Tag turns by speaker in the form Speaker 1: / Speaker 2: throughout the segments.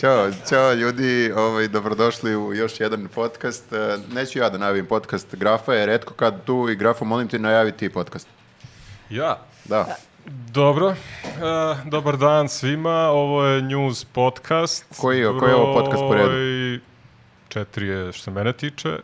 Speaker 1: Ćao, ćao ljudi, ovaj, dobrodošli u još jedan podcast. E, Neću ja da najavim podcast, Grafa je redko kad tu i Grafa, molim te najavi ti podcast.
Speaker 2: Ja?
Speaker 1: Da,
Speaker 2: Dobro. E, dobar dan svima. Ovo je News Podcast.
Speaker 1: Koji je- koji je ovo podcast po redu?
Speaker 2: Broj Četiri je što se mene tiče.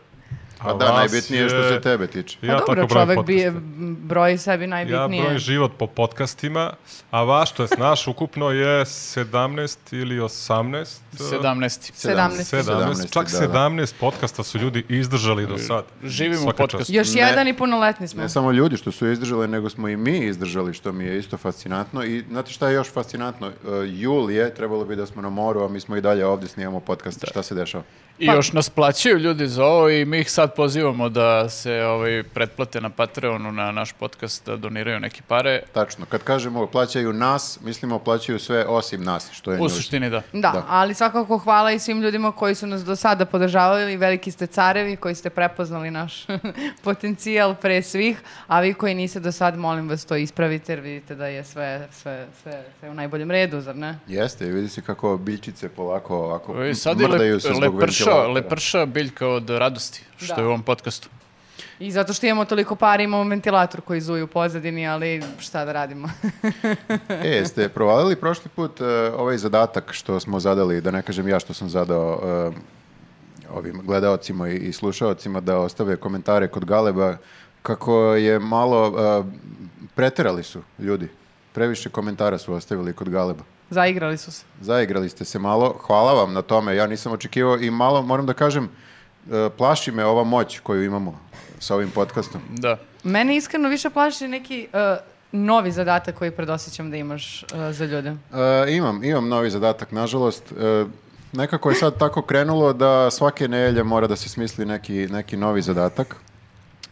Speaker 2: A
Speaker 1: pa da,
Speaker 2: vas
Speaker 1: najbitnije je što se tebe tiče.
Speaker 2: Ja
Speaker 3: Pa dobro,
Speaker 2: tako brojim
Speaker 3: čovek bi je
Speaker 2: podcaste.
Speaker 3: broj sebi
Speaker 2: Ja
Speaker 3: najbitnije.
Speaker 2: brojim život po podcastima, a vaš, to je naš, ukupno je 17 ili 18. e,
Speaker 4: 17.
Speaker 3: Sedamnaest.
Speaker 2: 17,
Speaker 1: da,
Speaker 2: čak
Speaker 1: da.
Speaker 2: 17 podcasta su ljudi izdržali do sad.
Speaker 4: Živimo u
Speaker 2: Svaka
Speaker 4: podcastu.
Speaker 2: čast.
Speaker 3: Još
Speaker 1: Ne.
Speaker 3: jedan i punoletni smo.
Speaker 1: Ne samo ljudi što su izdržali, nego smo i mi izdržali, što mi je isto fascinantno. I znate šta je još fascinantno? E, jul je, trebalo bi da smo na moru, a mi smo i dalje ovdje snijemo podcast. Šta se dešava?
Speaker 4: I
Speaker 3: Pa-
Speaker 4: još nas plaćaju ljudi za ovo i mi ih sad pozivamo da se ovaj, pretplate na Patreonu, na naš podcast, da doniraju neke pare.
Speaker 1: Tačno, kad kažemo plaćaju nas, mislimo plaćaju sve osim nas, što je
Speaker 4: U
Speaker 1: news.
Speaker 4: suštini da.
Speaker 3: Da,
Speaker 1: Da.
Speaker 3: ali svakako hvala i svim ljudima koji su nas do sada podržavali, veliki ste carevi koji ste prepoznali naš potencijal pre svih, a vi koji niste do sad, molim vas to ispravite jer vidite da je sve, sve, sve, sve u najboljem redu, zar ne?
Speaker 1: Jeste, vidi se kako biljčice polako ovako
Speaker 4: I sad je
Speaker 1: mrdaju
Speaker 4: lep,
Speaker 1: se zbog
Speaker 4: leprša,
Speaker 1: ventilatora.
Speaker 4: leprša biljka od radosti, što
Speaker 3: Da.
Speaker 4: je u ovom podcastu.
Speaker 3: I zato što imamo toliko pari, imamo ventilator koji zuju u pozadini, ali šta da radimo?
Speaker 1: E, jeste provalili prošli put e, ovaj zadatak što smo zadali, da ne kažem ja što sam zadao e, ovim gledaocima i, i slušaocima da ostave komentare kod Galeba kako je malo e, preterali su ljudi. Previše komentara su ostavili kod Galeba.
Speaker 3: Zaigrali su se.
Speaker 1: Zaigrali ste se malo. Hvala vam na tome. Ja nisam očekivao i malo moram da kažem e, plaši me ova moć koju imamo sa ovim podcastom.
Speaker 4: Da.
Speaker 3: Mene iskreno više plaši neki eh, novi zadatak koji predosećam da imaš eh, za ljude.
Speaker 1: E, imam, imam novi zadatak, nažalost. E, nekako je sad tako krenulo da svake nedelje mora da se smisli neki, neki novi zadatak.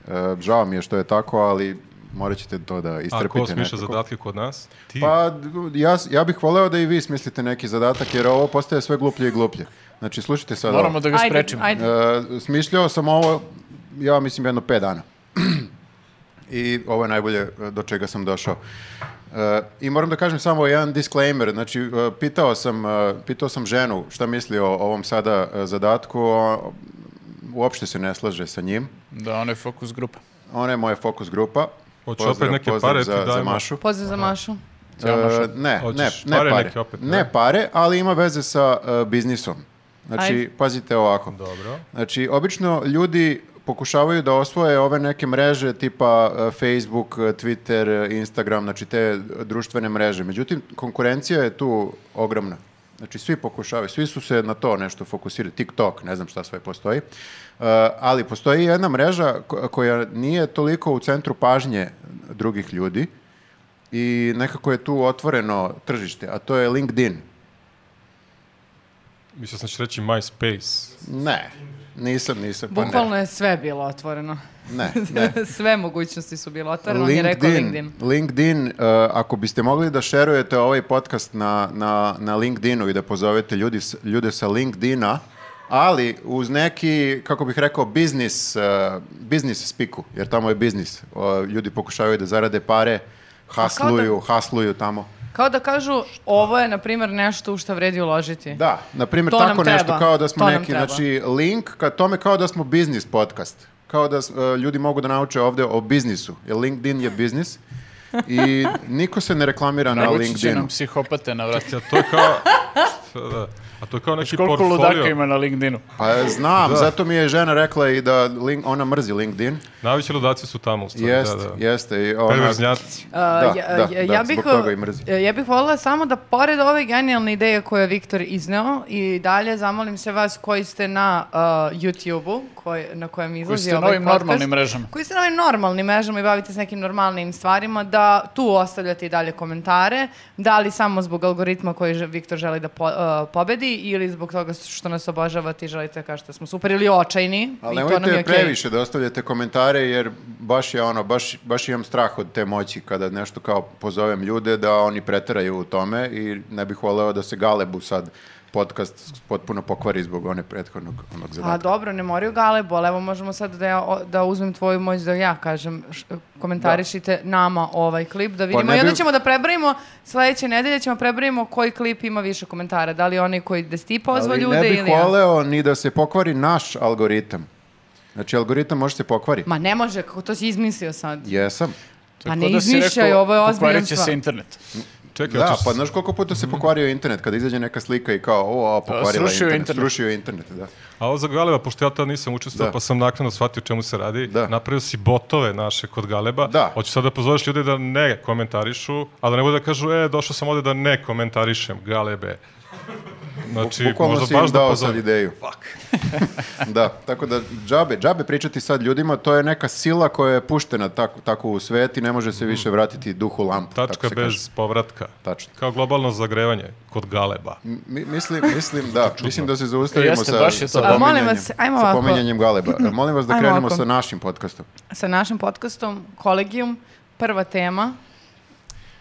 Speaker 1: E, žao mi je što je tako, ali morat ćete to da
Speaker 2: A
Speaker 1: istrpite
Speaker 2: ko smiša
Speaker 1: nekako.
Speaker 2: zadatke kod nas? Ti?
Speaker 1: Pa, d- ja, s- ja bih voleo da i vi smislite neki zadatak, jer ovo postaje sve gluplje i gluplje. Znači, slušajte sad
Speaker 4: Moramo
Speaker 1: ovo.
Speaker 4: da ga
Speaker 3: Ajde,
Speaker 4: sprečimo.
Speaker 3: ajde.
Speaker 1: E, smišljao sam ovo, ja mislim, jedno 5 dana. I ovo je najbolje e, do čega sam došao. E, I moram da kažem samo jedan disclaimer, znači e, pitao sam, e, pitao sam ženu šta misli o ovom sada e, zadatku, a uopšte se ne slaže sa njim.
Speaker 4: Da, ono je fokus grupa.
Speaker 1: Ona je moja fokus grupa.
Speaker 2: Hoće opet neke
Speaker 1: pozdrav
Speaker 2: pare ti
Speaker 1: za, za
Speaker 2: dajmo?
Speaker 1: Mašu.
Speaker 3: Pozdrav za Mašu.
Speaker 4: Cijela naša-
Speaker 1: E, ne, ne,
Speaker 2: Hoćeš
Speaker 1: ne
Speaker 2: pare
Speaker 1: pare,
Speaker 2: neke opet,
Speaker 1: ne?
Speaker 2: ne?
Speaker 1: pare, ali ima veze sa e, biznisom. Znači,
Speaker 3: Ajde.
Speaker 1: pazite ovako.
Speaker 2: Dobro.
Speaker 1: Znači, obično ljudi pokušavaju da osvoje ove neke mreže tipa e, Facebook, e, Twitter, e, Instagram, znači te društvene mreže. Međutim, konkurencija je tu ogromna. Znači, svi pokušavaju, svi su se na to nešto fokusirali. TikTok, ne znam šta sve postoji. E, ali postoji jedna mreža ko- koja nije toliko u centru pažnje drugih ljudi i nekako je tu otvoreno tržište, a to je LinkedIn.
Speaker 2: Mislio sam da će reći MySpace.
Speaker 1: Ne, nisam, nisam. pa ne.
Speaker 3: Bukvalno je sve bilo otvoreno.
Speaker 1: Ne, ne.
Speaker 3: sve mogućnosti su bile otvorene, on je rekao LinkedIn.
Speaker 1: LinkedIn, uh, ako biste mogli da šerujete ovaj podcast na, na, na LinkedInu i da pozovete ljudi, s- ljude sa LinkedIna, ali uz neki, kako bih rekao, biznis, uh, biznis spiku, jer tamo je biznis. Uh, ljudi pokušavaju da zarade pare,
Speaker 3: da-
Speaker 1: hasluju, hasluju tamo.
Speaker 3: Kao da kažu, ovo je, na primjer, nešto u što vredi uložiti.
Speaker 1: Da, na primjer,
Speaker 3: To nam
Speaker 1: tako nešto
Speaker 3: treba.
Speaker 1: kao da smo
Speaker 3: To nam
Speaker 1: neki,
Speaker 3: treba.
Speaker 1: znači link ka tome kao da smo biznis podcast. Kao da s- e, ljudi mogu da nauče ovdje o biznisu, jer LinkedIn je biznis i niko se ne reklamira na
Speaker 4: Navući će
Speaker 1: LinkedInu.
Speaker 4: nam psihopate na vrat.
Speaker 2: Ja, to je kao... Šta da? A to je kao neki
Speaker 4: Koliko
Speaker 2: portfolio.
Speaker 4: ludaka ima na LinkedInu?
Speaker 1: Pa
Speaker 2: Da.
Speaker 1: znam, zato mi je žena rekla i da link, ona mrzi LinkedIn.
Speaker 2: Najveći ludaci su tamo, u stvari.
Speaker 1: Jeste,
Speaker 2: da, da.
Speaker 1: jeste. I ona,
Speaker 2: Perverznjaci.
Speaker 3: Uh,
Speaker 1: Da,
Speaker 3: ja,
Speaker 1: da,
Speaker 3: ja-
Speaker 1: da,
Speaker 3: ja
Speaker 1: zbog
Speaker 3: bih,
Speaker 1: toga i mrzim.
Speaker 3: ja bih voljela samo da pored ove genijalne ideje koje je Viktor izneo i dalje zamolim se vas koji ste na uh, YouTube-u koji, na kojem izlazi
Speaker 4: ste na
Speaker 3: ovaj
Speaker 4: ovim
Speaker 3: podcast,
Speaker 4: normalnim mrežama.
Speaker 3: Koji ste na ovim normalnim mrežama i bavite se nekim normalnim stvarima da tu ostavljate i dalje komentare da li samo zbog algoritma koji že- Viktor želi da po- uh, pobedi ili zbog toga što nas obožavate i želite da kažete da smo super ili očajni
Speaker 1: Ali
Speaker 3: i to nam je
Speaker 1: nemojte
Speaker 3: okej.
Speaker 1: previše da ostavljate komentare jer baš je ono, baš, baš imam strah od te moći kada nešto kao pozovem ljude da oni preteraju u tome i ne bih voleo da se Galebu sad podcast potpuno pokvari zbog one prethodnog onog
Speaker 3: A da
Speaker 1: zadatka.
Speaker 3: Pa dobro, ne moraju ga Alebo, ali evo možemo sad da, ja, o- da uzmem tvoju moć da ja kažem, š- komentarišite nama ovaj klip, da vidimo.
Speaker 1: Da. Pa ne
Speaker 3: I onda
Speaker 1: bi-
Speaker 3: ćemo da prebrojimo, sledeće nedelje ćemo prebrojimo koji klip ima više komentara. Da li onaj koji Desti pozvao
Speaker 1: Ali
Speaker 3: ljude
Speaker 1: ne bih
Speaker 3: ili... ja.
Speaker 1: voleo ni da se pokvari naš algoritam. Znači, algoritam može se pokvari.
Speaker 3: Ma ne može, kako to si izmislio sad.
Speaker 1: Jesam.
Speaker 3: Pa
Speaker 4: Tako
Speaker 3: ne
Speaker 4: da si
Speaker 3: izmišljaj,
Speaker 4: rekao,
Speaker 3: ovo je ozbiljan
Speaker 4: pokvarit će
Speaker 3: stvar.
Speaker 4: se internet.
Speaker 2: Čekaj,
Speaker 1: Da,
Speaker 4: znači
Speaker 2: hoćeš-
Speaker 1: pa znaš koliko puta se pokvario internet kada izađe neka slika i kao, o, a, pokvarila je
Speaker 4: srušio je
Speaker 1: internet.
Speaker 4: internet.
Speaker 1: Srušio je internet, da.
Speaker 2: A ovo za Galeba, pošto ja tad nisam učestvovao,
Speaker 1: Da.
Speaker 2: pa sam naknadno shvatio o čemu se radi,
Speaker 1: Da.
Speaker 2: napravio si botove naše kod Galeba.
Speaker 1: Da.
Speaker 2: Hoću sad da pozoveš ljude da ne komentarišu, ali da ne bude da kažu, e, došao sam ovde da ne komentarišem Galebe. Znači,
Speaker 1: Bukvalno si
Speaker 2: možda baš
Speaker 1: im
Speaker 2: da
Speaker 1: dao sad
Speaker 2: pozovem.
Speaker 1: ideju. da, tako da džabe, džabe pričati sad ljudima, to je neka sila koja je puštena tako, tako u svet i ne može se više vratiti duhu lampu.
Speaker 2: Tačka bez povratka.
Speaker 1: Tačno.
Speaker 2: Kao globalno zagrevanje kod Galeba.
Speaker 1: Mi, mislim, mislim, da, mislim da se zaustavimo
Speaker 4: Jeste,
Speaker 1: sa,
Speaker 4: baš je to.
Speaker 1: sa
Speaker 3: A, molim
Speaker 1: pominjanjem,
Speaker 3: vas, ajmo
Speaker 1: sa
Speaker 3: ovako.
Speaker 1: pominjanjem Galeba. E, Molim vas da
Speaker 3: Ajmo
Speaker 1: krenemo
Speaker 3: ovako.
Speaker 1: sa našim podcastom.
Speaker 3: Sa našim podcastom, kolegijum, prva tema.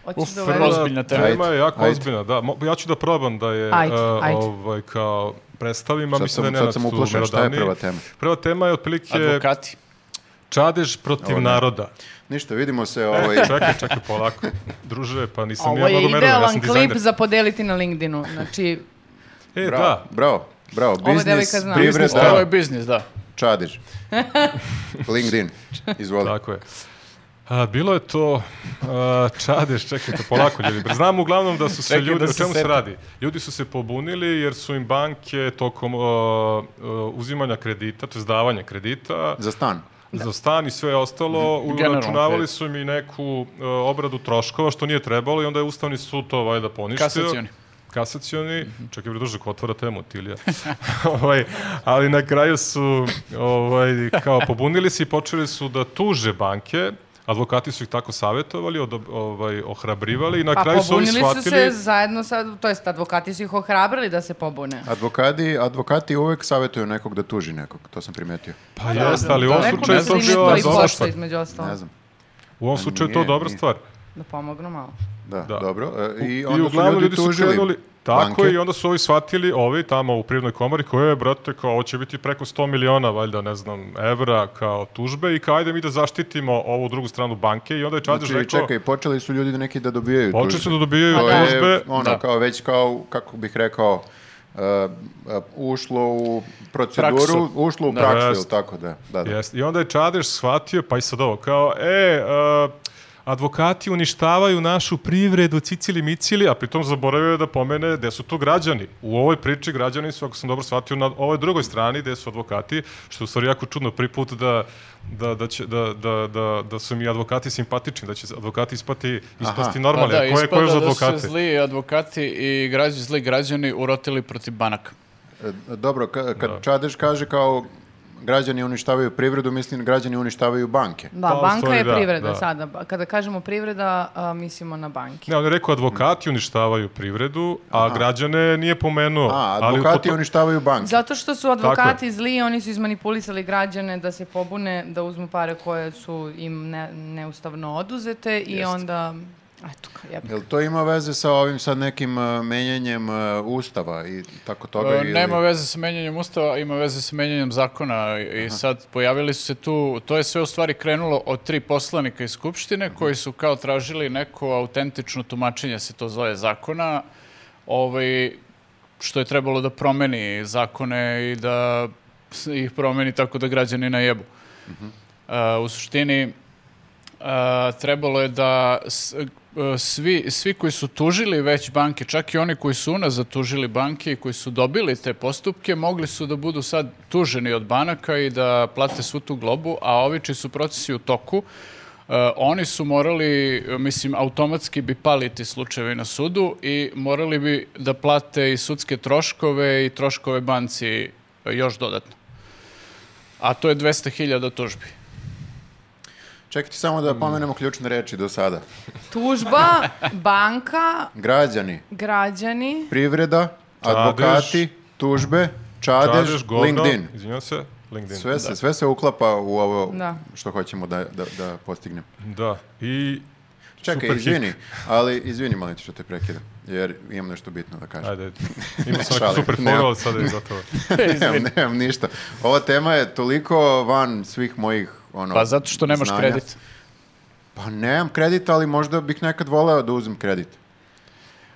Speaker 3: Hoćeš
Speaker 4: Uf,
Speaker 3: da
Speaker 4: vrlo
Speaker 3: uvedeš?
Speaker 4: ozbiljna tema.
Speaker 1: Ajde,
Speaker 2: Tema je jako
Speaker 1: ajde.
Speaker 2: ozbiljna, da. Mo- Ja ću da probam da je
Speaker 3: Ajde,
Speaker 2: e,
Speaker 3: ajde.
Speaker 2: ovaj, kao predstavim, a
Speaker 1: Sad sam-
Speaker 2: mislim da je
Speaker 1: sad
Speaker 2: Nenad
Speaker 1: sam
Speaker 2: tu
Speaker 1: uplašen, šta je
Speaker 2: merodavniji.
Speaker 1: prva tema?
Speaker 2: Prva tema je otprilike
Speaker 4: Advokati.
Speaker 2: čadež protiv naroda.
Speaker 1: Ništa, vidimo se ovaj,
Speaker 2: čekaj, čekaj, polako. Druže, pa nisam
Speaker 3: Ovo
Speaker 2: ja
Speaker 3: je
Speaker 2: mnogo merovan, ja sam
Speaker 3: idealan klip
Speaker 2: dizajner.
Speaker 3: za podeliti na LinkedInu. Znači,
Speaker 2: E,
Speaker 1: bravo,
Speaker 2: da,
Speaker 1: bravo, bravo, biznis,
Speaker 3: devojka zna.
Speaker 1: privreda,
Speaker 4: Ovo je biznis, da.
Speaker 1: čadiž. LinkedIn, izvoli.
Speaker 2: tako je. A, bilo je to a, čadež, čekajte, polako ljudi. Znam uglavnom da su se
Speaker 4: Čekaj
Speaker 2: ljudi,
Speaker 4: da
Speaker 2: o
Speaker 4: se
Speaker 2: čemu se
Speaker 4: setim.
Speaker 2: radi? Ljudi su se pobunili jer su im banke tokom o, o, uzimanja kredita, to je davanja kredita,
Speaker 1: Za stan.
Speaker 2: za stan i sve ostalo,
Speaker 4: Generalno
Speaker 2: uračunavali
Speaker 4: kredit.
Speaker 2: su im i neku e, obradu troškova što nije trebalo i onda je Ustavni sud to valjda poništio.
Speaker 4: Kasacioni.
Speaker 2: Kasacioni, čak i pridružak otvara temu Tilija. ovaj, ali na kraju su ovaj, kao pobunili se i počeli su da tuže banke, advokati su ih tako savjetovali, od, ovaj, ohrabrivali i na
Speaker 3: pa
Speaker 2: kraju su oni
Speaker 3: pobunili su se
Speaker 2: shvatili...
Speaker 3: zajedno sa, to jest advokati su ih ohrabrili da se pobune.
Speaker 1: Advokati, advokati uvek savjetuju nekog da tuži nekog, to sam primetio.
Speaker 2: Pa jeste, ali u ovom
Speaker 4: da,
Speaker 3: Nekom
Speaker 2: slučaju
Speaker 3: da
Speaker 2: je
Speaker 3: se
Speaker 2: to
Speaker 3: i
Speaker 2: bio
Speaker 3: nešto
Speaker 2: dobra
Speaker 3: ispošta
Speaker 2: stvar.
Speaker 3: između ostalog.
Speaker 1: Ne znam.
Speaker 2: U ovom slučaju je to
Speaker 1: Nije,
Speaker 2: dobra
Speaker 1: nije.
Speaker 2: stvar.
Speaker 3: Da pomognu malo.
Speaker 1: Da,
Speaker 2: Da.
Speaker 1: dobro. E, I,
Speaker 2: I
Speaker 1: onda
Speaker 2: uglavnom
Speaker 1: su ljudi, tužili
Speaker 2: Tako
Speaker 1: banke.
Speaker 2: i onda su ovi shvatili, ovi tamo u privrednoj komori, koje je, brate, kao, ovo će biti preko 100 miliona, valjda, ne znam, evra kao tužbe i kao, ajde mi da zaštitimo ovu drugu stranu banke i onda je Čadež
Speaker 1: Znači,
Speaker 2: rekao,
Speaker 1: čekaj, počeli su ljudi da neki da dobijaju tužbe.
Speaker 2: počeli su da dobijaju
Speaker 3: Pa da.
Speaker 1: To
Speaker 2: tužbe,
Speaker 1: je ono,
Speaker 4: Da.
Speaker 1: kao već kao, kako bih rekao, e, e, ušlo u proceduru,
Speaker 4: Praksu.
Speaker 1: ušlo u
Speaker 4: Da.
Speaker 1: praksu, jel
Speaker 2: Jest.
Speaker 1: tako da. da, da.
Speaker 2: Jeste. I onda je Čadež shvatio, pa i sad ovo, kao, e, uh, advokati uništavaju našu privredu, cicili, micili, a pritom zaboravio je da pomene gde su tu građani. U ovoj priči građani su, ako sam dobro shvatio, na ovoj drugoj strani gde su advokati, što je u stvari jako čudno prvi put da, da, da, će, da, da, da, da su mi advokati simpatični, da će advokati ispati,
Speaker 1: Aha.
Speaker 2: ispasti normalni.
Speaker 4: Pa
Speaker 2: a ko je, ko je za
Speaker 4: da
Speaker 2: advokate?
Speaker 4: su se zli advokati i građani, zli građani urotili protiv banaka.
Speaker 1: E, Dobro, ka- kad
Speaker 2: Da.
Speaker 1: Čadež kaže kao građani uništavaju privredu, mislim građani uništavaju banke.
Speaker 3: Da,
Speaker 2: Pa, u
Speaker 3: banka
Speaker 2: stvari
Speaker 3: je
Speaker 2: da,
Speaker 3: privreda
Speaker 2: da.
Speaker 3: sada. Ba- Kada kažemo privreda, a, mislimo na banke.
Speaker 2: Ne, on je rekao advokati uništavaju privredu, a građane nije pomenuo.
Speaker 1: A,
Speaker 2: Ali u
Speaker 1: advokati
Speaker 2: potom-
Speaker 1: uništavaju banke.
Speaker 3: Zato što su advokati zli i oni su izmanipulisali građane da se pobune, da uzmu pare koje su im ne, neustavno oduzete i onda... Eto, ka- jebi.
Speaker 1: Jel to ima veze sa ovim sad nekim e, menjanjem e, ustava i tako toga?
Speaker 4: E,
Speaker 1: ili-
Speaker 4: Nema veze sa menjanjem ustava, ima veze sa menjanjem zakona i i sad pojavili su se tu, to je sve u stvari krenulo od tri poslanika iz Skupštine koji su kao tražili neko autentično tumačenje, se to zove zakona, ovaj, što je trebalo da promeni zakone i da s- ih promeni tako da građani na jebu. u suštini, a, trebalo je da s- e, svi, svi koji su tužili već banke, čak i oni koji su unazad tužili banke i koji su dobili te postupke, mogli su da budu sad tuženi od banaka i da plate svu tu globu, a ovi čiji su procesi u toku, e, oni su morali, e, mislim, automatski bi pali ti slučajevi na sudu i morali bi da plate i sudske troškove i troškove banci e, još dodatno. A to je 200.000 tužbi.
Speaker 1: Čekajte samo
Speaker 4: Mm.
Speaker 1: da pomenemo ključne reči do sada.
Speaker 3: Tužba, banka,
Speaker 1: Građani,
Speaker 3: građani,
Speaker 1: privreda, advokati, tužbe, čadež,
Speaker 2: Čadež, govno,
Speaker 1: LinkedIn.
Speaker 2: izvinjam se, LinkedIn.
Speaker 1: Sve
Speaker 4: Da.
Speaker 1: se, sve se uklapa u ovo
Speaker 3: Da.
Speaker 1: što hoćemo da, da, da postignem.
Speaker 2: Da, i
Speaker 1: Čekaj,
Speaker 2: Super
Speaker 1: izvini, ali izvini, molim te što te prekidam, jer imam nešto bitno da kažem.
Speaker 2: Ajde, imao sam
Speaker 1: Šalim,
Speaker 2: neku super
Speaker 1: nemam.
Speaker 2: foru, ali sada je zato.
Speaker 1: nemam, nemam ništa. Ova tema je toliko van svih mojih ono,
Speaker 4: Pa zato što nemaš
Speaker 1: znanja.
Speaker 4: kredit.
Speaker 1: Pa nemam kredit, ali možda bih nekad voleo da uzmem kredit.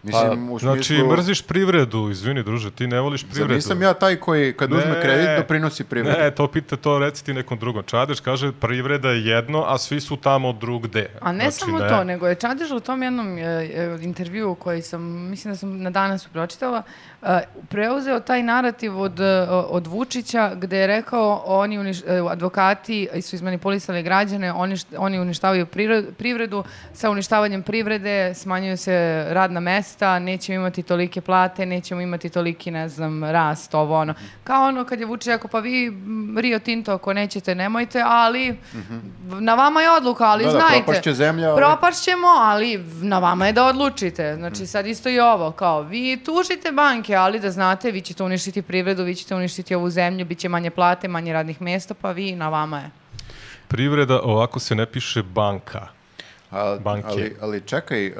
Speaker 1: Mislim, u smislu...
Speaker 2: Znači, mrziš privredu, izvini druže, ti ne voliš
Speaker 1: Zar
Speaker 2: privredu.
Speaker 1: nisam ja taj koji kad uzme
Speaker 2: Ne.
Speaker 1: kredit doprinosi privredu?
Speaker 2: Ne, to pita, to reci ti nekom drugom. Čadeš kaže privreda je jedno, a svi su tamo drugde.
Speaker 3: A ne
Speaker 2: Znači,
Speaker 3: samo to, nego je Čadež u tom jednom e, e, intervju koji sam, mislim da sam na danas pročitala, e, preuzeo taj narativ od, e, od Vučića gde je rekao oni uniš- e, advokati su izmanipulisali građane, oni, št- oni uništavaju priro- privredu, sa uništavanjem privrede smanjuju se radna mesta, nećemo imati tolike plate, nećemo imati toliki, ne znam, rast, ovo ono. Kao ono kad je Vučić rekao, pa vi m, Rio Tinto ako nećete, nemojte, ali v- na vama je odluka, ali
Speaker 1: Mhm. Da, da,
Speaker 3: znajte.
Speaker 1: propašće zemlja, ali-
Speaker 3: Propašćemo, ali na vama je da odlučite. Znači, sad isto i ovo, kao, vi tužite banke, ali da znate, vi ćete uništiti privredu, vi ćete uništiti ovu zemlju, bit će manje plate, manje radnih mjesta, pa vi, na vama je.
Speaker 2: Privreda, ovako se ne piše banka.
Speaker 1: A,
Speaker 2: Banke.
Speaker 1: Ali, ali čekaj, e,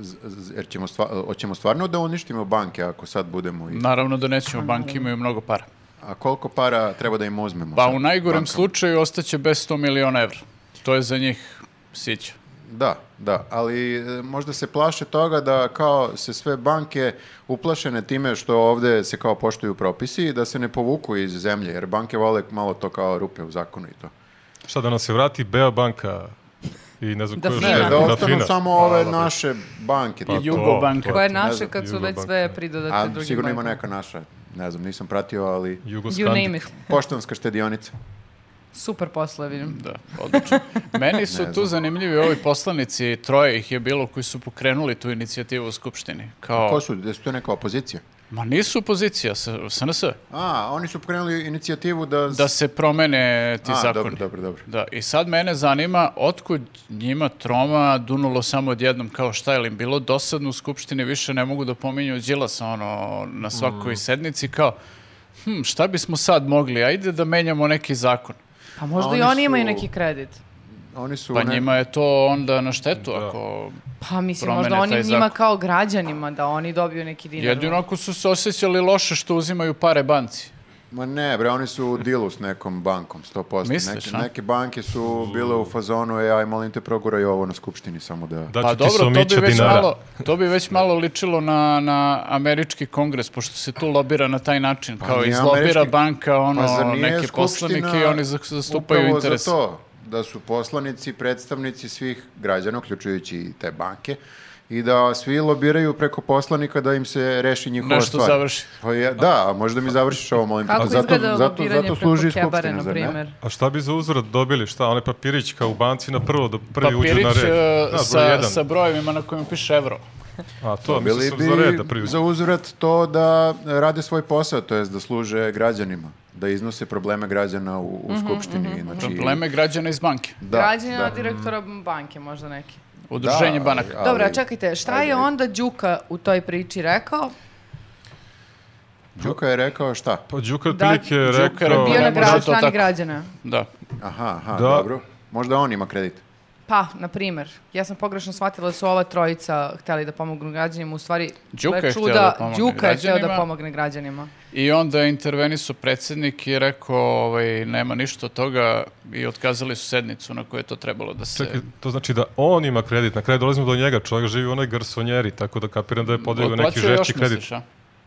Speaker 1: z- z- jer ćemo stva- hoćemo stvarno da uništimo banke ako sad budemo i...
Speaker 4: Naravno da nećemo, banke imaju mnogo para.
Speaker 1: A koliko para treba da im uzmemo?
Speaker 4: Pa
Speaker 1: sad
Speaker 4: u najgorem
Speaker 1: bankama?
Speaker 4: slučaju ostaće bez 100 miliona evra. To je za njih sića.
Speaker 1: Da, da, ali e, možda se plaše toga da kao se sve banke uplašene time što ovde se kao poštuju propisi i da se ne povuku iz zemlje, jer banke vole malo to kao rupe u zakonu i to.
Speaker 2: Šta da nam se vrati Beobanka i ne znam
Speaker 3: Da
Speaker 2: ko još
Speaker 3: Ne,
Speaker 1: Ne,
Speaker 2: jedna,
Speaker 1: da
Speaker 2: da
Speaker 1: ostanu
Speaker 2: Fina.
Speaker 1: samo ove
Speaker 2: Hvala.
Speaker 1: naše banke.
Speaker 2: Pa
Speaker 1: tipa.
Speaker 2: to,
Speaker 4: Jugobanka.
Speaker 2: to.
Speaker 3: Koja je
Speaker 1: ne
Speaker 3: naša
Speaker 1: znam,
Speaker 3: kad su već
Speaker 2: Jugobanka,
Speaker 3: sve
Speaker 2: da.
Speaker 3: pridodate
Speaker 1: A
Speaker 3: drugim
Speaker 1: sigurno ima
Speaker 3: bankama.
Speaker 1: neka naša, ne znam, nisam pratio, ali
Speaker 2: Jugoskandik.
Speaker 3: You name it.
Speaker 1: poštanska štedionica.
Speaker 3: Super posla, vidim.
Speaker 4: Da, odlično. Meni su tu zanimljivi ovi poslanici, troje ih je bilo koji su pokrenuli tu inicijativu u Skupštini.
Speaker 1: Ko
Speaker 4: Kao,
Speaker 1: su, da su to neka opozicija?
Speaker 4: ma nisu opozicija, s- SNS,
Speaker 1: A, oni su pokrenuli inicijativu da...
Speaker 4: da se promene ti
Speaker 1: A,
Speaker 4: zakoni.
Speaker 1: dobro, dobro, dobro.
Speaker 4: Da, i sad mene zanima otkud njima troma dunulo samo odjednom kao šta je im bilo dosadno u Skupštini, više ne mogu da pominju Đilasa ono, na svakoj sednici kao hm, šta bismo sad mogli, ajde da menjamo neki zakon.
Speaker 3: Pa možda
Speaker 1: A
Speaker 3: i
Speaker 1: oni
Speaker 3: oni imaju
Speaker 1: su-
Speaker 3: neki kredit.
Speaker 1: Oni su...
Speaker 4: Pa
Speaker 1: ne-
Speaker 4: njima je to onda na štetu
Speaker 2: Da.
Speaker 4: ako...
Speaker 3: Pa mislim,
Speaker 4: Promene
Speaker 3: možda oni
Speaker 4: taj
Speaker 3: njima
Speaker 4: zakon.
Speaker 3: kao građanima da oni dobiju neki dinar.
Speaker 4: Jedino ako su se osjećali loše što uzimaju pare banci.
Speaker 1: Ma ne, bre, oni su u dilu s nekom bankom, 100%.
Speaker 4: Misliš,
Speaker 1: neke,
Speaker 4: a?
Speaker 1: neke banke su bile u fazonu, e, aj, molim te, proguraj ovo na skupštini samo da...
Speaker 2: Da
Speaker 4: Pa
Speaker 2: ću ti
Speaker 4: dobro, to
Speaker 2: somića
Speaker 4: bi, već
Speaker 2: dinara.
Speaker 4: malo, to bi već malo ličilo na, na američki kongres, pošto se tu lobira na taj način, kao
Speaker 1: Pa nije
Speaker 4: izlobira
Speaker 1: američki-
Speaker 4: banka ono,
Speaker 1: Pa zar nije
Speaker 4: neke
Speaker 1: Skupština
Speaker 4: poslanike i oni za- zastupaju
Speaker 1: upravo
Speaker 4: interes.
Speaker 1: za to, da su poslanici, predstavnici svih građana, uključujući i te banke, i da svi lobiraju preko poslanika da im se reši njihova
Speaker 4: Nešto
Speaker 1: stvar.
Speaker 4: završi.
Speaker 1: Pa ja, da, a možda mi završiš ovo, molim te.
Speaker 3: Kako
Speaker 1: Pa zato,
Speaker 3: izgleda
Speaker 1: zato,
Speaker 3: lobiranje
Speaker 1: zato
Speaker 3: preko
Speaker 1: služi i
Speaker 3: kebare,
Speaker 1: skupština,
Speaker 3: na
Speaker 1: zar ne?
Speaker 3: primer?
Speaker 2: A šta bi za uzvrat dobili? Šta, onaj papirić kao u banci na prvo da prvi uđe
Speaker 4: Papirić
Speaker 2: na red?
Speaker 4: e,
Speaker 2: Da, broj
Speaker 4: sa,
Speaker 2: jedan.
Speaker 4: sa brojevima na kojima piše evro.
Speaker 2: A to,
Speaker 1: Bili
Speaker 2: mislim sam
Speaker 1: bi
Speaker 2: za red da prvi uđe.
Speaker 1: za uzvrat to da rade svoj posao, to jest da služe građanima, da iznose probleme građana u, u
Speaker 3: Mhm,
Speaker 1: skupštini. znači,
Speaker 4: Probleme građana iz banke,
Speaker 1: Da,
Speaker 3: Građanina
Speaker 1: da.
Speaker 3: direktora banke možda neki.
Speaker 4: udruženje
Speaker 1: Da,
Speaker 4: banaka.
Speaker 1: ali-
Speaker 3: Dobro, a čekajte, šta
Speaker 1: Ajde,
Speaker 3: je
Speaker 1: ajde.
Speaker 3: onda Đuka u toj priči rekao?
Speaker 1: Đuka je rekao šta?
Speaker 2: Pa Đuka
Speaker 3: Da,
Speaker 2: Pilik je
Speaker 4: Đuka je
Speaker 2: rekao...
Speaker 3: Bio
Speaker 4: ne
Speaker 3: na
Speaker 4: može
Speaker 3: gra-
Speaker 4: to
Speaker 3: strani
Speaker 4: tako.
Speaker 3: građana.
Speaker 4: Da.
Speaker 1: Aha, aha,
Speaker 2: Da.
Speaker 1: dobro. Možda on ima kredit.
Speaker 3: Pa, na primer, ja sam pogrešno shvatila da su ova trojica hteli da pomognu građanima, u stvari
Speaker 4: Đuka
Speaker 3: gle
Speaker 4: je htjela
Speaker 3: čuda,
Speaker 4: da pomogne
Speaker 3: Đuka je htjela da
Speaker 4: građanima.
Speaker 3: pomogne građanima.
Speaker 4: I onda je intervenisu predsjednik i rekao ovaj, nema ništa od toga i otkazali su sednicu na kojoj je to trebalo da se...
Speaker 2: Čekaj, to znači da on ima kredit. Na kraju dolazimo do njega, čovjek živi u onoj garsonjeri, tako da kapiram da je podigao neki
Speaker 4: Otplaćuje
Speaker 2: žešći
Speaker 4: još,
Speaker 2: kredit.
Speaker 4: misliš, a?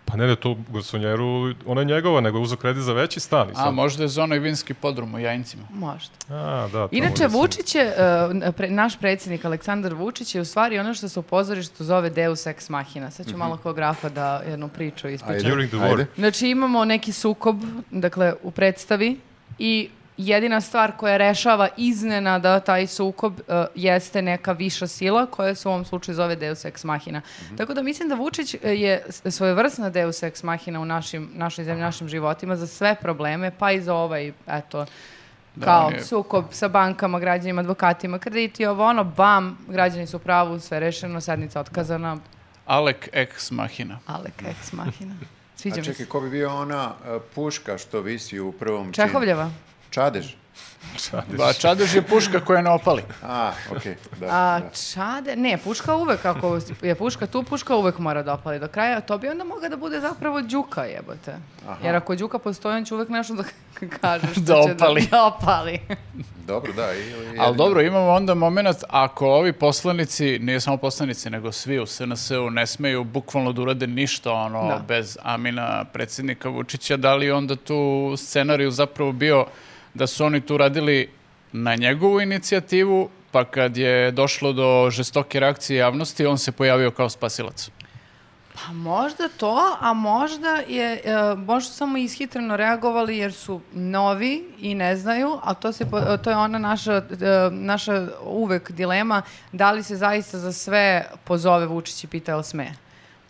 Speaker 2: Pa ne, ne, to u garsonjeru, ona je njegova, nego je uzeo kredit za veći stan. i
Speaker 4: A,
Speaker 2: sad-
Speaker 4: možda je za onaj vinski podrum u Jajincima.
Speaker 3: Možda.
Speaker 2: A, da, to
Speaker 3: Inače,
Speaker 2: može se-
Speaker 3: Vučić je, e, pre- naš predsjednik Aleksandar Vučić je u stvari ono što se u pozorištu zove Deus Ex Machina. Sad ću
Speaker 4: Mhm.
Speaker 3: malo kao grafa da jednu priču ispričam.
Speaker 2: During the war.
Speaker 1: Ajde.
Speaker 3: Znači imamo neki sukob, dakle u predstavi i jedina stvar koja rešava iznenada taj sukob e, jeste neka viša sila koja se u ovom slučaju zove Deus Ex Machina. Tako da mislim da Vučić e, je s- svojevrsna Deus Ex Machina u našim, našoj zemlji, našim životima za sve probleme, pa i za ovaj, eto,
Speaker 4: Da,
Speaker 3: kao
Speaker 4: on je-
Speaker 3: sukob sa bankama, građanima, advokatima, krediti, ovo ono, bam, građani su u pravu, sve rešeno, sednica otkazana,
Speaker 4: Alek ex machina.
Speaker 3: Alek Ex Machina. Sviđa
Speaker 1: A
Speaker 3: mi se.
Speaker 1: čekaj, ko bi bio ona e, puška što visi u prvom činu?
Speaker 3: Čehovljeva.
Speaker 1: Čadež.
Speaker 2: Čadež.
Speaker 4: Ba, čadež je puška koja ne opali.
Speaker 1: A, okej, da.
Speaker 3: A, čade, ne, puška uvek, ako je puška tu, puška uvek mora da opali do kraja. To bi onda mogla da bude zapravo đuka jebote. Jer ako đuka postoji, on će uvek nešto da k- kaže što
Speaker 4: Da
Speaker 3: će
Speaker 4: opali.
Speaker 3: da opali.
Speaker 1: Dobro, da. i- i-
Speaker 4: Ali dobro, imamo onda moment ako ovi poslanici, nije samo poslanici, nego svi u SNS-u ne smeju bukvalno da urade ništa ono,
Speaker 3: Da.
Speaker 4: bez Amina predsjednika Vučića, da li je onda tu scenariju zapravo bio da su oni tu radili na njegovu inicijativu, pa kad je došlo do žestoke reakcije javnosti, on se pojavio kao spasilac.
Speaker 3: Pa možda to, a možda je, e, možda su samo ishitreno reagovali jer su novi i ne znaju, a to, se, po- e, to je ona naša, e, naša uvek dilema, da li se zaista za sve pozove Vučić i pita jel sme.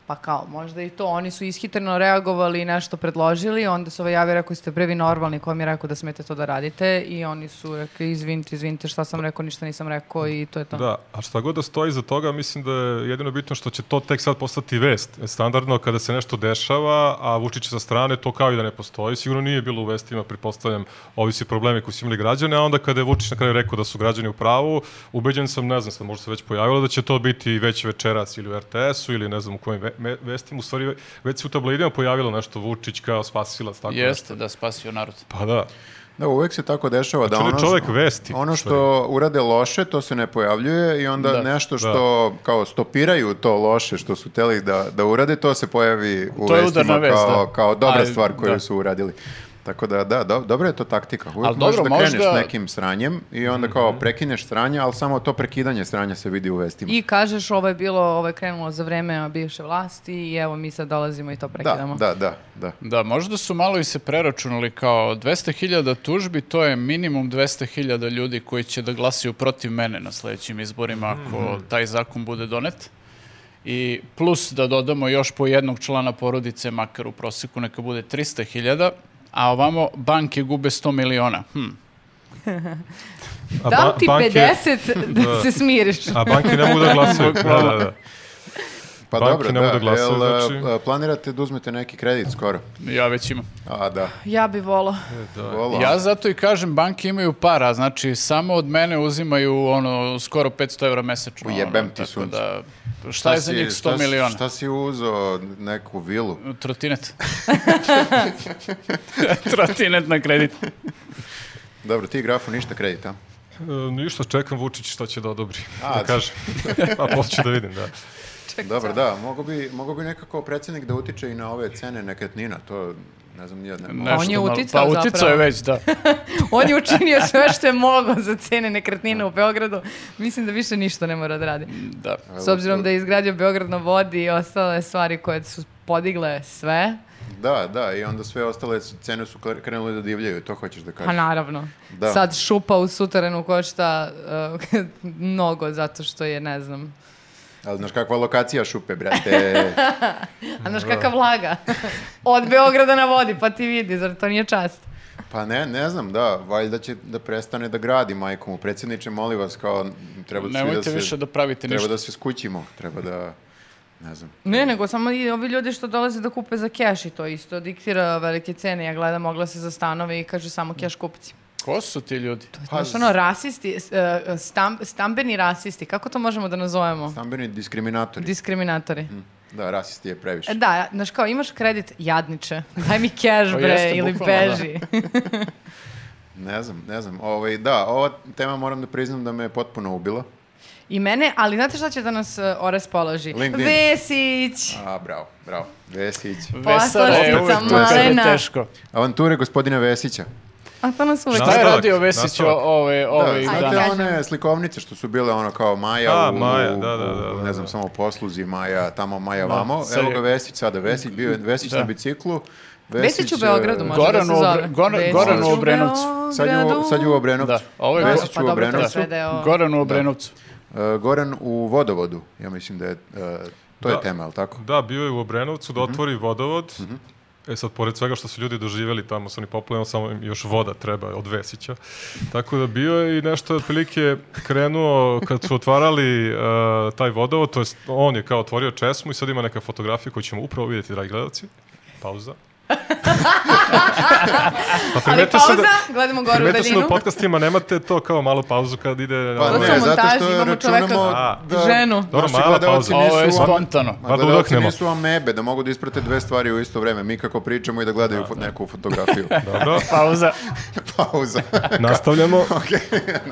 Speaker 3: Pa kao, možda i to. Oni su ishitreno reagovali i nešto predložili, onda se ovaj javi i rekao, ste previ normalni, ko vam je rekao da smete to da radite i oni su rekli, izvinite, izvinite, šta sam rekao, ništa nisam rekao i to je to.
Speaker 2: Da, a šta god da stoji iza toga, mislim da je jedino bitno što će to tek sad postati vest. Standardno kada se nešto dešava, a Vučić je sa strane, to kao i da ne postoji. Sigurno nije bilo u vestima, pretpostavljam, ovi svi problemi koji su imali građane, a onda kada je Vučić na kraju rekao da su građani u pravu, ubeđen sam, ne znam, sad možda se već pojavilo da će to biti već večeras ili u RTS-u ili ne znam u kojim ve me- vestima. U stvari, već se u tabloidima pojavilo nešto Vučić kao spasilac, tako nešto.
Speaker 4: Jeste da spasio narod.
Speaker 2: Pa da.
Speaker 1: Da, uvek se tako dešava da
Speaker 2: Znači,
Speaker 1: ono,
Speaker 2: čovek
Speaker 1: što-
Speaker 2: vesti,
Speaker 1: ono
Speaker 2: u
Speaker 1: što urade loše, to se ne pojavljuje i onda
Speaker 4: Da.
Speaker 1: nešto što kao stopiraju to loše što su teli da, da urade, to se pojavi u
Speaker 4: To je
Speaker 1: vestima
Speaker 4: udarna vest,
Speaker 1: kao,
Speaker 4: da.
Speaker 1: kao dobra
Speaker 4: Ali,
Speaker 1: stvar koju
Speaker 4: da.
Speaker 1: su uradili. Tako da, da, do, dobra je to taktika. Uvijek
Speaker 4: Ali dobro,
Speaker 1: možeš da kreneš
Speaker 4: možda-
Speaker 1: s nekim sranjem i onda
Speaker 2: Mhm.
Speaker 1: kao prekineš sranje, ali samo to prekidanje sranja se vidi u vestima.
Speaker 3: I kažeš ovo je bilo, ovo je krenulo za vreme bivše vlasti i evo mi sad dolazimo i to
Speaker 1: Da,
Speaker 3: prekidamo.
Speaker 1: da, da, da.
Speaker 4: Da, možda su malo i se preračunali kao 200.000 tužbi, to je minimum 200.000 ljudi koji će da glasaju protiv mene na sledećim izborima ako
Speaker 1: Mhm.
Speaker 4: taj zakon bude donet. I plus da dodamo još po jednog člana porodice, makar u proseku neka bude 300.000, a ovamo banke gube 100 miliona. Hm.
Speaker 2: A ba-
Speaker 3: Dam Da ti
Speaker 2: banke-
Speaker 3: 50 da,
Speaker 2: Da.
Speaker 3: se smiriš.
Speaker 2: A banke ne mogu da glasaju. da, da, da.
Speaker 1: Pa
Speaker 2: Banke
Speaker 1: dobro, da.
Speaker 2: ne mogu da glasaju,
Speaker 1: Jel, e,
Speaker 2: znači-
Speaker 1: e, planirate da uzmete neki kredit skoro?
Speaker 4: Ja već imam.
Speaker 1: A, da.
Speaker 3: Ja bi volao.
Speaker 1: Vola.
Speaker 4: Pa- Ja zato i kažem, banke imaju para, znači samo od mene uzimaju ono, skoro 500 evra mesečno. ono,
Speaker 1: Ujebem ti
Speaker 4: tako
Speaker 1: sunce.
Speaker 4: Da, šta je za
Speaker 1: si-
Speaker 4: njih 100
Speaker 1: si-
Speaker 4: miliona?
Speaker 1: Šta si uzo neku vilu?
Speaker 4: Trotinet. Trotinet na kredit.
Speaker 1: Dobro, ti grafu ništa kredita.
Speaker 2: E, ništa, čekam Vučić šta će da odobri,
Speaker 1: A,
Speaker 2: da kaže. A posle ću da vidim, da.
Speaker 1: Dobro, da, mogu bi, mogu bi nekako predsjednik da utiče i na ove cene nekretnina, to ne znam, ja ne mogu.
Speaker 4: Nešto
Speaker 3: je
Speaker 4: malo-
Speaker 3: uticao
Speaker 4: Pa uticao je
Speaker 3: zapravo.
Speaker 4: već, da.
Speaker 3: On je učinio sve što je mogao za cene nekretnina u Beogradu. Mislim da više ništa ne mora da radi.
Speaker 4: da.
Speaker 3: S obzirom da je izgradio Beograd na vodi i ostale stvari koje su podigle sve,
Speaker 1: Da, da, i onda sve ostale su- cene su kre- krenule da divljaju, to hoćeš da
Speaker 3: pa
Speaker 1: kažeš.
Speaker 3: naravno.
Speaker 1: Da.
Speaker 3: Sad šupa u sutarenu košta uh, mnogo zato što je, ne znam,
Speaker 1: Ali znaš kakva lokacija šupe, brate.
Speaker 3: A znaš kakav vlaga? Od Beograda na vodi, pa ti vidi, zar to nije čast?
Speaker 1: Pa ne, ne znam, da, valjda će da prestane da gradi majkom. mu. Predsjedniče, molim vas, kao, treba da svi
Speaker 4: Nemojte
Speaker 1: da se...
Speaker 4: više da pravite
Speaker 1: Treba
Speaker 4: ništa.
Speaker 1: da se skućimo, treba da... Ne znam.
Speaker 3: Ne, nego samo i ovi ljudi što dolaze da kupe za keš i to isto diktira velike cene. Ja gledam oglase za stanove i kaže samo keš kupci.
Speaker 1: da-
Speaker 4: Ko su ti ljudi?
Speaker 1: Pa,
Speaker 3: Znaš ono, rasisti, s- e, stam- stambeni rasisti, kako to možemo da nazovemo?
Speaker 1: Stambeni diskriminatori.
Speaker 3: Diskriminatori.
Speaker 1: Da, rasisti je previše.
Speaker 3: E, Da, znaš kao, imaš kredit, jadniče, daj mi keš
Speaker 4: Pa
Speaker 3: bre,
Speaker 4: jeste,
Speaker 3: ili
Speaker 4: bukvalno, da.
Speaker 3: beži.
Speaker 1: Ne znam, ne znam. Ovaj, da, ova tema moram da priznam da me je potpuno ubila.
Speaker 3: I mene, ali znate šta će da nas e, orespoloži?
Speaker 1: LinkedIn.
Speaker 4: Da.
Speaker 3: Vesić!
Speaker 1: A, bravo, bravo. Vesić.
Speaker 3: Pa,
Speaker 4: Vesara je uvijek
Speaker 3: Poslastica
Speaker 4: vesara,
Speaker 3: malena.
Speaker 4: teško.
Speaker 1: Avanture gospodina Vesića.
Speaker 3: A to nas uvek
Speaker 2: Šta
Speaker 4: Šta je
Speaker 2: Nastavak,
Speaker 4: radio Vesić o-
Speaker 2: nastavak.
Speaker 4: ove, ove
Speaker 1: da,
Speaker 3: Ajde,
Speaker 1: znate
Speaker 3: kažem.
Speaker 1: one slikovnice što su bile ono kao Maja,
Speaker 2: Ovaj, A,
Speaker 1: u,
Speaker 2: Maja,
Speaker 1: u-
Speaker 2: da, da, da,
Speaker 1: u,
Speaker 2: da,
Speaker 1: ne
Speaker 2: da.
Speaker 1: znam, samo posluzi Maja, tamo Maja vamo.
Speaker 4: sad
Speaker 1: Evo
Speaker 4: je-
Speaker 1: ga Vesić sada, Vesić, bio je Vesić
Speaker 4: Da.
Speaker 1: na biciklu.
Speaker 3: Vesić u Beogradu
Speaker 1: e,
Speaker 3: može da
Speaker 4: Goran
Speaker 3: se
Speaker 4: u
Speaker 3: zove.
Speaker 4: Obr- Goran-
Speaker 3: Vesić
Speaker 1: Goran u
Speaker 4: Obrenovcu.
Speaker 1: Sad je, u- sad je u Obrenovcu.
Speaker 4: Da, ovo je-
Speaker 1: Vesić
Speaker 3: Pa
Speaker 1: u
Speaker 3: dobro, to je
Speaker 1: Obrenovcu.
Speaker 3: sve deo-
Speaker 4: Goran
Speaker 1: Da.
Speaker 4: u Obrenovcu.
Speaker 1: E, Goran u vodovodu, ja mislim da je, e, to je
Speaker 2: Da.
Speaker 1: tema, je li tako?
Speaker 2: Da, bio je u Obrenovcu
Speaker 1: Mhm.
Speaker 2: da otvori vodovod. E sad, pored svega što su ljudi doživjeli tamo sa onim poplavama, samo im još voda treba od Vesića. Tako da bio je i nešto je otprilike krenuo kad su otvarali e, taj vodovod, to jest on je kao otvorio česmu i sad ima neka fotografija koju ćemo upravo vidjeti, dragi gledalci. Pauza. Pa
Speaker 3: Ali
Speaker 2: primetio sam
Speaker 3: pauza,
Speaker 2: da,
Speaker 3: gledamo gore u
Speaker 2: primetio sam da
Speaker 3: daljinu.
Speaker 2: u podcastima nemate to kao malu pauzu kad ide...
Speaker 1: Pa
Speaker 3: To
Speaker 1: ne,
Speaker 3: su
Speaker 1: zato
Speaker 3: montaži,
Speaker 1: što
Speaker 3: imamo
Speaker 1: računamo
Speaker 3: čoveka-
Speaker 1: da
Speaker 3: Ženu.
Speaker 1: naši
Speaker 2: Dobro, mala
Speaker 1: gledaoci
Speaker 2: pauza.
Speaker 1: nisu
Speaker 4: Ovo je
Speaker 1: am-
Speaker 4: spontano.
Speaker 1: Ma,
Speaker 2: Pa da
Speaker 1: gledaoci
Speaker 2: udahnemo.
Speaker 1: nisu amebe, da mogu da isprate dve stvari u isto vreme. Mi kako pričamo i da gledaju fo- neku fotografiju. Da.
Speaker 2: Dobro,
Speaker 4: Pauza.
Speaker 1: Pa Pauza.
Speaker 2: nastavljamo.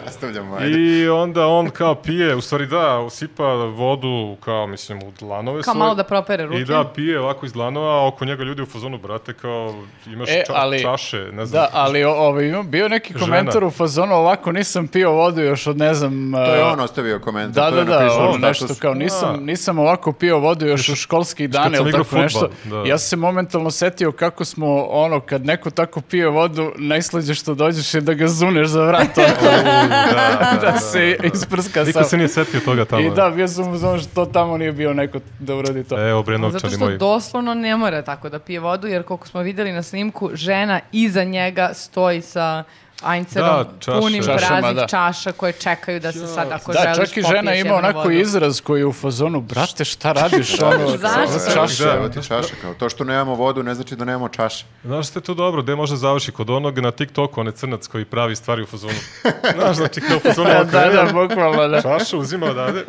Speaker 1: Nastavljamo, ajde.
Speaker 2: I onda on kao pije, u stvari da, usipa vodu kao, mislim, u dlanove
Speaker 3: Kao
Speaker 2: svoje.
Speaker 3: malo da propere ruke.
Speaker 2: I da, pije ovako iz dlanova, a oko njega ljudi u fazonu, brate, kao, imaš
Speaker 4: E,
Speaker 2: ča-
Speaker 4: ali-
Speaker 2: čaše, ne znam.
Speaker 4: Da, ali o- ovaj, ima- bio neki
Speaker 2: Žena.
Speaker 4: komentar u fazonu ovako nisam pio vodu još od ne znam...
Speaker 1: To je on ostavio komentar.
Speaker 4: Da,
Speaker 1: to je
Speaker 4: da, da,
Speaker 1: napisao u
Speaker 4: on nešto
Speaker 1: statusu.
Speaker 4: kao
Speaker 3: Da.
Speaker 2: A.
Speaker 4: nisam, nisam ovako pio vodu još u školskih dana
Speaker 2: kad sam
Speaker 4: ili tako
Speaker 2: igrao
Speaker 4: nešto.
Speaker 2: fudbal, da.
Speaker 4: Ja sam se momentalno setio kako smo ono, kad neko tako pije vodu, najslađe što dođeš je da ga zuneš za vrat, ono,
Speaker 2: da,
Speaker 4: da se isprska
Speaker 2: Niko
Speaker 4: sam.
Speaker 2: se nije setio toga tamo.
Speaker 4: I da, bio sam u zonu što tamo nije bio neko da uradi to.
Speaker 2: Evo, bre,
Speaker 3: Zato
Speaker 2: novčani
Speaker 3: što
Speaker 2: moji.
Speaker 3: doslovno ne mora tako da pije vodu, jer koliko smo videli na snimku, žena iza njega stoji sa Ajncerom,
Speaker 2: Da, čaše.
Speaker 3: punim
Speaker 4: Čašama,
Speaker 3: praznih
Speaker 4: da.
Speaker 3: čaša koje čekaju da se sad, ako
Speaker 4: Da,
Speaker 3: želiš,
Speaker 4: čak i
Speaker 3: popiješ
Speaker 4: žena ima
Speaker 3: jednu
Speaker 4: onako
Speaker 3: vodu.
Speaker 4: izraz koji je u fazonu, brate, šta radiš? ono,
Speaker 3: Zašto?
Speaker 2: Da,
Speaker 1: Evo,
Speaker 4: čaša.
Speaker 1: Evo ti čaše. Kao. To što nemamo vodu ne znači da nemamo čaše.
Speaker 2: Znaš što je to dobro, gde može da završi kod onog na TikToku, on je crnac koji pravi stvari u fazonu. Znaš, znači kao u fazonu
Speaker 4: Da,
Speaker 2: ovako,
Speaker 4: da,
Speaker 2: jedan
Speaker 4: da, bukvalno, da.
Speaker 2: čašu uzima odavde.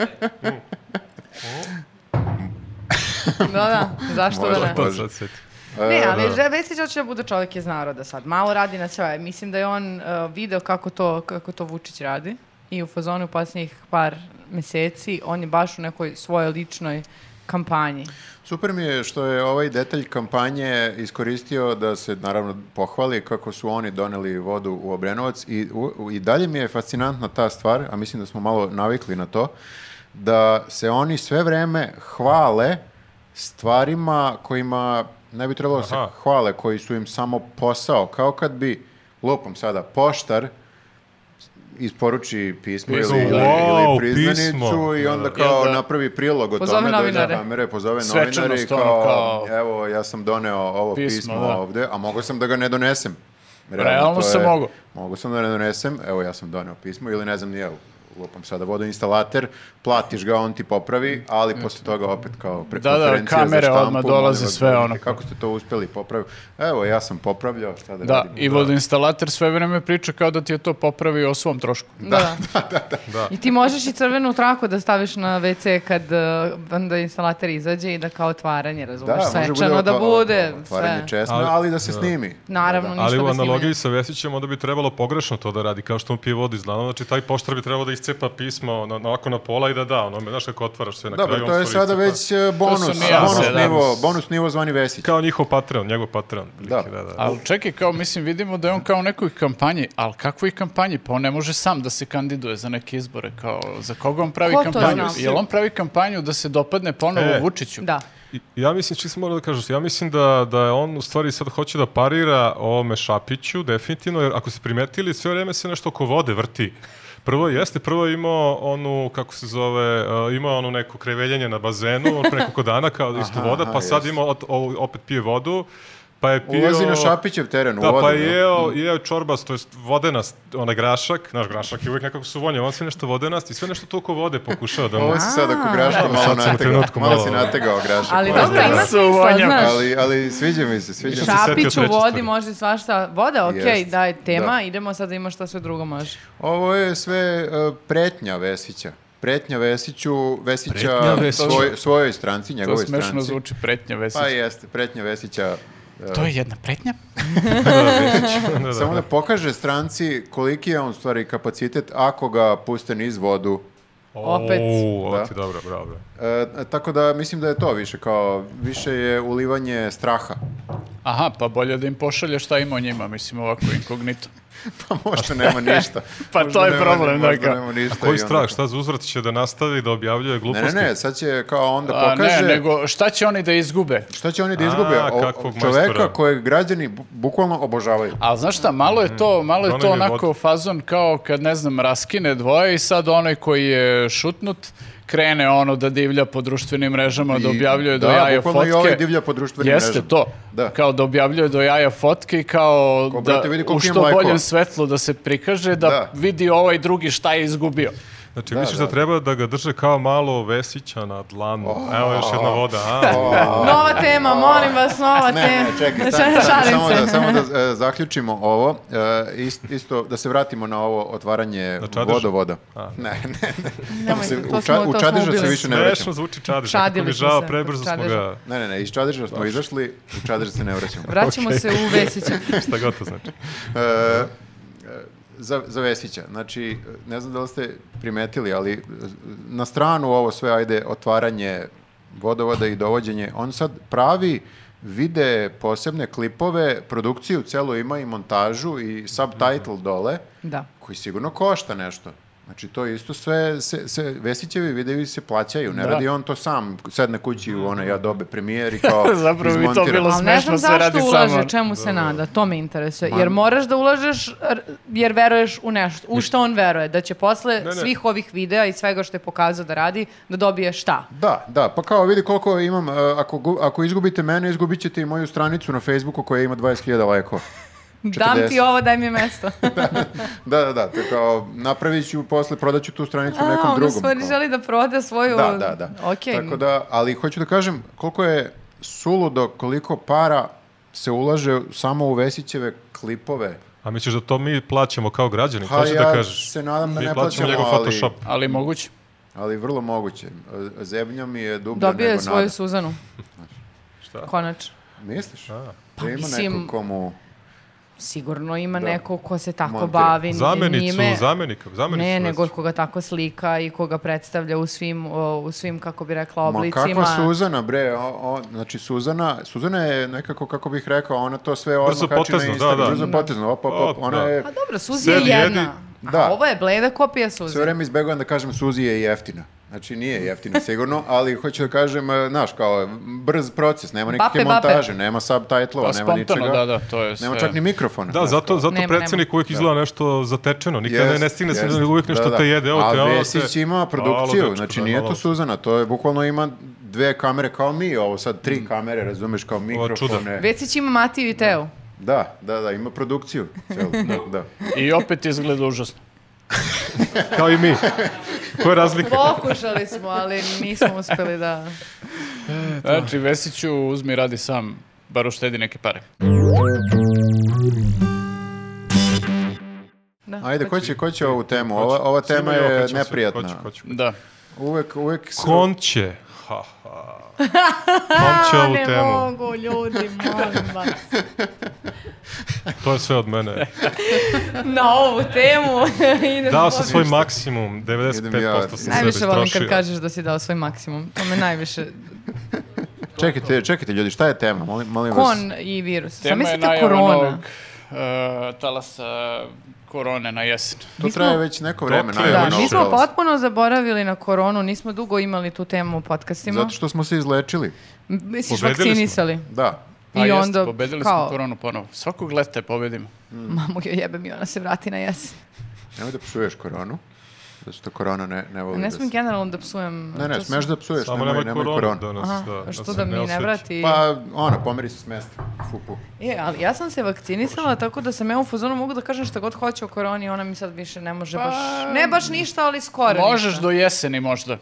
Speaker 3: Da, da, zašto da
Speaker 1: Može,
Speaker 3: ne?
Speaker 2: To
Speaker 1: Bože.
Speaker 2: sad sjeti.
Speaker 3: Ne,
Speaker 1: E,
Speaker 3: ali da. Vesić hoće da bude čovjek iz naroda sad. Malo radi na sve. Mislim da je on uh, video kako to, kako to Vučić radi i u fazonu posljednjih par meseci on je baš u nekoj svojoj ličnoj kampanji.
Speaker 1: Super mi je što je ovaj detalj kampanje iskoristio da se naravno pohvali kako su oni doneli vodu u Obrenovac i, u- u- i dalje mi je fascinantna ta stvar, a mislim da smo malo navikli na to, da se oni sve vreme hvale stvarima kojima ne bi trebalo da se
Speaker 2: Aha.
Speaker 1: hvale, koji su im samo posao, kao kad bi, lupom sada, poštar isporuči pismo ili,
Speaker 4: Pismo,
Speaker 1: ili,
Speaker 2: wow,
Speaker 1: ili priznanicu
Speaker 2: pismo.
Speaker 1: i onda
Speaker 2: Da.
Speaker 1: kao
Speaker 4: Jel da?
Speaker 1: napravi prilog o
Speaker 3: Pozove
Speaker 1: tome, dođe
Speaker 3: novinare.
Speaker 1: kamere, pozove
Speaker 4: Svečanost,
Speaker 1: novinari i
Speaker 4: ono,
Speaker 1: kao,
Speaker 4: kao-
Speaker 1: evo, ja sam doneo ovo pismo,
Speaker 4: Pismo, da.
Speaker 1: ovde, a mogao sam da ga ne donesem.
Speaker 4: Realno
Speaker 1: to
Speaker 4: sam
Speaker 1: je-
Speaker 4: mogao.
Speaker 1: Mogao sam da ne donesem, evo, ja sam doneo pismo, ili ne znam, nije, lupam sada vodoinstalater, platiš ga, on ti popravi, ali posle toga opet kao pre
Speaker 4: Mm. Da, da,
Speaker 1: konferencija za
Speaker 4: kamere
Speaker 1: štampu,
Speaker 4: odmah
Speaker 1: molim
Speaker 4: dolaze
Speaker 1: vas,
Speaker 4: sve,
Speaker 1: govorite
Speaker 4: ono.
Speaker 1: Kako ste to uspeli popraviti? Evo, ja sam popravljao, šta da,
Speaker 4: Da,
Speaker 1: radim?
Speaker 4: i vodoinstalater sve vreme priča kao da ti je to popravio o svom trošku.
Speaker 3: Da, da. I ti možeš i crvenu traku da staviš na WC kad uh, onda instalater izađe i da kao otvaranje, razumeš,
Speaker 1: može bude
Speaker 3: svečano da
Speaker 1: otva-
Speaker 3: bude.
Speaker 1: Otvaranje
Speaker 3: sve.
Speaker 1: česme,
Speaker 2: Ali-
Speaker 1: ali da se snimi.
Speaker 3: Naravno, ništa da
Speaker 2: Ali u
Speaker 3: bez snimanja.
Speaker 2: analogiji sa Vesićem onda bi trebalo pogrešno to da radi, kao što on pije vodu iz dlanova, znači taj poštar bi trebalo da iscepa pismo na, na, ovako na pola i da da, ono, znaš kako otvaraš sve na kraju.
Speaker 1: Dobro,
Speaker 2: on
Speaker 1: to je
Speaker 2: stvari
Speaker 1: sada
Speaker 2: iscepa.
Speaker 1: već e, bonus,
Speaker 4: sam i ja
Speaker 1: bonus,
Speaker 4: sedam.
Speaker 1: nivo, bonus nivo zvani Vesić.
Speaker 2: Kao njihov Patreon, njegov Patreon. Da.
Speaker 1: Da.
Speaker 2: da, da.
Speaker 4: Ali čekaj, kao mislim, vidimo da je on kao u nekoj kampanji, ali kakvoj kampanji? Pa on ne može sam da se kandiduje za neke izbore, kao za koga on pravi
Speaker 3: Ko to
Speaker 4: kampanju?
Speaker 3: zna?
Speaker 4: Jel on pravi kampanju da se dopadne ponovo
Speaker 2: E.
Speaker 4: Vučiću?
Speaker 3: Da.
Speaker 2: I- Ja mislim, čim sam morao da kažeš, ja mislim da, da je on u stvari sad hoće da parira ovome Šapiću, definitivno, jer ako ste primetili, sve vreme se nešto oko vode vrti. Prvo jeste, prvo je imao onu, kako se zove, uh, imao onu neko kreveljenje na bazenu od pre nekoliko dana, kao isto
Speaker 1: Aha,
Speaker 2: voda,
Speaker 1: aha,
Speaker 2: pa sad
Speaker 1: jeste.
Speaker 2: ima, ot- o- opet pije vodu, pa je pio...
Speaker 1: Ulazi na Šapićev teren, u
Speaker 2: Da,
Speaker 1: vodu.
Speaker 2: pa
Speaker 1: jel?
Speaker 2: je jeo, jeo čorbas, to jest vodenast, onaj grašak, naš grašak je uvijek nekako suvonje, on sve nešto vodenast i sve nešto toliko vode pokušao da mu...
Speaker 1: Ovo si sad ako graško
Speaker 2: Sad
Speaker 1: malo
Speaker 2: sam u
Speaker 1: nategao.
Speaker 2: trenutku
Speaker 1: Malo
Speaker 2: malo-
Speaker 1: si nategao graško.
Speaker 3: Ali
Speaker 1: Malo si
Speaker 3: dobro, ima
Speaker 1: nategao.
Speaker 4: Su
Speaker 3: smisla,
Speaker 4: vonja.
Speaker 3: znaš.
Speaker 1: Ali, ali sviđa mi se, sviđa mi se.
Speaker 2: Šap- se setio
Speaker 3: Šapić u
Speaker 2: treće
Speaker 3: vodi
Speaker 2: stvari.
Speaker 3: može svašta. Voda, okej,
Speaker 1: Jest.
Speaker 3: da je tema,
Speaker 1: Da.
Speaker 3: idemo sad da ima šta sve drugo može.
Speaker 1: Ovo je sve uh, pretnja Vesića. Pretnja Vesiću, Vesića
Speaker 2: Pretnja Vesiću.
Speaker 1: svoj, svojoj stranci,
Speaker 4: To
Speaker 1: njegovoj
Speaker 4: smešno
Speaker 1: stranci.
Speaker 4: zvuči pretnja Vesić.
Speaker 1: Pa jeste, pretnja Vesića. uh,
Speaker 4: To je jedna pretnja?
Speaker 2: da, da.
Speaker 1: Samo da pokaže stranci koliki je on u stvari kapacitet ako ga puste niz vodu.
Speaker 3: Opet.
Speaker 2: O, ovo
Speaker 1: Da.
Speaker 2: ti je dobro, bravo, bravo.
Speaker 1: E, tako da mislim da je to više kao, više je ulivanje straha.
Speaker 4: Aha, pa bolje da im pošalje šta ima o njima, mislim ovako inkognito.
Speaker 1: Pa možda nema ništa.
Speaker 4: Pa to
Speaker 1: Možda
Speaker 4: je
Speaker 1: nema-
Speaker 4: problem, da,
Speaker 1: možda
Speaker 4: kao.
Speaker 1: nema ništa
Speaker 2: Koji
Speaker 1: i onda
Speaker 2: strah,
Speaker 1: kao-
Speaker 2: šta za uzvrat će da nastavi da objavljuje
Speaker 1: Ne,
Speaker 2: gluposti?
Speaker 1: ne, ne, sad će kao onda
Speaker 4: A
Speaker 1: Da pokaže...
Speaker 4: Pa ne, nego šta će oni da izgube?
Speaker 1: Šta će oni da izgube?
Speaker 2: A,
Speaker 1: O-
Speaker 2: kakvog
Speaker 1: čoveka
Speaker 2: majstora.
Speaker 1: kojeg građani bu- bukvalno obožavaju.
Speaker 4: Ali znaš šta, malo je to, malo je to
Speaker 2: Doneli
Speaker 4: onako
Speaker 2: vodu.
Speaker 4: fazon kao kad, ne znam, raskine dvoje i sad onaj koji je šutnut krene ono da divlja po društvenim mrežama, da
Speaker 1: I-
Speaker 4: objavljuje do
Speaker 1: da,
Speaker 4: jaja
Speaker 1: bukvalno
Speaker 4: fotke.
Speaker 1: i ovaj divlja po društvenim
Speaker 4: Jeste
Speaker 1: mrežama.
Speaker 4: to.
Speaker 1: Da.
Speaker 4: Kao da objavljuje do jaja fotke i kao
Speaker 1: Ko,
Speaker 4: da
Speaker 1: brate, vidi
Speaker 4: u
Speaker 1: koliko imam
Speaker 4: što
Speaker 1: lajkova.
Speaker 4: boljem svetlu da se prikaže, da,
Speaker 1: Da.
Speaker 4: vidi ovaj drugi šta je izgubio.
Speaker 2: Znači, misliš da, treba da ga drže kao malo Vesića na dlanu.
Speaker 1: Oh.
Speaker 2: Evo još jedna voda. A?
Speaker 3: Nova tema, molim vas, nova
Speaker 1: Ne, ne,
Speaker 3: tema.
Speaker 1: čekaj, sam,
Speaker 3: Šalim
Speaker 1: sam- samo
Speaker 3: se.
Speaker 1: da, samo da e, zaključimo ovo, E, ist- isto da se vratimo na ovo otvaranje
Speaker 2: Na Čadež?
Speaker 1: vodovoda. Ne, ne, ne.
Speaker 3: Nemoj,
Speaker 1: Se-
Speaker 3: to
Speaker 1: u
Speaker 3: smo-
Speaker 1: ča-
Speaker 3: to
Speaker 1: u
Speaker 3: smo
Speaker 1: Čadeža se
Speaker 3: ubili.
Speaker 1: više ne
Speaker 2: Smešno
Speaker 1: vraćamo.
Speaker 2: zvuči čadež. Kako
Speaker 3: Čadili
Speaker 2: mi
Speaker 3: smo
Speaker 2: žao,
Speaker 3: se
Speaker 2: prebrzo
Speaker 3: kod
Speaker 2: smo
Speaker 3: čadeža.
Speaker 2: ga...
Speaker 1: Ne, ne, ne, iz Čadeža smo izašli, u Čadež se ne vraćamo.
Speaker 3: Vraćamo se u Vesića.
Speaker 2: Šta god to znači.
Speaker 1: E, za, za Vesića. Znači, ne znam da li ste primetili, ali e, na stranu ovo sve, ajde, otvaranje vodovoda i dovođenje, on sad pravi vide posebne klipove, produkciju celu ima i montažu i subtitle dole,
Speaker 3: Da.
Speaker 1: koji sigurno košta nešto. Znači, to isto sve, se, se, Vesićevi videi se plaćaju, ne
Speaker 4: Da.
Speaker 1: radi on to sam, sedne kući u one, ja dobe premijer i kao
Speaker 4: Zapravo bi to
Speaker 1: izmontira.
Speaker 4: bilo-
Speaker 3: Ali ne znam
Speaker 4: smešno se
Speaker 3: zašto
Speaker 4: radi
Speaker 3: ulaže,
Speaker 4: samo-
Speaker 3: čemu
Speaker 2: Da,
Speaker 3: se nada, to me interesuje.
Speaker 1: Ma-
Speaker 3: Jer moraš da ulažeš r- jer veruješ u nešto, u što on veruje, da će posle
Speaker 2: ne.
Speaker 3: svih ovih videa i svega što je pokazao da radi, da dobije šta.
Speaker 1: Da, da, pa kao vidi koliko imam, e, ako, gu- ako izgubite mene, izgubit ćete i moju stranicu na Facebooku koja ima 20.000 lajkova.
Speaker 3: Dam ti
Speaker 1: 40.
Speaker 3: ovo, daj mi mesto.
Speaker 1: Da, da, da, to je kao napravit ću posle, prodat ću tu stranicu
Speaker 3: A,
Speaker 1: nekom
Speaker 3: on u
Speaker 1: drugom.
Speaker 3: stvari
Speaker 1: kao.
Speaker 3: želi da proda svoju...
Speaker 1: Da, da, da.
Speaker 3: Okej.
Speaker 1: Tako da, ali hoću da kažem koliko je suludo, koliko para se ulaže samo u Vesićeve klipove.
Speaker 2: A misliš da to mi plaćamo kao građani?
Speaker 1: Pa
Speaker 2: to ću
Speaker 1: ja
Speaker 2: da kažeš.
Speaker 1: se nadam da
Speaker 2: mi
Speaker 1: ne
Speaker 2: plaćamo
Speaker 1: plaćamo,
Speaker 2: njegov
Speaker 1: ali-
Speaker 2: Photoshop.
Speaker 4: Ali moguće.
Speaker 1: Ali vrlo moguće. E, Zemlja mi je dublja
Speaker 3: Dobio je
Speaker 1: nego
Speaker 3: svoju
Speaker 1: nada.
Speaker 3: Suzanu.
Speaker 2: Šta?
Speaker 3: Konačno.
Speaker 1: Misliš?
Speaker 3: Pa
Speaker 1: da ima
Speaker 3: mislim-
Speaker 1: neko komu...
Speaker 3: Sigurno ima
Speaker 1: Da.
Speaker 3: neko ko se tako
Speaker 1: Montira.
Speaker 3: bavi
Speaker 2: Zamenicu,
Speaker 3: njime.
Speaker 2: zamenika, zamenicu.
Speaker 3: Ne,
Speaker 2: Vesića.
Speaker 3: nego koga tako slika i koga predstavlja u svim, o, u svim kako bi rekla,
Speaker 1: Ma
Speaker 3: oblicima.
Speaker 1: kakva Suzana, bre, o, o, znači Suzana, Suzana je nekako, kako bih rekao, ona to sve odmah
Speaker 2: Brzo
Speaker 1: kači
Speaker 2: potezno,
Speaker 1: na
Speaker 2: da,
Speaker 1: Instagram,
Speaker 2: da.
Speaker 1: brzo potezno, op, op, op,
Speaker 2: Op,
Speaker 1: ona
Speaker 2: da.
Speaker 1: je,
Speaker 3: Pa dobro, Suzi je
Speaker 2: Sedi, jedi.
Speaker 3: jedna.
Speaker 1: Da.
Speaker 3: A ovo je bleda kopija Suzi.
Speaker 1: sve vreme izbegavam da kažem Suzi je jeftina. Znači nije jeftina sigurno, ali hoću da kažem, e, znaš, kao brz proces, nema nikakve
Speaker 3: Bape, bape.
Speaker 1: montaže, nema subtitlova,
Speaker 4: Pa
Speaker 1: nema
Speaker 4: spontano,
Speaker 1: ničega.
Speaker 4: da, da, to je sve.
Speaker 1: Nema čak ni mikrofona.
Speaker 2: Da,
Speaker 1: znaš,
Speaker 2: zato, zato
Speaker 3: Nema,
Speaker 2: predsjednik uvijek izgleda nešto zatečeno. Nikada ne,
Speaker 1: Da. Jest,
Speaker 2: ne stigne se,
Speaker 1: jest.
Speaker 2: uvijek nešto
Speaker 1: Da, da.
Speaker 2: te jede. Evo te,
Speaker 1: A
Speaker 2: evo te.
Speaker 1: Vesić ima produkciju,
Speaker 2: Alo, dečko,
Speaker 1: znači
Speaker 2: da,
Speaker 1: nije
Speaker 2: da,
Speaker 1: to
Speaker 2: da.
Speaker 1: Suzana, to je bukvalno ima dve kamere kao mi, ovo sad tri kamere, razumeš, kao mikrofone.
Speaker 3: Vecić ima Matiju i Teo.
Speaker 1: Da, da, da, ima produkciju celu. da.
Speaker 4: I opet izgleda užasno.
Speaker 2: Kao i mi. Koja je razlika?
Speaker 3: Pokušali smo, ali nismo uspeli da...
Speaker 1: da.
Speaker 4: Znači, Vesiću uzmi radi sam, bar uštedi neke pare.
Speaker 3: da
Speaker 1: Ajde, ko će, ko će ovu temu? Ova, ova
Speaker 2: Znači, Svima
Speaker 1: tema
Speaker 2: evo,
Speaker 1: je
Speaker 2: hoću se,
Speaker 1: neprijatna.
Speaker 2: hoću, hoću.
Speaker 4: Da.
Speaker 1: Uvek, uvek... se-
Speaker 2: Konće. Ha, ha. Konće
Speaker 3: A,
Speaker 2: ovu
Speaker 3: ne
Speaker 2: temu.
Speaker 3: mogu, ljudi, molim vas.
Speaker 2: To je sve od mene.
Speaker 3: Na ovu temu idemo.
Speaker 2: Dao sam svoj
Speaker 3: poviš.
Speaker 2: maksimum, 95% sam sebe
Speaker 3: Najviše volim kad
Speaker 2: istrošio.
Speaker 3: kažeš da si dao svoj maksimum. To me najviše...
Speaker 1: Čekajte, čekajte ljudi, šta je tema? Molim, molim vas.
Speaker 3: Kon i virus. Sam
Speaker 4: Tema je
Speaker 3: mislite
Speaker 4: najava
Speaker 3: korona.
Speaker 4: novog, e, talasa korone na jesen.
Speaker 1: To
Speaker 3: mi smo-
Speaker 1: traje već neko vreme.
Speaker 2: Dokle
Speaker 1: najava
Speaker 2: je
Speaker 3: Da,
Speaker 1: novog
Speaker 3: mi smo
Speaker 1: talasa.
Speaker 3: potpuno zaboravili na koronu, nismo dugo imali tu temu u podcastima.
Speaker 1: Zato što smo se izlečili.
Speaker 3: Misliš,
Speaker 2: Pobedili smo.
Speaker 3: vakcinisali.
Speaker 1: Da.
Speaker 4: Pa
Speaker 3: I
Speaker 4: jeste,
Speaker 3: onda,
Speaker 4: pobedili
Speaker 3: kao-
Speaker 4: smo koronu ponovo. Svakog leta je pobedimo.
Speaker 1: Mm.
Speaker 3: Mamu joj jebem i ona se vrati na jesen.
Speaker 1: Nemoj da psuješ koronu. Zato što korona ne, ne voli
Speaker 3: Ne
Speaker 1: da
Speaker 3: smijem
Speaker 1: se-
Speaker 3: generalno da psujem.
Speaker 1: Ne, ne,
Speaker 3: to su-
Speaker 1: smeš da psuješ,
Speaker 2: Samo
Speaker 1: nemoj,
Speaker 2: nemoj
Speaker 1: nemoj
Speaker 2: koronu
Speaker 1: koronu.
Speaker 2: da nas,
Speaker 3: Aha,
Speaker 2: da,
Speaker 3: a
Speaker 2: nas
Speaker 3: što da mi ne
Speaker 2: osveti.
Speaker 3: vrati?
Speaker 1: Pa, ona, pomeri se s mesta. Fupu.
Speaker 3: E, ali ja sam se vakcinisala, tako da sam ja u fazonu mogu da kažem šta god hoće o koroni, ona mi sad više ne može
Speaker 1: Pa-
Speaker 3: baš... Ne baš ništa, ali skoro
Speaker 4: Možeš
Speaker 3: ništa.
Speaker 4: do jeseni možda.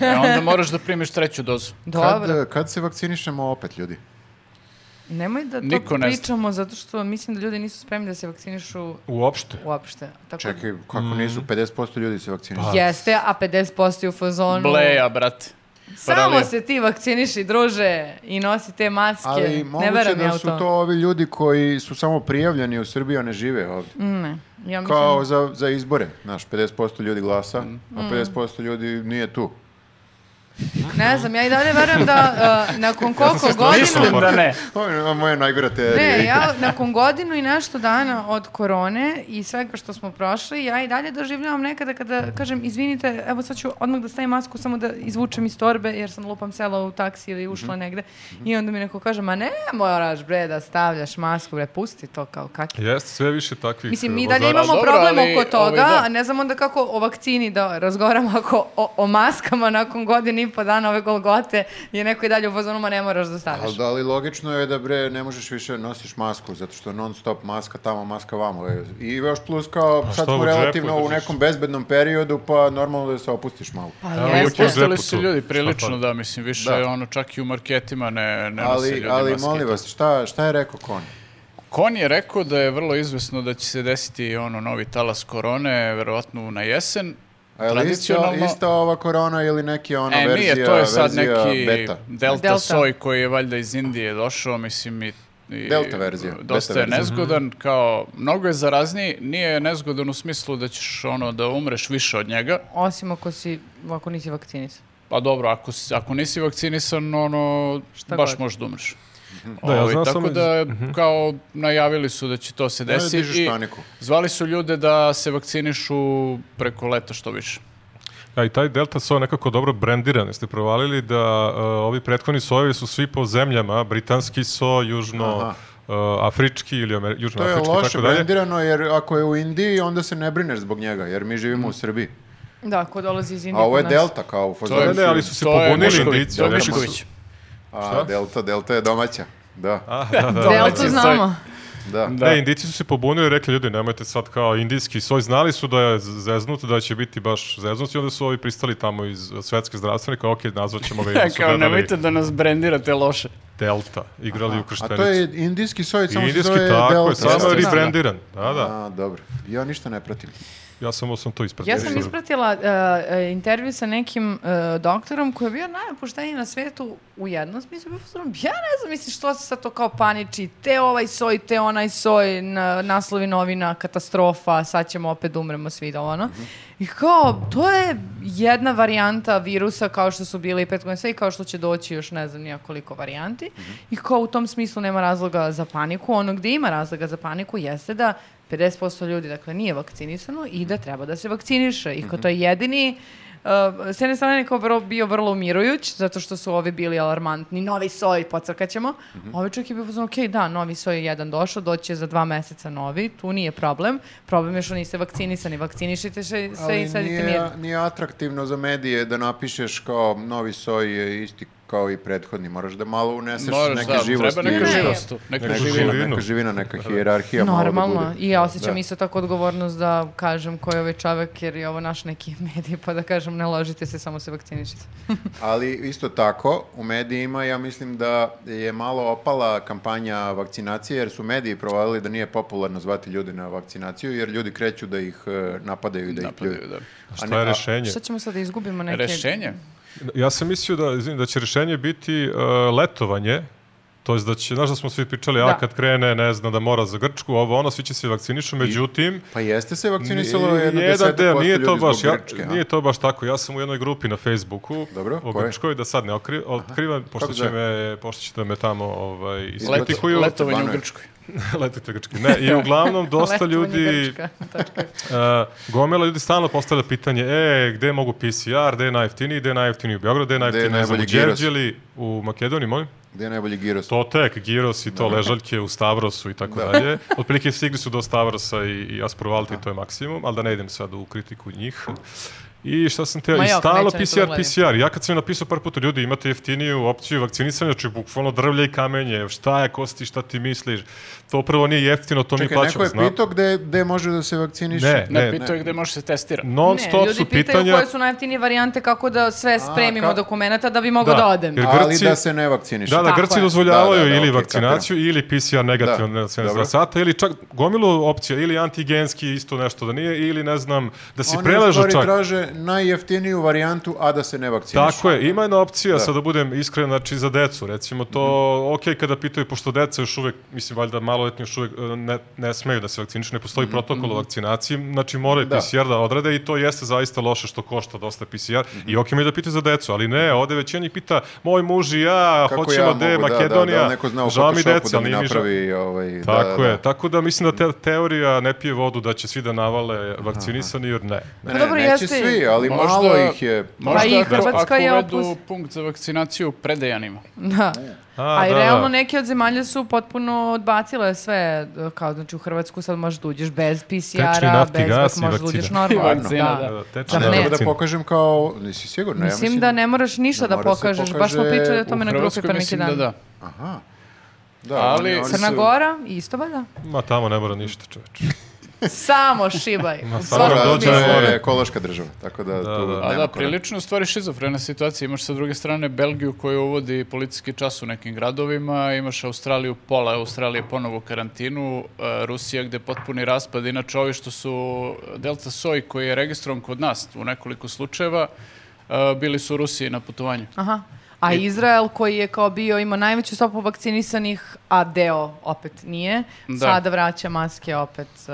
Speaker 4: E, onda moraš da primiš treću dozu.
Speaker 1: Kad,
Speaker 3: Dobro,
Speaker 1: e, kad se vakcinišemo opet, ljudi?
Speaker 3: nemoj da to
Speaker 4: Niko ne zna.
Speaker 3: pričamo, zato što mislim da ljudi nisu spremni da se vakcinišu
Speaker 2: Uopšte.
Speaker 3: uopšte. Tako...
Speaker 1: Čekaj, kako
Speaker 2: Mm.
Speaker 1: nisu? 50% ljudi se vakcinišu.
Speaker 3: Jeste, a 50% je u fazonu.
Speaker 4: Bleja, brate.
Speaker 3: Samo
Speaker 4: paralel.
Speaker 3: se ti vakciniši, druže, i nosi te maske.
Speaker 1: Ali
Speaker 3: ne
Speaker 1: moguće
Speaker 3: verujem ja
Speaker 1: da
Speaker 3: u
Speaker 1: su to ovi ljudi koji su samo prijavljeni u Srbiji, a ne žive ovdje.
Speaker 3: Mhm.
Speaker 1: Kao za, za izbore, znaš, 50% ljudi glasa, a
Speaker 3: Mhm.
Speaker 1: 50% ljudi nije tu.
Speaker 3: Ne znam, ja i dalje verujem da uh, nakon koliko
Speaker 2: strašno
Speaker 3: godina...
Speaker 4: Mislim da ne.
Speaker 1: Ovo je moja najgora teorija.
Speaker 3: Ne, ja nakon godinu i nešto dana od korone i svega što smo prošli, ja i dalje doživljavam nekada kada kažem, izvinite, evo sad ću odmah da stavim masku samo da izvučem iz torbe jer sam lupam sela u taksi ili ušla
Speaker 1: Mhm.
Speaker 3: negde i onda mi neko kaže, ma ne moraš bre da stavljaš masku, bre, pusti to kao kak.
Speaker 2: Jeste, sve više takvih.
Speaker 3: Mislim,
Speaker 2: e,
Speaker 3: mi dalje
Speaker 2: vozača.
Speaker 3: imamo
Speaker 4: dobro,
Speaker 3: problem
Speaker 4: ali,
Speaker 3: oko toga,
Speaker 4: ovaj, da.
Speaker 3: a ne znam onda kako o vakcini da razgovaramo ako o, o maskama nakon godine i i po dana ove golgote je neko i dalje u fazonu, ma ne moraš da staviš.
Speaker 1: Ali da li logično je da bre ne možeš više nosiš masku, zato što non stop maska tamo, maska vamo. E, I još plus kao
Speaker 4: Pa
Speaker 1: sad
Speaker 2: šta, u
Speaker 1: smo
Speaker 2: džepu
Speaker 1: relativno u
Speaker 2: držiš?
Speaker 1: nekom bezbednom periodu, pa normalno da se opustiš malo.
Speaker 3: Pa
Speaker 2: Evo,
Speaker 3: jeste.
Speaker 2: uvijek je u džepu
Speaker 4: Postali su
Speaker 2: to.
Speaker 4: ljudi
Speaker 2: Šta
Speaker 4: prilično,
Speaker 2: fali?
Speaker 4: da, mislim, više
Speaker 1: Da.
Speaker 4: ono, čak i u marketima ne, ne nose
Speaker 1: Ali,
Speaker 4: ljudi
Speaker 1: ali
Speaker 4: maske. da.
Speaker 1: molim vas, šta, šta je rekao Kon?
Speaker 4: Kon je rekao da je vrlo izvesno da će se desiti ono novi talas korone, verovatno na jesen.
Speaker 1: A je li isto,
Speaker 4: Tradicionalno-
Speaker 1: ista ova korona ili neki ono
Speaker 4: E,
Speaker 1: verzija,
Speaker 4: nije, to je sad
Speaker 1: verzija
Speaker 4: neki
Speaker 1: beta?
Speaker 4: Delta,
Speaker 3: Delta.
Speaker 4: soj koji je valjda iz Indije došao, mislim i i
Speaker 1: Delta verzija,
Speaker 4: Dosta
Speaker 1: beta
Speaker 4: je
Speaker 1: verzija.
Speaker 4: nezgodan,
Speaker 2: Mhm.
Speaker 4: kao, mnogo je zarazniji, nije nezgodan u smislu da ćeš ono da umreš više od njega,
Speaker 3: Osim ako, si, ako nisi vakcinisan.
Speaker 4: pa dobro, ako, si- ako nisi vakcinisan, ono,
Speaker 3: Šta
Speaker 4: baš
Speaker 3: god.
Speaker 4: možeš da umreš.
Speaker 1: Mhm.
Speaker 2: Da, ja
Speaker 4: Ovaj,
Speaker 2: znam
Speaker 4: tako
Speaker 2: samo-
Speaker 4: da,
Speaker 2: Mhm.
Speaker 4: kao, najavili su da će to se
Speaker 1: Da
Speaker 4: desiti
Speaker 1: dižeš paniku.
Speaker 4: zvali su ljude da se vakcinišu preko leta što više.
Speaker 2: A i taj Delta soj je nekako dobro brendiran. Jeste provalili da e, ovi prethodni sojevi su svi po zemljama, britanski so, južno e, afrički ili amer-
Speaker 1: To je
Speaker 2: južnoafrički i
Speaker 1: loše
Speaker 2: tako dalje.
Speaker 1: brendirano, jer ako je u Indiji, onda se ne brineš zbog njega, jer mi živimo u Srbiji.
Speaker 3: Da, ko dolazi iz Indije.
Speaker 1: A ovo je
Speaker 3: kod nas.
Speaker 1: Delta kao u fazonu.
Speaker 2: Ne, ne, ali su se
Speaker 4: To je
Speaker 2: pobunili
Speaker 4: Mišković,
Speaker 2: Indijci,
Speaker 4: to je
Speaker 2: ali su-
Speaker 4: Mišković.
Speaker 1: A, Delta, Delta je domaća. Da,
Speaker 2: A, da, da.
Speaker 3: Deltu znamo.
Speaker 1: da.
Speaker 4: Da.
Speaker 2: Ne, Indici su se pobunili i rekli, ljudi, nemojte sad kao indijski soj. Znali su da je z- zeznut, da će biti baš zeznut i onda su ovi pristali tamo iz svetske zdravstvene, kao, ok, nazvat ćemo ga i onda su
Speaker 4: Kao,
Speaker 2: gledali
Speaker 4: nemojte da nas brendirate loše.
Speaker 2: Delta, igrali u
Speaker 1: A
Speaker 2: krštenicu.
Speaker 1: to je indijski soj, samo se
Speaker 2: Indijski,
Speaker 1: zove
Speaker 2: tako
Speaker 1: Delta.
Speaker 2: je, samo je
Speaker 4: Jeste, jeste.
Speaker 2: rebrandiran. Da, da,
Speaker 1: A, dobro. Ja ništa ne pratim.
Speaker 2: ja samo sam to ispratio.
Speaker 3: Ja sam ispratila e, e, intervju sa nekim e, doktorom koji je bio najopušteniji na svetu u jednom smislu. Bio fazon, ja ne znam, mislim, što se sad to kao paniči, te ovaj soj, te onaj soj, na, naslovi novina, katastrofa, sad ćemo opet da umremo svi da ono. I kao, to je jedna varijanta virusa kao što su bile i pet godina sve i kao što će doći još ne znam nijakoliko varijanti. I kao u tom smislu nema razloga za paniku. Ono gde ima razloga za paniku jeste da 50% ljudi dakle nije vakcinisano i da treba da se vakciniše. I kao to je jedini Uh, s jedne strane je kao vrlo- bio vrlo umirujuć, zato što su ovi bili alarmantni, novi soj, pocrkaćemo. Ovi čovjek je bio pozvan, ok, da, novi soj je jedan došao, doće za dva meseca novi, tu nije problem. Problem je što niste vakcinisani, vakcinišite se, se i
Speaker 1: Ali
Speaker 3: sedite
Speaker 1: nije,
Speaker 3: mirno.
Speaker 1: nije atraktivno za medije da napišeš kao novi soj je isti kao i prethodni. Moraš da malo uneseš
Speaker 4: Moraš,
Speaker 1: neke
Speaker 4: da,
Speaker 1: živosti.
Speaker 4: treba neka
Speaker 3: Ne, ne.
Speaker 4: živost tu, neka
Speaker 2: Neka
Speaker 1: Neka
Speaker 4: živina.
Speaker 1: živina,
Speaker 2: živinu.
Speaker 1: neka živina, neka hijerarhija. malo da
Speaker 3: Normalno,
Speaker 1: bude.
Speaker 3: i ja osjećam
Speaker 1: Da.
Speaker 3: isto tako odgovornost da kažem ko je ovaj čovjek, jer je ovo naš neki medij, pa da kažem ne ložite se, samo se vakcinišite.
Speaker 1: Ali isto tako, u medijima ja mislim da je malo opala kampanja vakcinacije, jer su mediji provalili da nije popularno zvati ljude na vakcinaciju, jer ljudi kreću da ih e, napadaju i da ih
Speaker 4: Napadaju,
Speaker 1: pljuju.
Speaker 4: da.
Speaker 1: A
Speaker 2: Šta
Speaker 1: ne-
Speaker 2: je
Speaker 1: a-
Speaker 2: rešenje?
Speaker 3: Šta ćemo sad da izgubimo neke...
Speaker 4: Rešenje?
Speaker 2: Ja sam mislio da, izvini, da će rješenje biti e, letovanje, to je da će, znaš da smo svi pričali,
Speaker 3: Da.
Speaker 2: a kad krene, ne znam, da mora za Grčku, ovo, ono, svi će se vakcinišu, međutim,
Speaker 1: Pa jeste se vakcinisalo jedno
Speaker 2: jedan
Speaker 1: desetak
Speaker 2: deo,
Speaker 1: posto
Speaker 2: nije to
Speaker 1: ljudi zbog
Speaker 2: baš, ja,
Speaker 1: Grčke, a?
Speaker 2: nije to baš tako, ja sam u jednoj grupi na Facebooku,
Speaker 1: Dobro,
Speaker 2: o
Speaker 1: koje?
Speaker 2: Grčkoj, da sad ne okri, otkrivam, pošto
Speaker 1: Kako
Speaker 2: će, me, pošto će da me tamo ovaj, iskritikuju,
Speaker 4: Leto, letovanje u
Speaker 1: banuje.
Speaker 4: Grčkoj.
Speaker 2: letite Grčke, ne, i uglavnom dosta
Speaker 3: Letovanje
Speaker 2: ljudi,
Speaker 3: Grčka, tačka.
Speaker 2: E, gomela ljudi stalno postavlja pitanje, e, gde mogu PCR, gde je najjeftiniji, gde je najjeftiniji u Beogradu, gde je najjeftiniji ne znam, u
Speaker 1: najbolji giros?
Speaker 2: Đerđeli, u Makedoniji, molim?
Speaker 1: Gde je najbolji giros?
Speaker 2: To tek, Giros i
Speaker 1: Da.
Speaker 2: to ležaljke u Stavrosu i tako dalje. Otprilike stigli su do Stavrosa i, i Asprovalta i to je maksimum, ali da ne idem sad u kritiku njih. I šta sam teo,
Speaker 3: Ma
Speaker 2: i
Speaker 3: jako,
Speaker 2: stalo
Speaker 3: neće da ni to
Speaker 2: PCR,
Speaker 3: gledati.
Speaker 2: PCR. Ja kad sam napisao par puta, ljudi, imate jeftiniju opciju vakcinisanja, znači bukvalno drvlje i kamenje, šta je kosti, šta ti misliš. To prvo nije jeftino, to mi
Speaker 1: Čekaj, neko
Speaker 2: plaćamo.
Speaker 1: je
Speaker 2: zna-
Speaker 1: pitao gde, gde može da se vakciniše?
Speaker 2: Ne,
Speaker 4: Ne,
Speaker 2: ne,
Speaker 4: pitao je gde može se testirati.
Speaker 2: Non
Speaker 3: Ne,
Speaker 2: stop
Speaker 3: ljudi
Speaker 2: su
Speaker 3: pitaju
Speaker 2: pitanja,
Speaker 3: koje su najjeftinije varijante kako da sve spremimo
Speaker 1: kao-
Speaker 3: dokumenta da bi mogao da,
Speaker 2: Da,
Speaker 3: odem.
Speaker 2: jer-
Speaker 1: Ali
Speaker 2: Grci-
Speaker 1: da se ne vakciniše.
Speaker 2: Da, da,
Speaker 3: Tako
Speaker 2: Grci
Speaker 3: je.
Speaker 2: dozvoljavaju
Speaker 1: Da, da, da,
Speaker 2: ili
Speaker 1: ok,
Speaker 2: vakcinaciju ili PCR negativno
Speaker 1: Da,
Speaker 2: na 72
Speaker 1: dobro.
Speaker 2: sata ili čak gomilu opcija ili antigenski isto nešto da nije ili ne znam da si
Speaker 1: Oni u
Speaker 2: preležu
Speaker 1: stvari
Speaker 2: čak.
Speaker 1: traže najjeftiniju varijantu, a da se ne vakciniše.
Speaker 2: Tako je, ima jedna opcija, sad da budem iskren, znači za decu, recimo to,
Speaker 1: Mhm.
Speaker 2: ok, kada pitaju, pošto deca još uvek, mislim, valjda maloletni još uvek e, ne, ne smeju da se vakcinišu, ne postoji protokol o vakcinaciji, znači moraju
Speaker 1: Mhm, Da.
Speaker 2: PCR da odrade i to jeste zaista loše što košta dosta PCR
Speaker 1: Mhm.
Speaker 2: i ok, imaju da pitaju za decu, ali ne, ovde većina njih pita, moj muž i ja,
Speaker 1: Kako
Speaker 2: hoćemo
Speaker 1: ja
Speaker 2: gde je
Speaker 1: mogu, Da, da,
Speaker 2: Makedonija,
Speaker 1: da, neko zna u
Speaker 2: žao mi
Speaker 1: Photoshopu
Speaker 2: deca,
Speaker 1: da mi
Speaker 2: nije mi žao.
Speaker 1: napravi... Ovaj, da,
Speaker 2: Tako
Speaker 1: da, Mhm.
Speaker 2: je, tako da mislim da te, teorija ne pije vodu da će svi da navale vakcinisani, jer ne.
Speaker 1: Ne,
Speaker 3: Pa dobro,
Speaker 1: neće
Speaker 3: jeste i-
Speaker 1: svi, svi, ali
Speaker 4: Možda-
Speaker 1: malo ih je...
Speaker 4: Možda
Speaker 3: Pa i
Speaker 4: ako-
Speaker 3: Hrvatska
Speaker 4: ako
Speaker 3: je
Speaker 4: uvedu
Speaker 3: opus-
Speaker 4: punkt za vakcinaciju predejanima.
Speaker 3: Da.
Speaker 2: A,
Speaker 3: A, i
Speaker 2: da,
Speaker 3: realno
Speaker 2: da.
Speaker 3: neke od zemalja su potpuno odbacile sve, e, kao znači u Hrvatsku sad možeš da uđeš bez
Speaker 2: Tečni
Speaker 3: PCR-a,
Speaker 2: nafti,
Speaker 3: bez
Speaker 2: gas i
Speaker 3: možeš da
Speaker 2: vakcina.
Speaker 3: uđeš normalno.
Speaker 4: I vakcina, da.
Speaker 2: Da,
Speaker 1: A
Speaker 2: tečna
Speaker 1: ne,
Speaker 3: ne.
Speaker 1: treba da
Speaker 2: vakcina.
Speaker 1: pokažem kao... Nisi sigurno, ja
Speaker 3: Mislim da ne moraš ništa
Speaker 1: da
Speaker 3: da,
Speaker 1: mora se
Speaker 3: pokažeš, baš smo
Speaker 1: pokaže
Speaker 3: pričali o
Speaker 1: u
Speaker 3: tome na
Speaker 4: U
Speaker 3: grupi
Speaker 4: Hrvatskoj
Speaker 3: pre neki
Speaker 4: mislim da
Speaker 3: dan.
Speaker 4: da.
Speaker 1: Aha. Da,
Speaker 4: Ali-
Speaker 1: oni- oni
Speaker 3: Crna
Speaker 1: su-
Speaker 3: Gora, isto valjda.
Speaker 2: Ma tamo ne mora ništa, čoveče.
Speaker 3: Samo šibaj.
Speaker 2: Ma, samo
Speaker 3: u svakom
Speaker 2: nam
Speaker 1: Crna
Speaker 2: dođe
Speaker 1: Gora
Speaker 3: smislu.
Speaker 2: na more.
Speaker 1: Pa je ekološka država, tako da,
Speaker 2: Da,
Speaker 1: tu
Speaker 2: da.
Speaker 1: nema
Speaker 4: A da,
Speaker 1: koraka.
Speaker 4: prilično je u stvari šizofrena situacija. Imaš sa druge strane Belgiju koja uvodi policijski čas u nekim gradovima, imaš Australiju, pola Australije ponovo u karantinu, e, Rusija gde je potpuni raspad, inače ovi što su Delta Soj koji je registrovan kod nas u nekoliko slučajeva, e, bili su u Rusiji na putovanju.
Speaker 3: Aha.
Speaker 4: E-
Speaker 3: A Izrael koji je kao bio, ima najveću stopu vakcinisanih, a deo opet nije,
Speaker 4: Da.
Speaker 3: sada vraća maske opet. e,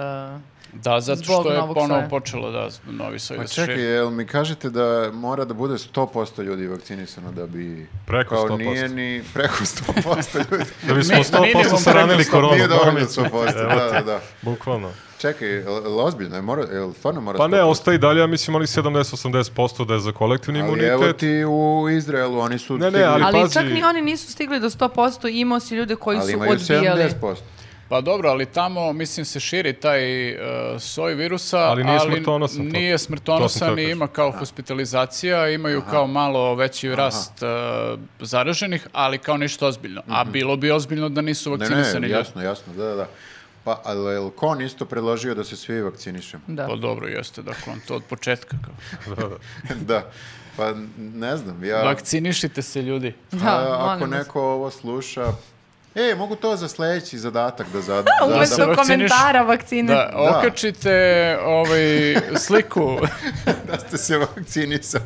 Speaker 4: Da, zato
Speaker 3: Zbog
Speaker 4: što je
Speaker 3: novog
Speaker 4: ponovo
Speaker 3: soja.
Speaker 4: počelo da novi soj
Speaker 1: Pa
Speaker 4: da se širi.
Speaker 1: čekaj, jel mi kažete da mora da bude 100% ljudi vakcinisano da bi...
Speaker 2: Preko
Speaker 1: kao
Speaker 2: 100%.
Speaker 1: Nije ni preko 100% ljudi.
Speaker 2: Da bismo
Speaker 4: Mi-
Speaker 2: 100%
Speaker 4: minimum pa preko
Speaker 2: saranili
Speaker 4: 100,
Speaker 2: koronu.
Speaker 1: Nije dovoljno
Speaker 2: molim.
Speaker 1: 100%, da, da, da.
Speaker 2: Bukvalno.
Speaker 4: Pa
Speaker 1: Čekaj, jel, jel ozbiljno, je mora, jel stvarno mora
Speaker 2: Pa ne,
Speaker 1: 100%?
Speaker 2: ostaje i dalje, ja mislim, ali 70-80% da je za kolektivni
Speaker 1: Ali evo
Speaker 2: imunitet.
Speaker 1: ti u Izraelu, oni su...
Speaker 2: Ne, ne,
Speaker 1: stigli-
Speaker 2: ali-
Speaker 3: Ali
Speaker 2: pazi-
Speaker 3: čak ni oni nisu stigli do 100%, imao si ljude koji
Speaker 1: ali
Speaker 3: su
Speaker 1: imaju
Speaker 3: odbijali.
Speaker 1: 70%.
Speaker 4: Pa dobro, ali tamo, mislim, se širi taj e, soj virusa,
Speaker 2: Ali nije smrtonosan, to-
Speaker 4: nije
Speaker 2: to sam
Speaker 4: smrtonosan
Speaker 2: teo
Speaker 4: i
Speaker 2: kažem.
Speaker 4: ima kao
Speaker 1: Da.
Speaker 4: hospitalizacija, imaju kao malo veći rast e, zaraženih, ali kao ništa ozbiljno. A bilo bi ozbiljno da nisu
Speaker 1: Mhm. Ne,
Speaker 4: vakcinisani
Speaker 1: ne,
Speaker 4: ljudi.
Speaker 1: jasno, jasno, da, da, da. Pa, ali jel Kon isto predložio da se svi vakcinišemo?
Speaker 3: Da.
Speaker 4: Pa dobro, jeste, dakle, on to od početka. Kao.
Speaker 2: Da, da.
Speaker 1: da. Pa n- ne znam, ja...
Speaker 4: Vakcinišite se, ljudi.
Speaker 3: Da,
Speaker 1: A, ako
Speaker 3: molim vas.
Speaker 1: neko ovo sluša... E, mogu to za sledeći zadatak da zada... da,
Speaker 3: Umesto
Speaker 4: da vakciniš-
Speaker 3: komentara vakcine.
Speaker 4: Da, okačite ovaj, sliku.
Speaker 1: da ste se vakcinisali.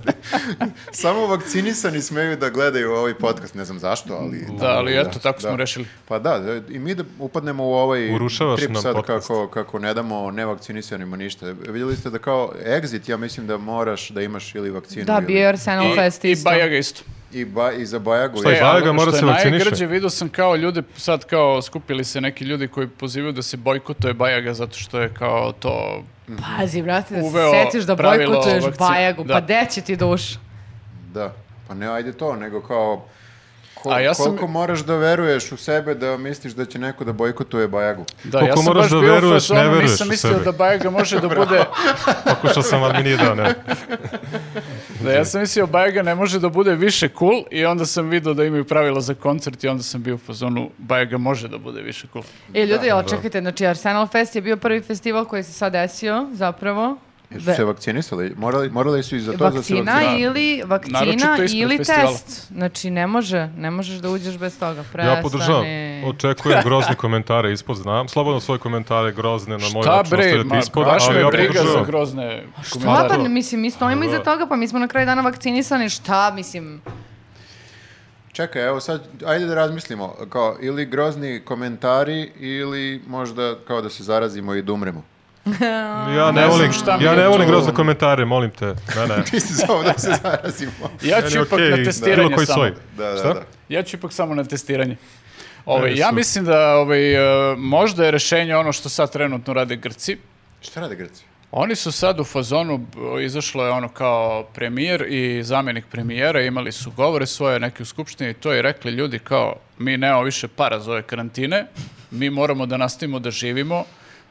Speaker 1: Samo vakcinisani smeju da gledaju ovaj podcast, ne znam zašto, ali...
Speaker 4: da, ali eto, tako smo
Speaker 1: da.
Speaker 4: rešili.
Speaker 1: Pa da, da, i mi da upadnemo u ovaj
Speaker 2: Urušavaš
Speaker 1: trip
Speaker 2: nam
Speaker 1: sad
Speaker 2: podcast.
Speaker 1: kako, kako ne damo nevakcinisanima ništa. Vidjeli ste da kao exit, ja mislim da moraš da imaš ili vakcinu
Speaker 3: Da,
Speaker 1: ili...
Speaker 3: bio je Arsenal Fest
Speaker 4: I, i
Speaker 3: isto.
Speaker 4: Bajaga isto.
Speaker 1: I, ba, I za Bajagu.
Speaker 2: Šta je
Speaker 1: E,
Speaker 2: Bajaga
Speaker 4: ali
Speaker 2: Pa mora
Speaker 4: što
Speaker 2: se
Speaker 4: je
Speaker 2: vakciniše.
Speaker 4: Najgrđe, vidio sam kao ljude, sad kao skupili se neki ljudi koji pozivaju da se bojkotuje Bajaga zato što je kao to...
Speaker 3: Pazi, brate, da
Speaker 4: Uveo
Speaker 3: se setiš da
Speaker 4: pravilo
Speaker 3: bojkotuješ
Speaker 4: vakci-
Speaker 3: Bajagu,
Speaker 4: da.
Speaker 3: pa de će ti duš?
Speaker 1: Da, pa ne ajde to, nego kao... Ko,
Speaker 4: A ja sam-
Speaker 1: Koliko moraš da veruješ u sebe da misliš da će neko da bojkotuje Bajagu?
Speaker 4: Da,
Speaker 2: Koliko
Speaker 4: ja sam
Speaker 2: moraš
Speaker 4: baš
Speaker 2: da
Speaker 4: bio u
Speaker 2: veruješ,
Speaker 4: fazonu,
Speaker 2: ne veruješ
Speaker 4: Nisam
Speaker 2: u
Speaker 4: mislio
Speaker 2: sebe.
Speaker 4: da Bajaga može da bude...
Speaker 2: Pokušao sam, ali mi nije dao, ne.
Speaker 4: da, ja sam mislio Bajaga ne može da bude više cool i onda sam vidio da imaju pravila za koncert i onda sam bio u fazonu Bajaga može da bude više cool.
Speaker 3: E, ljudi,
Speaker 4: da.
Speaker 3: ali čekajte, znači Arsenal Fest je bio prvi festival koji se sad desio, zapravo.
Speaker 1: Jesu
Speaker 3: Ve-
Speaker 1: se vakcinisali? Morali, morali su i za to da se
Speaker 3: vakcina
Speaker 1: vakciniraju.
Speaker 3: ili, vakcina
Speaker 4: Naročito ispred
Speaker 3: ili
Speaker 4: festivala.
Speaker 3: test. Znači, ne može, ne možeš da uđeš bez toga. Prestani.
Speaker 2: Ja podržavam. Očekujem grozne komentare ispod, znam. Slobodno svoje komentare grozne na moj
Speaker 4: Ta
Speaker 2: račun
Speaker 4: bre,
Speaker 2: ostavljati
Speaker 4: ma,
Speaker 2: ispod,
Speaker 4: baš
Speaker 2: ali
Speaker 4: me
Speaker 2: ja
Speaker 4: briga za
Speaker 2: podržavam.
Speaker 4: grozne
Speaker 3: Pa,
Speaker 4: komentare.
Speaker 3: pa, mislim, mi stojimo
Speaker 2: Da.
Speaker 3: iza toga, pa mi smo na kraju dana vakcinisani, šta, mislim,
Speaker 1: Čekaj, evo sad, ajde da razmislimo, kao ili grozni komentari ili možda kao da se zarazimo i da umremo.
Speaker 2: Ja ne
Speaker 4: Ne znam
Speaker 2: volim,
Speaker 4: šta mi
Speaker 2: ja
Speaker 4: je
Speaker 2: ne volim
Speaker 4: to.
Speaker 2: grozne komentare, molim te. Ne, ne.
Speaker 1: Ti si samo da se zarazimo.
Speaker 4: Ja
Speaker 2: Meni
Speaker 4: ću
Speaker 2: je
Speaker 4: ipak
Speaker 2: okej,
Speaker 4: na testiranje
Speaker 2: bilo koji
Speaker 4: samo.
Speaker 2: soj.
Speaker 1: Da, da,
Speaker 2: Šta?
Speaker 1: da.
Speaker 4: Ja ću ipak samo na testiranje. Ovaj,
Speaker 2: Ne,
Speaker 4: ja
Speaker 2: su-
Speaker 4: mislim da ovaj, e, možda je rešenje ono što sad trenutno rade Grci.
Speaker 1: Šta rade Grci?
Speaker 4: Oni su sad u fazonu, b- izašlo je ono kao premijer i zamjenik premijera, imali su govore svoje neke u skupštini i to i rekli ljudi kao mi nemamo više para za ove karantine, mi moramo da nastavimo da živimo,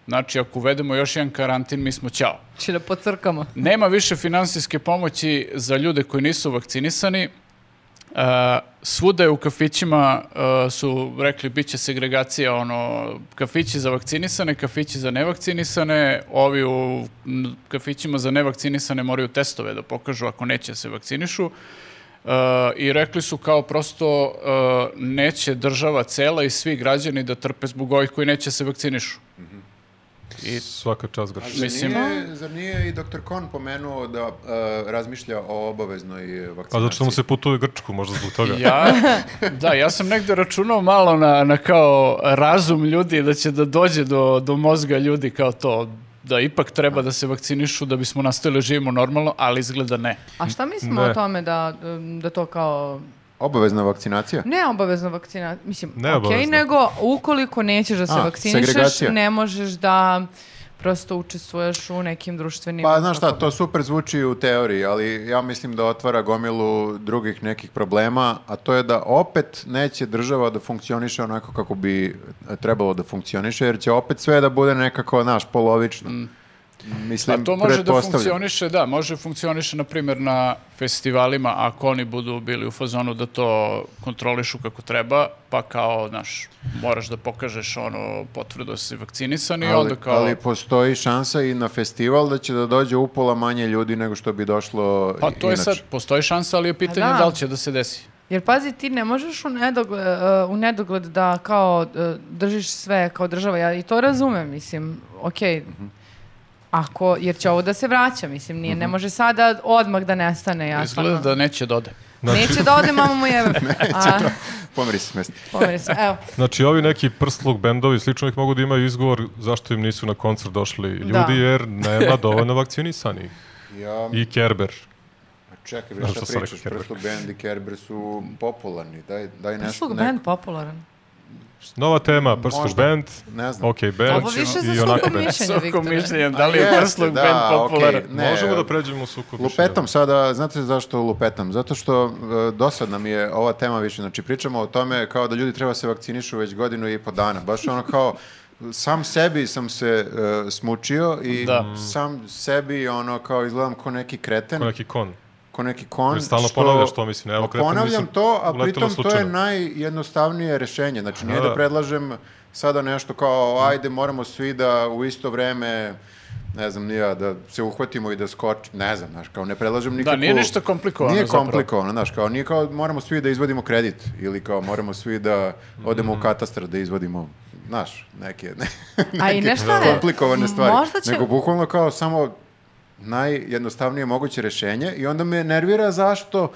Speaker 4: znači ako uvedemo još jedan karantin mi smo ćao.
Speaker 3: će da pocrkamo.
Speaker 4: Nema više finansijske pomoći za ljude koji nisu vakcinisani. E, svuda je u kafićima e, su rekli bit će segregacija ono kafići za vakcinisane, kafići za nevakcinisane, ovi u n- kafićima za nevakcinisane moraju testove da pokažu ako neće da se vakcinišu. E, I rekli su kao prosto e, neće država cela i svi građani da trpe zbog ovih koji neće da se vakcinišu.
Speaker 2: Svaka čast Grč.
Speaker 1: Zar
Speaker 4: Mislim-
Speaker 1: nije, zar nije i doktor Kon pomenuo da e, razmišlja o obaveznoj e, vakcinaciji?
Speaker 2: A Pa zato što mu se putuje u Grčku, možda zbog toga.
Speaker 4: Ja, da, ja sam negde računao malo na, na kao razum ljudi, da će da dođe do, do mozga ljudi kao to, da ipak treba da se vakcinišu da bismo nastavili da živimo normalno, ali izgleda ne.
Speaker 3: A šta mislimo
Speaker 2: Ne.
Speaker 3: o tome da, um, da to kao
Speaker 1: Obavezna vakcinacija?
Speaker 3: ne obavezno vakcina, mislim, okej,
Speaker 2: Neobavezno.
Speaker 3: nego ukoliko nećeš da se
Speaker 1: A,
Speaker 3: vakcinišeš,
Speaker 1: segregacija.
Speaker 3: ne možeš da prosto učestvuješ u nekim društvenim...
Speaker 1: Pa, znaš šta,
Speaker 3: kako
Speaker 1: to super zvuči u teoriji, ali ja mislim da otvara gomilu drugih nekih problema, a to je da opet neće država da funkcioniše onako kako bi e, trebalo da funkcioniše, jer će opet sve da bude nekako, znaš, polovično. Mislim,
Speaker 4: A to može da
Speaker 1: pretpostavljam.
Speaker 4: funkcioniše, da, može da funkcioniše, na primjer, na festivalima, ako oni budu bili u fazonu da to kontrolišu kako treba, pa kao, znaš, moraš da pokažeš ono potvrdu da si vakcinisan i
Speaker 1: ali,
Speaker 4: onda kao...
Speaker 1: ali postoji šansa i na festival da će da dođe upola manje ljudi nego što bi došlo
Speaker 4: pa to je
Speaker 1: inače.
Speaker 4: sad, postoji šansa, ali je pitanje
Speaker 3: da.
Speaker 4: da li će da se desi.
Speaker 3: Jer pazi, ti ne možeš u nedogled, e, u nedogled da kao e, držiš sve kao država. Ja i to razumem, mislim, okej. Ako, jer će ovo da se vraća, mislim, nije, ne može sada odmah da nestane, ja
Speaker 4: Izgleda
Speaker 3: stvarno.
Speaker 4: da neće da ode.
Speaker 3: Neće da ode, mama mu jebe. A,
Speaker 1: Pomeri se s mesta.
Speaker 3: pomeri se, evo.
Speaker 2: Znači, ovi neki prslog bendovi, slično ih mogu da imaju izgovor zašto im nisu na koncert došli ljudi,
Speaker 3: Da.
Speaker 2: jer nema dovoljno vakcinisanih.
Speaker 1: Ja,
Speaker 2: I Kerber.
Speaker 1: čekaj, bre,
Speaker 2: Znaš
Speaker 1: šta
Speaker 2: što sam
Speaker 1: pričaš?
Speaker 2: rekao, Kerber?
Speaker 1: Prosto band i Kerber su popularni. Daj, daj nešto.
Speaker 3: Prslug
Speaker 1: neko-
Speaker 3: band popularan.
Speaker 2: Nova tema, prslog
Speaker 1: Možda.
Speaker 2: band,
Speaker 1: Ne znam.
Speaker 2: ok band
Speaker 3: Ovo više
Speaker 2: i
Speaker 3: za
Speaker 2: onako
Speaker 3: sukob
Speaker 2: band.
Speaker 3: mišljenja,
Speaker 4: Svako
Speaker 3: Viktore.
Speaker 4: mišljenje, da li je
Speaker 1: Jeste,
Speaker 4: prslug
Speaker 1: da,
Speaker 4: band
Speaker 1: okej.
Speaker 4: popularan?
Speaker 1: Ne,
Speaker 2: Možemo da pređemo u sukob mišljenja.
Speaker 1: Lupetam sada, znate zašto lupetam? Zato što e, dosadna mi je ova tema više. Znači, pričamo o tome kao da ljudi treba se vakcinišu već godinu i po dana. Baš ono kao, sam sebi sam se e, smučio i
Speaker 4: Da.
Speaker 1: sam sebi ono kao izgledam ko neki kreten,
Speaker 2: Ko neki kon.
Speaker 1: ko neki kon.
Speaker 2: Jer stalno ponavljaš to, mislim, evo,
Speaker 1: Pa
Speaker 2: kreten,
Speaker 1: Ponavljam
Speaker 2: mislim,
Speaker 1: to, a
Speaker 2: uletelo
Speaker 1: pritom to je
Speaker 2: slučajno.
Speaker 1: najjednostavnije rešenje. Znači, nije
Speaker 2: Da.
Speaker 1: da predlažem sada nešto kao, ajde, moramo svi da u isto vreme ne znam, nija, da se uhvatimo i da skoči, ne znam, znaš, kao ne predlažem nikakvu...
Speaker 4: Da, nije ništa komplikovano
Speaker 1: Nije
Speaker 4: zapravo.
Speaker 1: komplikovano, znaš, kao nije kao moramo svi da izvadimo kredit ili kao moramo svi da odemo
Speaker 2: Mm-hmm.
Speaker 1: u katastar da izvadimo, znaš, neke, ne,
Speaker 3: A i
Speaker 1: neke
Speaker 3: nešto je-
Speaker 1: komplikovane stvari.
Speaker 3: Možda će-
Speaker 1: Nego bukvalno kao samo najjednostavnije moguće rješenje i onda me nervira zašto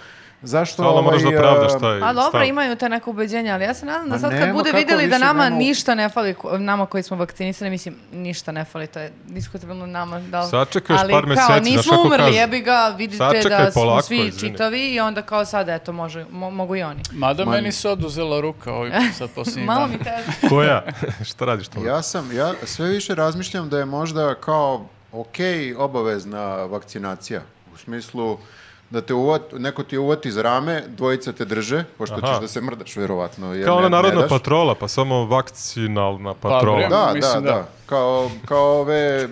Speaker 1: zašto ovaj,
Speaker 2: Stalno moraš da pravdaš
Speaker 1: a,
Speaker 2: taj
Speaker 3: A dobro,
Speaker 2: stav.
Speaker 3: imaju te neko ubeđenje, ali ja se nadam da
Speaker 1: Ma
Speaker 3: sad kad
Speaker 1: nema
Speaker 3: bude
Speaker 1: kako,
Speaker 3: vidjeli da
Speaker 1: više
Speaker 3: nama
Speaker 1: nema u-
Speaker 3: ništa ne fali, ko- nama koji smo vakcinisani, mislim, ništa ne fali, to je diskutabilno nama. Da, li-
Speaker 2: Sačekaš
Speaker 3: ali
Speaker 2: par
Speaker 3: kao,
Speaker 2: meseci,
Speaker 3: nismo
Speaker 2: znaš kako
Speaker 3: umrli,
Speaker 2: kažu.
Speaker 3: jebi ga, vidite
Speaker 2: Sačekaj
Speaker 3: da
Speaker 2: polako,
Speaker 3: smo svi
Speaker 2: izvini.
Speaker 3: čitavi i onda kao sad, eto, može, mo- mogu i oni.
Speaker 4: Mada meni se oduzela ruka ovim sad posljednjim
Speaker 3: Malo
Speaker 4: danima.
Speaker 3: mi teže.
Speaker 2: Koja? Šta radiš to?
Speaker 1: ja sam ja sve više razmišljam da je možda kao ok obavezna vakcinacija u smislu da te uvat, neko ti uvati za rame, dvojica te drže, pošto
Speaker 2: Aha.
Speaker 1: ćeš da se mrdaš verovatno. Jer
Speaker 2: Kao
Speaker 1: ne-
Speaker 2: ona
Speaker 1: ne
Speaker 2: narodna
Speaker 1: daš.
Speaker 2: patrola, pa samo vakcinalna patrola.
Speaker 4: bre,
Speaker 1: Da, da, da,
Speaker 4: Mislim da.
Speaker 1: Kao, kao ove,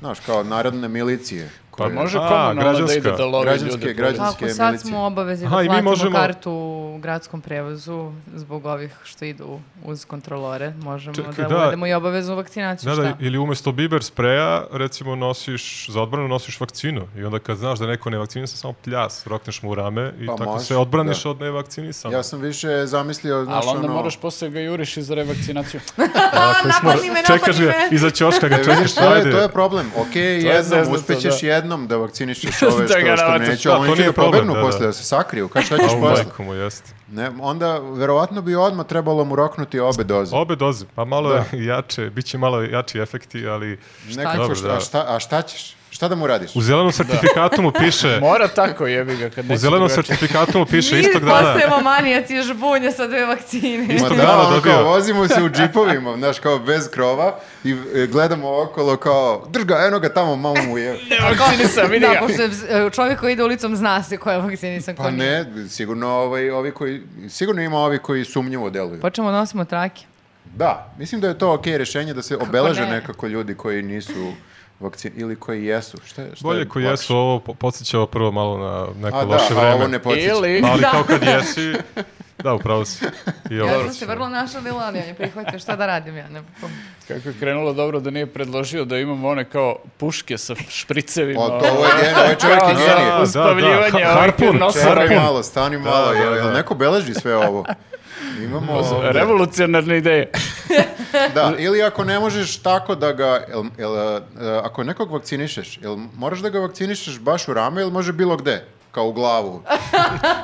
Speaker 1: znaš, kao narodne milicije.
Speaker 2: Pa
Speaker 1: koje-
Speaker 4: Može
Speaker 2: A,
Speaker 4: komunalno da
Speaker 2: građanska.
Speaker 4: ide da lovi
Speaker 1: Građanske,
Speaker 4: ljude. pa-
Speaker 1: građanske.
Speaker 3: Ako sad
Speaker 1: milicije.
Speaker 3: smo obavezi da
Speaker 2: Aha, i mi
Speaker 3: platimo
Speaker 2: možemo-
Speaker 3: kartu u gradskom prevozu zbog ovih što idu uz kontrolore, možemo
Speaker 2: Čekaj,
Speaker 3: da,
Speaker 2: da.
Speaker 3: uvedemo i obaveznu vakcinaciju,
Speaker 2: Da,
Speaker 3: šta?
Speaker 2: da, ili umesto biber spreja, recimo nosiš, za odbranu nosiš vakcinu i onda kad znaš da neko ne vakcinira, samo pljas, rokneš mu u rame i
Speaker 1: Pa
Speaker 2: tako
Speaker 1: može,
Speaker 2: se odbraniš
Speaker 1: da.
Speaker 2: od nevakcinisanog.
Speaker 1: Ja sam više zamislio, Pa, znaš,
Speaker 4: Ali onda
Speaker 1: ono...
Speaker 4: moraš posle ga juriš i za revakcinaciju.
Speaker 3: A, napadi me,
Speaker 2: Dakle, Čekaš
Speaker 3: napadi
Speaker 2: ga,
Speaker 3: me!
Speaker 2: iza ćoška ga
Speaker 1: E, vidiš,
Speaker 2: čekaš,
Speaker 1: to je,
Speaker 2: ajde.
Speaker 1: to je problem. Ok, jednom,
Speaker 4: zeznuto,
Speaker 1: uspećeš
Speaker 4: da.
Speaker 1: jednom da vakcinišeš ove
Speaker 4: Da
Speaker 1: što,
Speaker 4: ga
Speaker 1: što
Speaker 4: navatiš,
Speaker 1: neću,
Speaker 2: da,
Speaker 1: ali
Speaker 2: to
Speaker 1: oni će
Speaker 2: nije
Speaker 1: da
Speaker 2: problem,
Speaker 1: pobegnu
Speaker 2: da, da.
Speaker 1: posle, da se sakriju. Kaj, šta ćeš
Speaker 2: A u
Speaker 1: posle?
Speaker 2: majku mu, jeste.
Speaker 1: Ne, onda, verovatno bi odmah trebalo mu roknuti obe doze.
Speaker 2: Obe doze, pa malo
Speaker 1: Da.
Speaker 2: je jače, bit će malo jači efekti, ali
Speaker 1: Nekako
Speaker 2: Dobro,
Speaker 1: šta,
Speaker 2: da.
Speaker 1: a šta, a šta ćeš? Šta da mu radiš?
Speaker 2: u zelenom sertifikatu mu piše,
Speaker 1: Da.
Speaker 4: Mora tako jebi ga kad
Speaker 2: u
Speaker 4: neće
Speaker 2: zelenom
Speaker 4: drugačije.
Speaker 2: sertifikatu mu piše
Speaker 3: Mi
Speaker 2: istog dana,
Speaker 3: postajemo manijaci žbunja sa dve vakcine.
Speaker 1: Ma
Speaker 2: istog
Speaker 1: da,
Speaker 2: dana
Speaker 1: ono kao,
Speaker 2: dobio.
Speaker 1: vozimo se u džipovima, znaš, kao bez krova i e, gledamo okolo kao, drž ga, eno ga tamo, mamu mu je.
Speaker 4: Vakcinisan, vidi
Speaker 3: Da,
Speaker 4: ga.
Speaker 3: pošto je vz- čovjek koji ide ulicom zna se ko je vakcinisan, ko
Speaker 1: Pa
Speaker 3: nije.
Speaker 1: ne, sigurno, ovaj, ovi koji, sigurno ima ovi koji sumnjivo deluju.
Speaker 2: Pa-
Speaker 3: Počnemo da nosimo trake.
Speaker 1: Da, mislim da je to okej rješenje da se obeleže
Speaker 3: ne?
Speaker 1: nekako ljudi koji nisu vakcin ili koji jesu. Šta, je- šta
Speaker 2: Bolje
Speaker 1: je
Speaker 2: koji
Speaker 1: lakše?
Speaker 2: jesu, ovo po- podsjećava prvo malo na neko
Speaker 1: A da, a
Speaker 2: loše vreme.
Speaker 1: ovo ne podsjeća.
Speaker 4: Ili...
Speaker 2: Pa, ali kao kad jesi, da, upravo si. I ovo.
Speaker 3: Ja sam se vrlo našalila, ali on je prihvatio šta da radim ja. Ne,
Speaker 1: Pa-
Speaker 4: Kako je krenulo dobro da nije predložio da imamo one kao puške sa špricevima.
Speaker 1: O, Pa to ovo je genij, ovo je čovjek
Speaker 4: Kao
Speaker 1: je
Speaker 4: za
Speaker 1: genij.
Speaker 2: Da,
Speaker 4: uspavljivanje
Speaker 2: da, da.
Speaker 4: ovih
Speaker 2: Harpun,
Speaker 4: nosora.
Speaker 1: Čekaj malo, stani malo,
Speaker 2: da,
Speaker 1: jel, jel
Speaker 2: da.
Speaker 1: neko beleži sve ovo? Imamo... ovde-
Speaker 4: Revolucionarne ideje.
Speaker 1: Da, ili ako ne možeš tako da ga, jel, jel, e, ako nekog vakcinišeš, jel moraš da ga vakcinišeš baš u rame ili može bilo gde? Kao u glavu.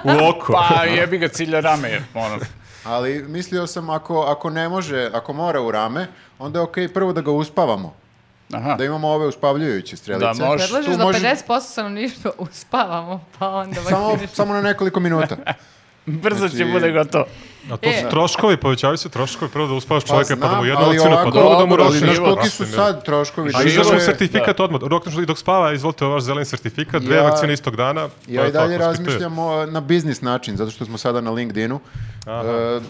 Speaker 2: U oko.
Speaker 4: Pa jebi ga cilja rame. je, Ono.
Speaker 1: Ali mislio sam ako, ako ne može, ako mora u rame, onda je okej prvo da ga uspavamo.
Speaker 4: Aha.
Speaker 1: Da imamo ove uspavljujuće strelice.
Speaker 4: Da, može.
Speaker 3: Predlažeš
Speaker 1: Tu
Speaker 3: da
Speaker 1: može-
Speaker 3: 50% stanovništva uspavamo, pa onda
Speaker 1: Samo,
Speaker 3: vakciniš.
Speaker 1: samo na nekoliko minuta.
Speaker 4: Brzo će
Speaker 1: Znači-
Speaker 4: bude gotovo.
Speaker 2: A to su
Speaker 3: E.
Speaker 2: troškovi, povećavaju se troškovi, prvo da uspavaš čovjeka, pa da mu
Speaker 1: znam,
Speaker 2: jednu
Speaker 1: ali
Speaker 2: ocenu, pa
Speaker 1: ovako,
Speaker 2: drugo da mu
Speaker 4: dobro, ali
Speaker 2: rošiniš.
Speaker 1: Znaš
Speaker 4: život.
Speaker 1: koliki su sad troškovi?
Speaker 2: A
Speaker 4: Život
Speaker 2: izašao
Speaker 1: Države-
Speaker 2: mu sertifikat odmah, dok, dok spava, izvolite vaš zeleni sertifikat, dve
Speaker 1: Ja-
Speaker 2: vakcine istog dana. pa
Speaker 1: Ja i
Speaker 2: je tako,
Speaker 1: dalje
Speaker 2: ispituje.
Speaker 1: razmišljam o- na biznis način, zato što smo sada na LinkedInu. E,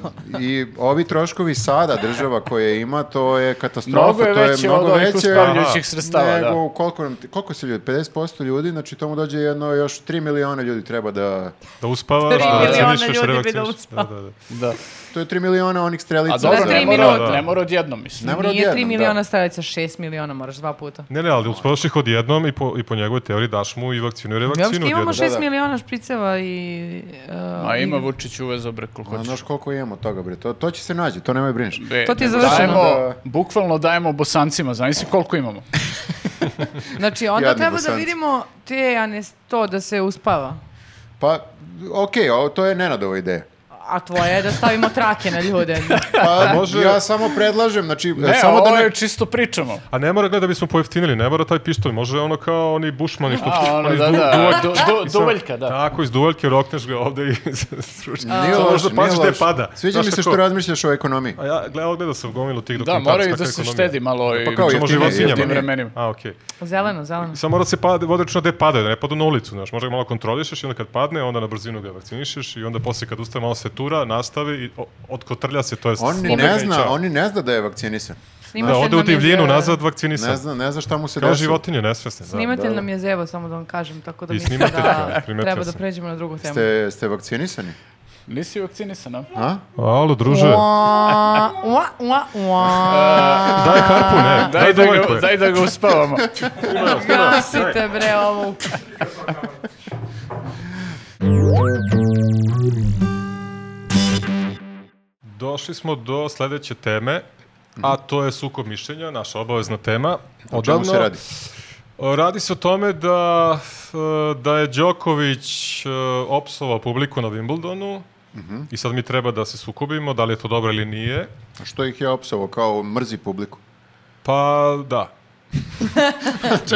Speaker 1: I ovi troškovi sada država koje ima, to je katastrofa.
Speaker 4: Mnogo je
Speaker 1: pa to je
Speaker 4: veće
Speaker 1: mnogo
Speaker 4: od ovih
Speaker 1: veće
Speaker 4: uspavljujućih sredstava, da.
Speaker 1: nego koliko, nam- koliko se ljudi, 50% ljudi, znači tomu dođe jedno još 3 miliona ljudi treba da...
Speaker 2: Da uspavaš,
Speaker 3: Tri
Speaker 2: da
Speaker 3: miliona
Speaker 2: vakcinišeš,
Speaker 3: ljudi bi da
Speaker 2: revakcinišeš. Da,
Speaker 3: uspava.
Speaker 2: da, da.
Speaker 4: Da.
Speaker 1: To je 3 miliona onih strelica.
Speaker 4: A dobro, da,
Speaker 3: Za tri
Speaker 4: ne
Speaker 3: minuta.
Speaker 4: mora, ne mora odjednom, mislim.
Speaker 1: Ne mora
Speaker 3: Nije
Speaker 1: odjednom,
Speaker 3: 3
Speaker 1: da.
Speaker 3: miliona strelica, 6 miliona moraš dva puta.
Speaker 2: Ne, ne, ali uspavaš ih odjednom i po, i po njegovoj teoriji daš mu i vakcinu i
Speaker 3: Mi
Speaker 2: revakcinu
Speaker 3: uopšte imamo
Speaker 2: odjednom.
Speaker 3: 6
Speaker 1: Da, da.
Speaker 3: miliona špriceva i... Uh,
Speaker 4: Ma ima
Speaker 3: i-
Speaker 4: Vučić uvezo bre koliko
Speaker 1: A
Speaker 4: hoćeš.
Speaker 1: Pa znaš koliko imamo toga, bre. To, to će se nađe, to nemoj da brineš.
Speaker 4: Be,
Speaker 3: To ti je
Speaker 4: nego
Speaker 3: završeno.
Speaker 4: Dajemo,
Speaker 1: Da.
Speaker 4: Bukvalno dajemo bosancima, znaš si koliko imamo.
Speaker 3: Znači, onda
Speaker 1: Jadni
Speaker 3: treba da
Speaker 1: bosanci.
Speaker 3: vidimo te, a ne to, da se uspava.
Speaker 1: Pa, okej, ovo- to je Nenadova ideja.
Speaker 3: A tvoja je da stavimo trake na ljude.
Speaker 1: Pa,
Speaker 2: može- ovaj
Speaker 1: ja samo predlažem, znači,
Speaker 4: Ne,
Speaker 1: samo da
Speaker 4: ovo
Speaker 1: ne...
Speaker 4: je čisto pričamo.
Speaker 2: A ne mora gleda da bismo pojeftinili, ne mora taj pištolj, može ono kao oni bušmani što
Speaker 4: A, ono,
Speaker 2: oni
Speaker 4: da,
Speaker 2: iz du-
Speaker 4: da,
Speaker 2: duvaljke-
Speaker 4: du, du,
Speaker 2: i sad-
Speaker 4: duvaljka, da.
Speaker 2: Tako, iz duvaljke rokneš ga ovde i sruči.
Speaker 1: Nije
Speaker 2: Samo možeš
Speaker 1: loše,
Speaker 2: da paziš
Speaker 1: nije
Speaker 2: gde
Speaker 1: loše.
Speaker 2: pada.
Speaker 1: Sviđa
Speaker 2: Znaš
Speaker 1: mi se
Speaker 2: kako?
Speaker 1: što razmišljaš o ekonomiji.
Speaker 2: A ja gledao, gledao sam gomilu tih
Speaker 4: Da,
Speaker 2: dokumentaraca.
Speaker 4: moraju da se štedi malo i
Speaker 1: Pa kao
Speaker 2: Samo
Speaker 1: jeftinije,
Speaker 2: životinjama.
Speaker 4: tim
Speaker 1: jeftinije.
Speaker 4: vremenima.
Speaker 2: A, okej.
Speaker 3: Zeleno, zeleno.
Speaker 2: Samo mora se pade, vodi računa gde padaju, da ne padu na ulicu, znaš. Možda ga malo kontrolišeš i onda kad padne, onda na brzinu ga vakcinišeš i onda posle kad ustane malo se tura, nastavi i o- otkotrlja se, to jest
Speaker 1: On ni
Speaker 2: pobegne
Speaker 1: ne
Speaker 2: i
Speaker 1: zna,
Speaker 2: čao.
Speaker 1: on ni ne zna da je vakcinisan.
Speaker 3: Snimate
Speaker 2: Da, ode u
Speaker 3: nam je
Speaker 2: divljinu,
Speaker 3: Zevo.
Speaker 2: nazad
Speaker 1: Ne
Speaker 2: vakcinisan.
Speaker 1: zna, ne zna šta mu se
Speaker 2: Kao
Speaker 1: desilo.
Speaker 2: životinje, nesvesne. Da.
Speaker 3: Snimatelj
Speaker 1: Da, da.
Speaker 3: nam je zevo, samo da vam kažem, tako da
Speaker 2: I
Speaker 3: mislim
Speaker 2: snimatelj,
Speaker 3: da
Speaker 2: da, primetio
Speaker 3: treba da
Speaker 2: sam.
Speaker 3: pređemo na drugu temu.
Speaker 1: Ste, ste vakcinisani?
Speaker 4: Nisi vakcinisan, a?
Speaker 1: A?
Speaker 2: Alo, druže.
Speaker 3: Ua, ua, ua, ua.
Speaker 2: Daj harpu, ne.
Speaker 4: Daj
Speaker 2: Daj,
Speaker 4: da,
Speaker 2: dojku.
Speaker 4: ga, daj da ga uspavamo.
Speaker 3: Gasite bre ovu.
Speaker 2: Došli smo do sledeće teme, a to je sukob mišljenja, naša obavezna tema.
Speaker 1: Mhm. O čemu se radi?
Speaker 2: Radi se o tome da, e, da je Đoković e, opsovao publiku na Wimbledonu
Speaker 1: Mhm.
Speaker 2: i sad mi treba da se sukobimo, da li je to dobro ili nije.
Speaker 1: Što ih je opsovo, kao mrzi publiku.
Speaker 2: Pa da.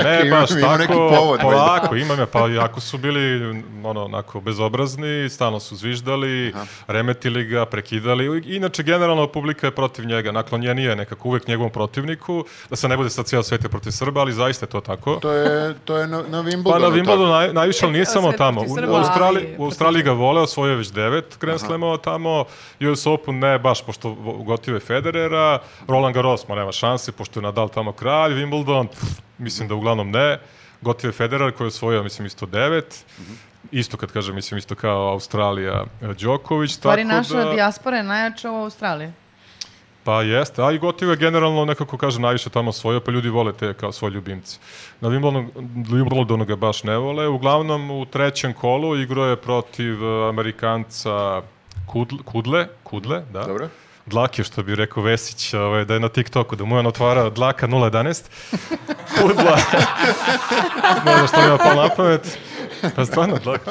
Speaker 2: ne,
Speaker 1: imam-
Speaker 2: baš
Speaker 1: imam
Speaker 2: tako,
Speaker 1: neki povod, valjda.
Speaker 2: polako, imam ja, pa jako su bili ono, onako, bezobrazni, stalno su zviždali, remetili ga, prekidali. Inače, generalno, publika je protiv njega, naklonjenija je nekako uvek njegovom protivniku, da se ne bude sad cijela sveta protiv Srba, ali zaista je to tako.
Speaker 1: To je, to je na, na Wimbledonu.
Speaker 2: Pa na
Speaker 1: tako.
Speaker 2: Wimbledonu naj, najviše, ali nije
Speaker 3: Sve
Speaker 2: samo
Speaker 3: protiv
Speaker 2: tamo. U,
Speaker 3: Srba,
Speaker 2: u, Australiji,
Speaker 3: ali
Speaker 2: u Australiji ga vole, osvojio je već devet Grand Slamova tamo, US Open ne baš, pošto vo- gotivo je Federera, Roland Garros, ma nema šanse, pošto je Nadal tamo kralj, Wimbledon, pff, mislim da uglavnom ne, gotivo je Federer koji je osvojio, mislim, isto devet
Speaker 1: Mhm.
Speaker 2: Isto kad kažem, mislim, isto kao Australija e, Đoković, tako
Speaker 3: Stvari
Speaker 2: da...
Speaker 3: naša dijaspora je najjača u Australiji.
Speaker 2: Pa jeste, a i gotivo je generalno nekako kažem najviše tamo svoje, pa ljudi vole te kao svoje ljubimce. Na Wimbledonu- Wimbledonu ga baš ne vole. Uglavnom u trećem kolu igro je protiv e, Amerikanca Kudl- Kudle, Kudle, da.
Speaker 1: Dobro.
Speaker 2: Dlake, što bi rekao Vesić, ovaj, da je na TikToku, da mu je on otvara Dlaka 011. Kudla. ne znam što mi je palo na pamet. Pa stvarno, Dlaka.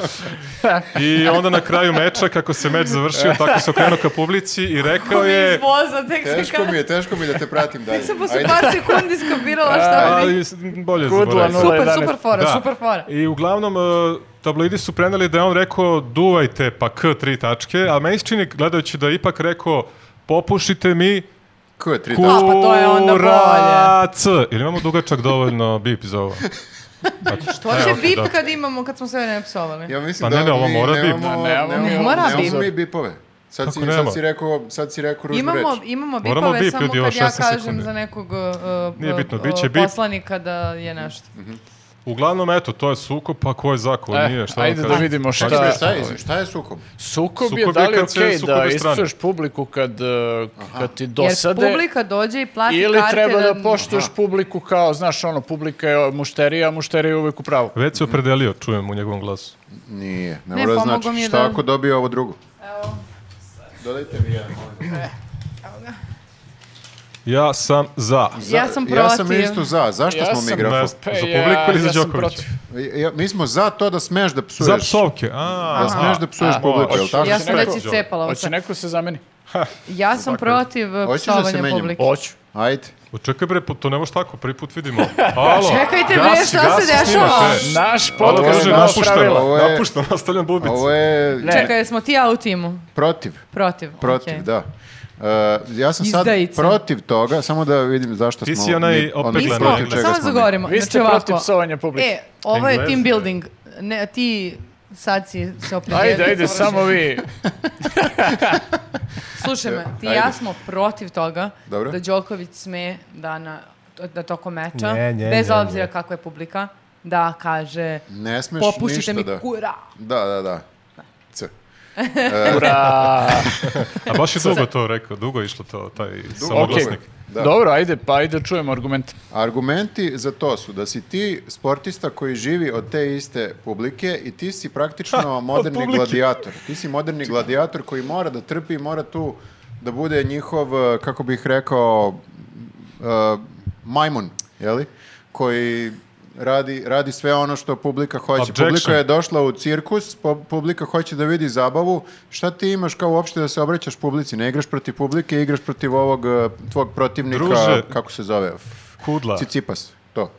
Speaker 2: I onda na kraju meča, kako se meč završio, tako se okrenuo ka publici i rekao je...
Speaker 3: voza, tek
Speaker 1: Teško mi je, teško mi je da te pratim dalje.
Speaker 3: Sam posle pa-
Speaker 1: Ajde.
Speaker 3: par sekundi skapirala šta bi...
Speaker 2: Ali s- bolje
Speaker 4: Kudla
Speaker 2: zaboravio.
Speaker 4: nula.
Speaker 3: Super,
Speaker 4: 011.
Speaker 3: super fora,
Speaker 2: Da.
Speaker 3: super fora.
Speaker 2: I uglavnom, e, tabloidi su preneli da je on rekao duvajte pa k tri tačke, a meni se čini gledajući da je ipak rekao popušite mi
Speaker 1: Ko je tri
Speaker 3: A, pa to je onda bolje.
Speaker 2: kurac. Ili imamo dugačak dovoljno bip za ovo?
Speaker 3: To će
Speaker 2: ok,
Speaker 3: bip
Speaker 2: da.
Speaker 3: kad imamo, kad smo sve vreme psovali.
Speaker 1: Ja mislim
Speaker 2: Pa ne,
Speaker 1: da
Speaker 2: ne, ovo
Speaker 1: mi
Speaker 2: mora bip.
Speaker 1: nemamo,
Speaker 4: Ne, nemamo
Speaker 1: nemamo-
Speaker 3: mi mora
Speaker 1: nemamo
Speaker 3: bip.
Speaker 1: mi bipove. Sad si,
Speaker 2: Kako
Speaker 1: sad
Speaker 2: nema?
Speaker 1: si rekao, sad si rekao ružnu
Speaker 3: Imamo,
Speaker 1: reč.
Speaker 3: imamo
Speaker 2: Moramo
Speaker 3: bipove
Speaker 2: bip,
Speaker 3: samo
Speaker 2: ljudi, ovo
Speaker 3: kad ja
Speaker 2: 16
Speaker 3: kažem
Speaker 2: sekundi.
Speaker 3: za nekog uh,
Speaker 2: Nije
Speaker 3: uh,
Speaker 2: bitno,
Speaker 3: uh,
Speaker 2: bit će bip.
Speaker 3: poslanika da je nešto.
Speaker 2: Uglavnom, eto, to je sukob, pa ko je za, ko
Speaker 4: E,
Speaker 2: nije, šta da
Speaker 4: ajde da
Speaker 2: kažem?
Speaker 4: vidimo šta...
Speaker 1: Čekaj, šta je, šta je sukob?
Speaker 4: Sukob, je
Speaker 2: Sukob
Speaker 4: da
Speaker 2: je
Speaker 4: li je
Speaker 2: kad se
Speaker 4: okej da
Speaker 2: sukobe strane.
Speaker 4: iscuješ publiku kad, e, kad ti
Speaker 3: Jer
Speaker 4: dosade...
Speaker 3: publika dođe i plati
Speaker 4: Ili
Speaker 3: karte
Speaker 4: treba da poštuješ publiku kao, znaš, ono, publika je mušterija, a mušterija je uvijek u pravu.
Speaker 2: Već se opredelio, čujem u njegovom glasu.
Speaker 1: Nije, ne,
Speaker 3: Ne,
Speaker 1: mora
Speaker 3: pomogao mi
Speaker 1: znači.
Speaker 3: je
Speaker 1: Šta
Speaker 3: da-
Speaker 1: ako dobije ovo drugo? Evo. Dodajte mi jedan.
Speaker 2: Ja sam za.
Speaker 1: Za-
Speaker 3: Ja sam
Speaker 1: Ja sam
Speaker 3: protiv.
Speaker 1: isto za. Zašto smo mi grafo?
Speaker 2: za publiku ili za
Speaker 4: sam
Speaker 2: Đokovića?
Speaker 4: protiv.
Speaker 1: Ja, mi smo za to da smeš da psuješ.
Speaker 2: Za psovke. A,
Speaker 1: Da smeš da psuješ
Speaker 4: A,
Speaker 1: publiku, jel
Speaker 4: hoćeš-
Speaker 1: tako?
Speaker 3: Ja sam već
Speaker 2: Neko-
Speaker 3: iscepala ovo
Speaker 4: Hoće
Speaker 3: sad.
Speaker 4: neko se zameni?
Speaker 3: Ja sam protiv uh,
Speaker 1: Hoćeš da se
Speaker 3: psovanja
Speaker 1: menjamo?
Speaker 3: publike.
Speaker 4: Hoću.
Speaker 1: Ajde.
Speaker 2: Čekaj bre, po- to ne može tako, prvi put vidimo. Alo.
Speaker 3: Čekajte, bre,
Speaker 2: gasi,
Speaker 3: E, šta se
Speaker 2: gasi,
Speaker 3: dešava?
Speaker 2: snimaš, e.
Speaker 4: Naš
Speaker 2: Alo,
Speaker 1: Ovo je
Speaker 4: podcast
Speaker 2: kaže,
Speaker 4: je
Speaker 1: napušteno.
Speaker 4: nova
Speaker 2: napuštam,
Speaker 4: pravila.
Speaker 1: Ovo je-
Speaker 2: napuštam, nastavljam bubicu.
Speaker 1: Ovo je
Speaker 3: Čekaj, jesmo ti ja u timu?
Speaker 1: protiv.
Speaker 3: Protiv.
Speaker 1: Protiv,
Speaker 3: okej.
Speaker 1: da. Uh, ja sam sad
Speaker 3: Izdajica.
Speaker 1: protiv toga, samo da vidim zašto
Speaker 2: Ti
Speaker 1: smo...
Speaker 2: si onaj
Speaker 1: mi- ono,
Speaker 2: opet
Speaker 3: Mi smo,
Speaker 2: Pogledaj,
Speaker 1: protiv
Speaker 2: pogledaj.
Speaker 1: čega
Speaker 3: samo
Speaker 1: smo mi.
Speaker 3: zagovorimo.
Speaker 4: Vi ste
Speaker 3: Znači ovako,
Speaker 4: protiv psovanja publike.
Speaker 3: E, ovo je
Speaker 2: Englezi.
Speaker 3: team building. Ne, ti sad si se opredelio.
Speaker 4: Ajde, ajde, samo vi.
Speaker 3: Slušaj me, ti i
Speaker 1: Ajde.
Speaker 3: ja smo protiv toga
Speaker 1: Dobro.
Speaker 3: da Đokovic sme da, na, da tokom meča,
Speaker 2: Nje, nje,
Speaker 3: bez
Speaker 2: nje,
Speaker 3: obzira
Speaker 2: nje.
Speaker 3: kako je publika, da kaže
Speaker 1: Ne smeš
Speaker 3: popuštite
Speaker 1: ništa
Speaker 3: mi
Speaker 1: da...
Speaker 3: kura.
Speaker 1: Da, da, da. C.
Speaker 4: Ura.
Speaker 2: A baš je dugo to rekao, dugo je išlo to, taj samoglasnik.
Speaker 4: Okej.
Speaker 1: Da.
Speaker 4: Dobro, ajde, pa ajde da čujemo argumente.
Speaker 1: Argumenti za to su da si ti sportista koji živi od te iste publike i ti si praktično moderni
Speaker 2: publike.
Speaker 1: gladijator. Ti si moderni gladijator koji mora da trpi, mora tu da bude njihov, eh, kako bih rekao, eh, majmun, jeli? Koji radi, radi sve ono što publika hoće.
Speaker 2: Objection.
Speaker 1: Publika je došla u cirkus, po- publika hoće da vidi zabavu. Šta ti imaš kao uopšte da se obraćaš publici? Ne igraš protiv publike, igraš protiv ovog eh, tvog protivnika,
Speaker 2: Druže.
Speaker 1: kako se zove?
Speaker 2: Kudla.
Speaker 1: Cicipas, to.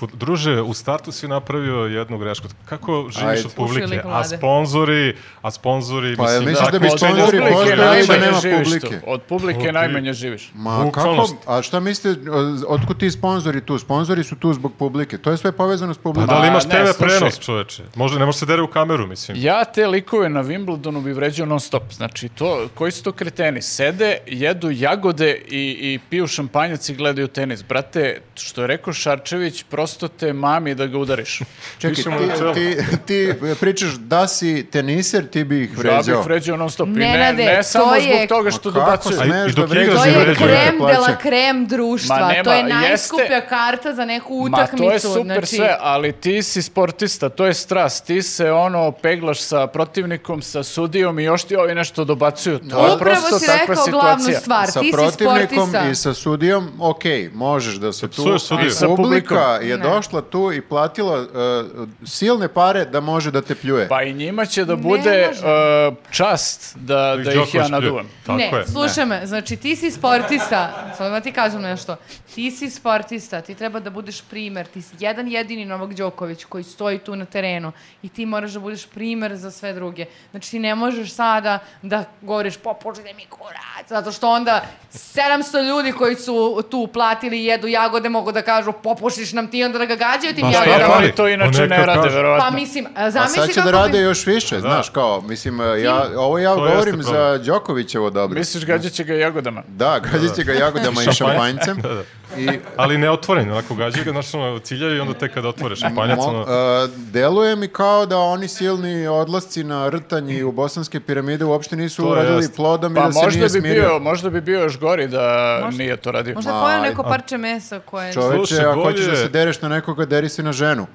Speaker 2: Kod- Druže, u startu si napravio jednu grešku. Kako živiš
Speaker 1: Ajde.
Speaker 2: od
Speaker 3: Ušli
Speaker 2: publike?
Speaker 3: lik
Speaker 2: A
Speaker 3: mlade.
Speaker 2: sponzori, a sponzori,
Speaker 1: Pa, jel
Speaker 2: mislim,
Speaker 1: misliš da bi
Speaker 2: tako-
Speaker 4: Od
Speaker 1: sponzori
Speaker 4: publike
Speaker 1: postoje ili
Speaker 4: najmanje
Speaker 1: da nema
Speaker 4: živiš tu.
Speaker 1: publike?
Speaker 4: Od publike
Speaker 2: Od-
Speaker 4: najmanje živiš.
Speaker 1: Ma kako,
Speaker 2: Bukvalnost.
Speaker 1: a šta mislite, o- otkud ti sponzori tu? Sponzori su tu zbog publike, to je sve povezano s
Speaker 2: Pa
Speaker 1: publikom.
Speaker 2: da li imaš
Speaker 4: A, ne,
Speaker 2: TV
Speaker 4: slušaj.
Speaker 2: prenos, čoveče? Možda ne može se dere u kameru, mislim.
Speaker 4: Ja te likove na Wimbledonu bi vređao non stop. Znači, to, koji su to kreteni? Sede, jedu jagode i, i piju šampanjac i gledaju tenis. Brate, što je rekao Šarčević, prosto te mami da ga udariš.
Speaker 1: Čekaj,
Speaker 2: Pišemo
Speaker 1: ti,
Speaker 2: na čelo.
Speaker 1: ti, ti pričaš da si teniser, ti bi
Speaker 2: Da,
Speaker 1: ih
Speaker 4: Ja bih
Speaker 1: vređao.
Speaker 4: vređao non stop. I ne,
Speaker 3: Nenade,
Speaker 4: ne
Speaker 3: to
Speaker 4: samo
Speaker 3: je-
Speaker 4: zbog toga što
Speaker 1: Ma kako
Speaker 4: dobacuju.
Speaker 1: se-
Speaker 2: A i-
Speaker 1: Znaš
Speaker 2: i
Speaker 1: da
Speaker 2: dok
Speaker 1: vređaš,
Speaker 2: igraš
Speaker 3: To
Speaker 2: ne
Speaker 3: je
Speaker 1: vređaju.
Speaker 2: vređaš.
Speaker 3: krem de la
Speaker 1: Plaća.
Speaker 3: krem društva.
Speaker 4: Ma nema,
Speaker 3: to je
Speaker 4: jeste.
Speaker 3: najskuplja karta za neku
Speaker 4: Ma
Speaker 3: utakmicu.
Speaker 4: to je super
Speaker 3: znači,
Speaker 4: sve, ali ti si sportista, to je strast, ti se ono peglaš sa protivnikom, sa sudijom i još ti ovi nešto dobacuju. To je
Speaker 3: Upravo
Speaker 4: prosto
Speaker 3: si
Speaker 4: takva
Speaker 3: rekao
Speaker 4: situacija.
Speaker 3: glavnu stvar.
Speaker 1: Sa
Speaker 3: ti si
Speaker 1: protivnikom
Speaker 3: sportista.
Speaker 1: i sa sudijom, ok, možeš da se tu...
Speaker 2: psuješ sudiju.
Speaker 1: ali
Speaker 2: I sa
Speaker 1: publika
Speaker 4: publikom.
Speaker 1: je
Speaker 3: Ne.
Speaker 1: došla tu i platila uh, silne pare da može da te pljuje.
Speaker 4: Pa i njima će da bude
Speaker 3: može.
Speaker 4: uh, čast da, da ih ja
Speaker 2: Đoković pljuje.
Speaker 4: naduvam.
Speaker 2: Tako
Speaker 3: ne,
Speaker 2: je.
Speaker 3: slušaj me, znači ti si sportista, samo da ti kažem nešto, ti si sportista, ti treba da budeš primer, ti si jedan jedini Novak Đoković koji stoji tu na terenu i ti moraš da budeš primer za sve druge. Znači ti ne možeš sada da govoriš popušite mi kurac, zato što onda 700 ljudi koji su tu platili i jedu jagode mogu da kažu popušiš nam ti i onda da ga gađaju tim
Speaker 2: Pa šta
Speaker 4: Ja,
Speaker 2: je
Speaker 3: jagodama.
Speaker 2: fali?
Speaker 4: oni to inače
Speaker 2: Neka
Speaker 4: ne rade,
Speaker 2: kaže.
Speaker 4: verovatno.
Speaker 3: Pa mislim, a
Speaker 1: A
Speaker 3: zamisli
Speaker 1: sad će da
Speaker 3: kako bi-
Speaker 1: rade još više, znaš kao, mislim, e, ja, ovo ja
Speaker 2: To jeste
Speaker 1: govorim za
Speaker 2: problem.
Speaker 1: Đokovićevo dobro.
Speaker 4: Misliš, gađat će ga jagodama.
Speaker 1: Da, gađat će ga jagodama i šampanjcem.
Speaker 2: Da, da.
Speaker 1: I
Speaker 2: Ali ne otvoren, onako gađaju ga, znači ono, ciljaju i onda tek kada otvoreš šampanjac,
Speaker 1: mo-
Speaker 2: ono,
Speaker 1: e, deluje mi kao da oni silni odlasci na rtanji u bosanske piramide uopšte nisu
Speaker 2: To je
Speaker 1: uradili
Speaker 2: jasno.
Speaker 1: plodom i
Speaker 4: Pa
Speaker 1: da se
Speaker 4: možda
Speaker 1: nije
Speaker 4: bi,
Speaker 1: smirio.
Speaker 4: bio, možda bi bio još gori da nije to radio.
Speaker 3: Možda
Speaker 1: Ma,
Speaker 3: pojeo
Speaker 1: ajde.
Speaker 3: neko parče mesa koje...
Speaker 1: Čoveče,
Speaker 2: Slušaj,
Speaker 1: ako hoćeš da
Speaker 2: bolje-
Speaker 1: se dereš na nekoga, deri se na ženu.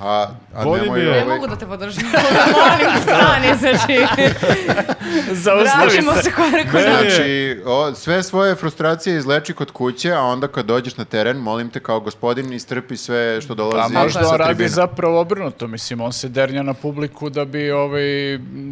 Speaker 1: A, a
Speaker 2: Bolje
Speaker 1: nemoj
Speaker 2: mi je-
Speaker 1: ovaj-
Speaker 3: Ne mogu da te podržim, molim, stani, znači...
Speaker 4: Zaustavi
Speaker 3: Vraćamo se korak
Speaker 2: Ne,
Speaker 3: unazad.
Speaker 1: Znači, o, sve svoje frustracije izleči kod kuće, a onda kad dođeš na teren, molim te kao gospodin, istrpi sve što
Speaker 4: A
Speaker 1: dolazi
Speaker 4: možda
Speaker 1: sa
Speaker 4: on radi
Speaker 1: tribina.
Speaker 4: zapravo obrnuto, mislim, on se dernja na publiku da bi, ovaj,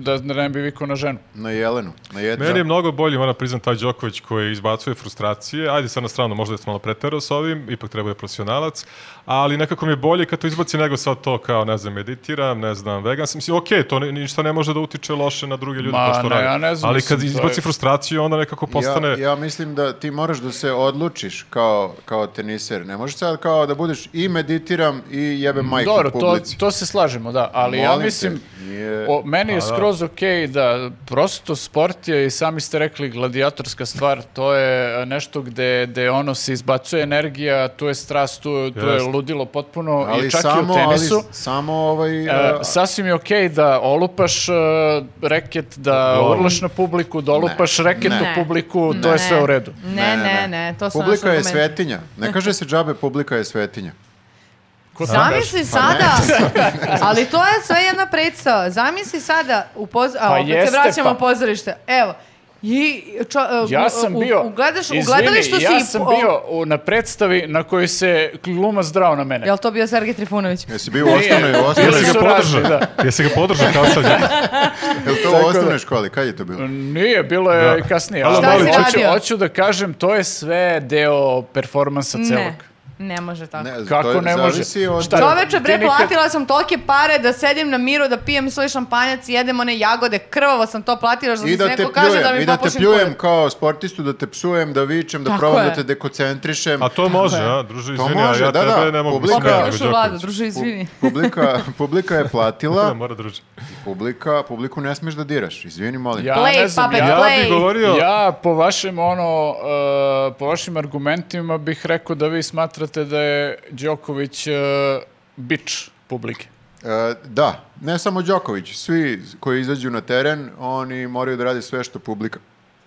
Speaker 4: da ne bi vikao na ženu.
Speaker 1: Na Jelenu, na jednu.
Speaker 4: Da.
Speaker 2: Meni je mnogo bolji, moram priznam, taj Đoković koji izbacuje frustracije. Ajde sad na stranu, možda je malo preterao sa ovim, ipak treba da je profesionalac, ali nekako mi je bolje kad to izbaci nego sad to kao, ne znam, meditiram, ne znam, vegan sam. Mislim, okej, to ni- ništa ne može da utiče loše na druge ljude,
Speaker 4: Ma,
Speaker 2: to što
Speaker 4: ne,
Speaker 2: radi.
Speaker 4: ja ne znam,
Speaker 2: ali kad
Speaker 4: mislim, to
Speaker 2: izbaci
Speaker 4: je-
Speaker 2: frustraciju, onda nekako postane...
Speaker 1: Ja, ja mislim da ti moraš da se odlučiš kao, kao teniser. Ne možeš sad kao da budeš i meditiram i jebem majku
Speaker 4: Dobro, to,
Speaker 1: publici.
Speaker 4: to se slažemo, da, ali ja
Speaker 1: Molim te,
Speaker 4: mislim,
Speaker 1: nije-
Speaker 4: o, meni je
Speaker 1: Pa
Speaker 4: skroz okej da prosto sport je, i sami ste rekli, gladijatorska stvar, to je e, nešto gde, gde ono se izbacuje energija, tu je strast, tu, tu je
Speaker 2: Jeste.
Speaker 4: ludilo potpuno,
Speaker 1: ali
Speaker 4: i čak
Speaker 1: samo,
Speaker 4: i u tenisu.
Speaker 1: ali s- samo ovaj...
Speaker 4: E,
Speaker 1: a,
Speaker 4: sasvim je okej da olupaš e, reket, da
Speaker 2: Wow.
Speaker 4: urlaš na publiku, da olupaš reket
Speaker 1: Ne.
Speaker 4: na publiku, to je sve u redu.
Speaker 3: Ne, ne, ne, to su
Speaker 1: Publika
Speaker 3: naši
Speaker 1: je
Speaker 3: argumenti.
Speaker 1: svetinja. Ne kaže se džabe, publika je svetinja.
Speaker 4: Ko to kaže?
Speaker 3: Zamisli sada,
Speaker 4: Pa
Speaker 3: ali to je sve jedna predstava. Zamisli sada, u poz... a,
Speaker 4: Pa
Speaker 3: opet se
Speaker 4: jeste,
Speaker 3: vraćamo
Speaker 4: pa.
Speaker 3: u pozorište. Evo, I čo, e,
Speaker 4: Ja sam
Speaker 3: u,
Speaker 4: bio...
Speaker 3: U, ugledaš, u
Speaker 4: Izvini,
Speaker 3: gledalištu si...
Speaker 4: ja
Speaker 3: i
Speaker 4: sam
Speaker 3: po-
Speaker 4: bio u- na predstavi na kojoj se glumac zdrao na mene.
Speaker 3: Jel to bio Sergej Trifunović?
Speaker 1: Jesi bio u osnovnoj, u
Speaker 4: Bili
Speaker 1: osnovnoj,
Speaker 2: Jesi ga
Speaker 4: su razni,
Speaker 2: podržao? Jesi ga podržao kao sad?
Speaker 1: je li to u osnovnoj školi? Kad je to bilo?
Speaker 4: Nije, bilo je i kasnije.
Speaker 2: Šta
Speaker 4: ali
Speaker 3: si
Speaker 4: hoću,
Speaker 3: radio?
Speaker 4: hoću da kažem, to je sve deo performansa celog.
Speaker 3: Ne, ne može tako.
Speaker 1: Ne,
Speaker 4: Kako
Speaker 1: to je-
Speaker 4: ne može?
Speaker 1: zavisi Od...
Speaker 4: Šta?
Speaker 3: Čoveče,
Speaker 4: Ti
Speaker 3: bre,
Speaker 4: nikad-
Speaker 3: platila sam tolike pare da sedim na miru, da pijem svoj šampanjac i jedem one jagode, krvavo sam to platila, što mi
Speaker 1: I
Speaker 3: se
Speaker 1: da te
Speaker 3: neko kaže da
Speaker 1: pljujem,
Speaker 3: mi
Speaker 1: i da te
Speaker 3: popušim
Speaker 1: pljujem
Speaker 3: kurac.
Speaker 1: kao sportistu, da te psujem, da vičem, da
Speaker 3: Tako
Speaker 1: probam da
Speaker 3: je.
Speaker 1: te dekoncentrišem.
Speaker 2: A to može,
Speaker 3: je.
Speaker 2: a, druže,
Speaker 1: To
Speaker 2: izvini, a
Speaker 1: može,
Speaker 2: ja
Speaker 1: da,
Speaker 2: tebe
Speaker 1: da,
Speaker 2: ne mogu
Speaker 1: publika-
Speaker 2: mislim,
Speaker 1: Kako
Speaker 2: ja,
Speaker 3: Još u
Speaker 2: Đorđević.
Speaker 3: vladu, druže,
Speaker 1: Pu-
Speaker 3: izvini.
Speaker 1: publika, publika je
Speaker 2: Ne,
Speaker 4: Da.
Speaker 1: platila,
Speaker 2: mora druže.
Speaker 1: publika, publiku ne smeš da diraš. Izvini, molim.
Speaker 4: Ja
Speaker 3: Play,
Speaker 4: ne znam,
Speaker 3: puppet,
Speaker 4: ja-
Speaker 2: Ja
Speaker 3: Play.
Speaker 2: bih govorio,
Speaker 4: Ja po vašim ono e, po vašim argumentima bih rekao da vi smatrate da je Đoković uh, bič publike.
Speaker 1: E, da, ne samo Đoković, svi koji izađu na teren, oni moraju da rade sve što publika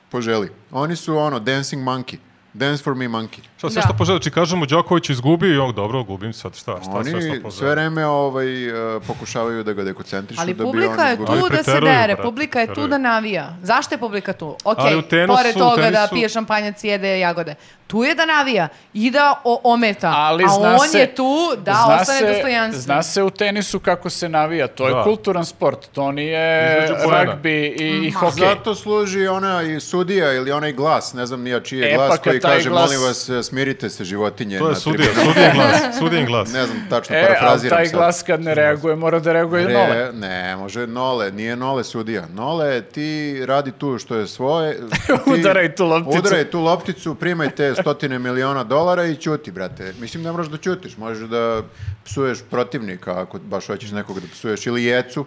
Speaker 1: poželi. Oni su ono, dancing monkey, dance for me monkey.
Speaker 2: Šta sve
Speaker 3: Da.
Speaker 2: što poželi, či kažemo Đoković izgubio i on, dobro, gubim sad, šta, šta sve što
Speaker 1: Oni sve
Speaker 2: poželi.
Speaker 1: vreme ovaj, e, pokušavaju da ga dekoncentrišu.
Speaker 3: Ali
Speaker 1: da bi
Speaker 3: publika
Speaker 1: on
Speaker 3: je
Speaker 1: izgubio.
Speaker 3: tu
Speaker 2: Ali
Speaker 3: da se
Speaker 2: preteruju,
Speaker 3: dere,
Speaker 2: brate,
Speaker 3: publika je tu
Speaker 2: preteruju.
Speaker 3: da navija. Zašto je publika tu? Ok,
Speaker 2: Ali u tenisu,
Speaker 3: pored
Speaker 2: u
Speaker 3: toga da
Speaker 2: tenisu-
Speaker 3: pije šampanjac i jede jagode. Tu je da navija i da o- ometa.
Speaker 4: Ali
Speaker 3: A
Speaker 4: zna
Speaker 3: on
Speaker 4: se-
Speaker 3: je tu da
Speaker 4: zna se-
Speaker 3: ostane dostojanstven.
Speaker 4: Zna se u tenisu kako se navija, to je
Speaker 2: Da.
Speaker 4: kulturan sport, to nije
Speaker 2: Između poena.
Speaker 4: ragbi i, i hokej.
Speaker 1: Zato služi ona i sudija ili onaj glas, ne znam nija čiji je
Speaker 4: E, pa
Speaker 1: glas,
Speaker 4: kad
Speaker 1: koji
Speaker 4: taj
Speaker 1: kaže,
Speaker 4: glas-
Speaker 1: molim vas, e, smirite se životinje
Speaker 2: To je
Speaker 1: na
Speaker 2: sudija,
Speaker 1: tribinama."
Speaker 2: sudijin glas, sudijin glas.
Speaker 1: Ne znam, tačno
Speaker 4: E, ali
Speaker 1: parafraziram
Speaker 4: taj
Speaker 1: sad.
Speaker 4: glas kad ne reaguje, mora da reaguje
Speaker 1: Re-
Speaker 4: nole.
Speaker 1: Ne, može nole, nije nole sudija. Nole, ti radi tu što je svoje. ti-
Speaker 4: Udaraj tu lopticu.
Speaker 1: Udaraj tu lopticu, primaj te stotine miliona dolara i ćuti, brate. Mislim, ne moraš da ćutiš, možeš da psuješ protivnika ako baš hoćeš nekog da psuješ ili jecu.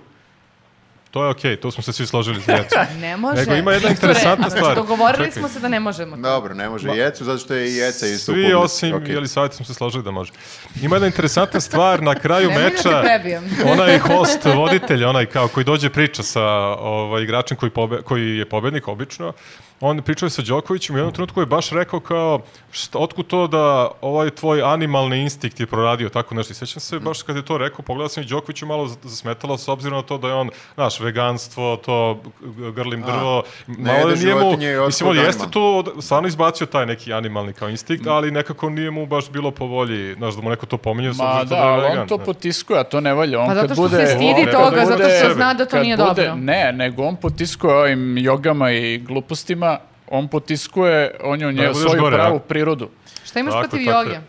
Speaker 2: To je okej, to smo se svi složili za djecu.
Speaker 3: Ne može.
Speaker 2: Nego ima jedna
Speaker 3: Doktore,
Speaker 2: interesantna
Speaker 3: znači,
Speaker 2: stvar.
Speaker 3: Dogovorili
Speaker 2: Čekaj.
Speaker 3: smo se da ne možemo. to.
Speaker 1: Dobro, ne može jecu, zato što je i jeca isto u
Speaker 2: Svi
Speaker 1: publici.
Speaker 2: osim
Speaker 1: Okej.
Speaker 2: okay. Jelisaveta smo se složili da može. Ima jedna interesantna stvar, na kraju
Speaker 3: Nemoj da te
Speaker 2: meča,
Speaker 3: prebijem.
Speaker 2: onaj host, voditelj, onaj kao koji dođe priča sa ovaj, igračem koji, pobe, koji je pobednik obično, on pričao je sa Đokovićem i u jednom trenutku je baš rekao kao, šta, otkud to da ovaj tvoj animalni instinkt je proradio tako nešto. I sećam se baš kad je to rekao, pogledao sam i Đokoviću malo z- zasmetalo s obzirom na to da je on, znaš, veganstvo, to g- grlim drvo, malo
Speaker 1: jede
Speaker 2: je nije mu,
Speaker 1: životinje i otkud
Speaker 2: mislim, on jeste
Speaker 1: animal?
Speaker 2: tu to od- stvarno izbacio taj neki animalni kao instinkt,
Speaker 4: Mm.
Speaker 2: ali nekako nije mu baš bilo po volji, znaš, da mu neko to pominje, s
Speaker 4: Ma
Speaker 2: obzirom
Speaker 4: da,
Speaker 2: da je
Speaker 4: ali
Speaker 2: vegan.
Speaker 4: on to
Speaker 2: znaš.
Speaker 4: potiskuje, a to ne valja. On
Speaker 3: Pa zato
Speaker 4: kad
Speaker 3: što se
Speaker 4: bude,
Speaker 3: stidi
Speaker 2: on
Speaker 3: toga,
Speaker 2: kad
Speaker 3: zato
Speaker 2: bude-
Speaker 3: što zna da to
Speaker 4: kad
Speaker 3: nije
Speaker 4: bude-
Speaker 3: dobro.
Speaker 4: Ne, nego on potiskuje ovim jogama i glupostima, on potiskuje, on je u
Speaker 2: Da
Speaker 4: nje,
Speaker 2: budeš
Speaker 4: svoju
Speaker 2: gore, a?
Speaker 4: pravu prirodu.
Speaker 3: Šta imaš
Speaker 2: Tako je,
Speaker 3: protiv
Speaker 2: tako
Speaker 3: joge?
Speaker 2: je.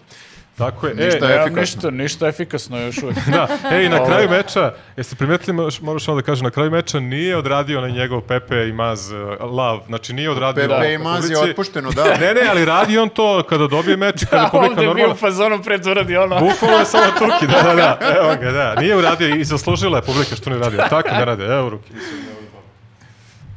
Speaker 2: Tako je.
Speaker 1: Ništa
Speaker 2: e,
Speaker 1: je.
Speaker 2: e,
Speaker 4: Ja,
Speaker 1: Efikasno.
Speaker 4: ništa, ništa efikasno još uvijek.
Speaker 2: da, e, i na
Speaker 4: Ovo.
Speaker 2: kraju meča, jeste primetili, moraš, moraš malo da kažem, na kraju meča nije odradio na njegov Pepe i Maz lav, znači nije odradio
Speaker 1: Pepe
Speaker 2: lav
Speaker 1: i
Speaker 2: na
Speaker 1: Maz je
Speaker 2: publici.
Speaker 1: otpušteno, da.
Speaker 2: Ne, ne, ali radi on to kada dobije meč, kada publika
Speaker 4: Ovdje Da, je bio u
Speaker 2: normalno...
Speaker 4: fazonu pred uradi ono.
Speaker 2: Bukvalno je samo Turki, da, da, da, evo ga, da. Nije uradio i zaslužila je publika što ne uradio. Tako ne rade, evo ruke.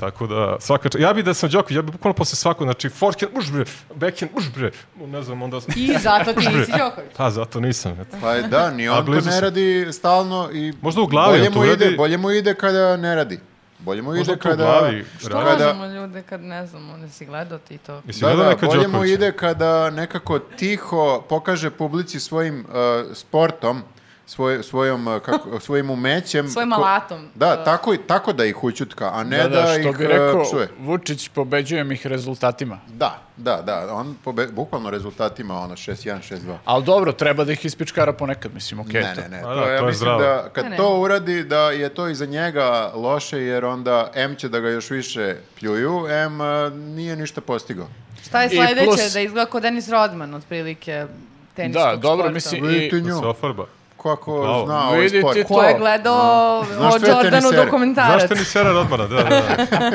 Speaker 2: Tako da, svaka čast. Ja bi da sam Đoković, ja bi bukvalno posle svakog, znači, forehand, uš bre, backhand, uš bre, ne znam, onda...
Speaker 3: I zato ti nisi Đoković.
Speaker 2: Pa, zato nisam. Eto.
Speaker 1: Pa je da, ni on to
Speaker 2: blizu
Speaker 1: ne
Speaker 2: sam.
Speaker 1: radi stalno i
Speaker 2: Možda u glavi,
Speaker 1: bolje
Speaker 2: on to
Speaker 1: mu ide,
Speaker 2: radi-
Speaker 1: bolje mu ide kada ne radi. Bolje mu
Speaker 2: Možda
Speaker 1: ide
Speaker 2: to u
Speaker 1: kada
Speaker 2: glavi
Speaker 1: što
Speaker 3: To
Speaker 2: radi.
Speaker 4: da-
Speaker 1: kada
Speaker 3: lažemo ljude kad ne znamo, ne si gledao ti to.
Speaker 2: Jesi
Speaker 1: Da,
Speaker 2: gledao
Speaker 1: da,
Speaker 2: neka
Speaker 1: bolje mu
Speaker 2: Đokovića?
Speaker 1: ide kada nekako tiho pokaže publici svojim uh, sportom, svoj, svojom, uh, kako, svojim umećem.
Speaker 3: Svojim
Speaker 1: ko-
Speaker 3: alatom.
Speaker 1: Da,
Speaker 3: Uh,
Speaker 1: tako, i- tako da ih učutka, a ne da, ih
Speaker 4: što bi
Speaker 2: e,
Speaker 1: uh,
Speaker 4: rekao,
Speaker 1: psuje.
Speaker 4: Vučić pobeđujem ih rezultatima.
Speaker 1: Da, da, da, on pobe, bukvalno rezultatima ono 6-1, 6-2.
Speaker 4: Ali dobro, treba da ih ispičkara ponekad, mislim, okej.
Speaker 1: Ne,
Speaker 4: to.
Speaker 1: ne, ne,
Speaker 2: A
Speaker 1: to,
Speaker 2: da,
Speaker 1: ja
Speaker 2: to je
Speaker 1: mislim
Speaker 2: zdravo.
Speaker 1: da kad
Speaker 3: Ne, ne.
Speaker 1: to uradi da je to i za njega loše jer onda M će da ga još više pljuju, M e, nije ništa postigao.
Speaker 3: Šta je
Speaker 4: I
Speaker 3: sledeće?
Speaker 4: plus-
Speaker 3: Da izgleda kao Denis Rodman, otprilike teniskog
Speaker 4: Da, dobro,
Speaker 3: sporta.
Speaker 4: mislim, I-
Speaker 1: Vidite
Speaker 2: Da
Speaker 1: nju,
Speaker 2: se ofarba.
Speaker 1: kako
Speaker 2: Bravo.
Speaker 1: zna ovaj
Speaker 4: Vidite
Speaker 1: sport.
Speaker 3: Ko je
Speaker 4: to. Da.
Speaker 3: gledao
Speaker 1: Znaš
Speaker 3: o
Speaker 1: sve
Speaker 3: Jordanu
Speaker 1: tenisere.
Speaker 3: dokumentarac?
Speaker 2: Zašto ni Sera Rodmana, da, da,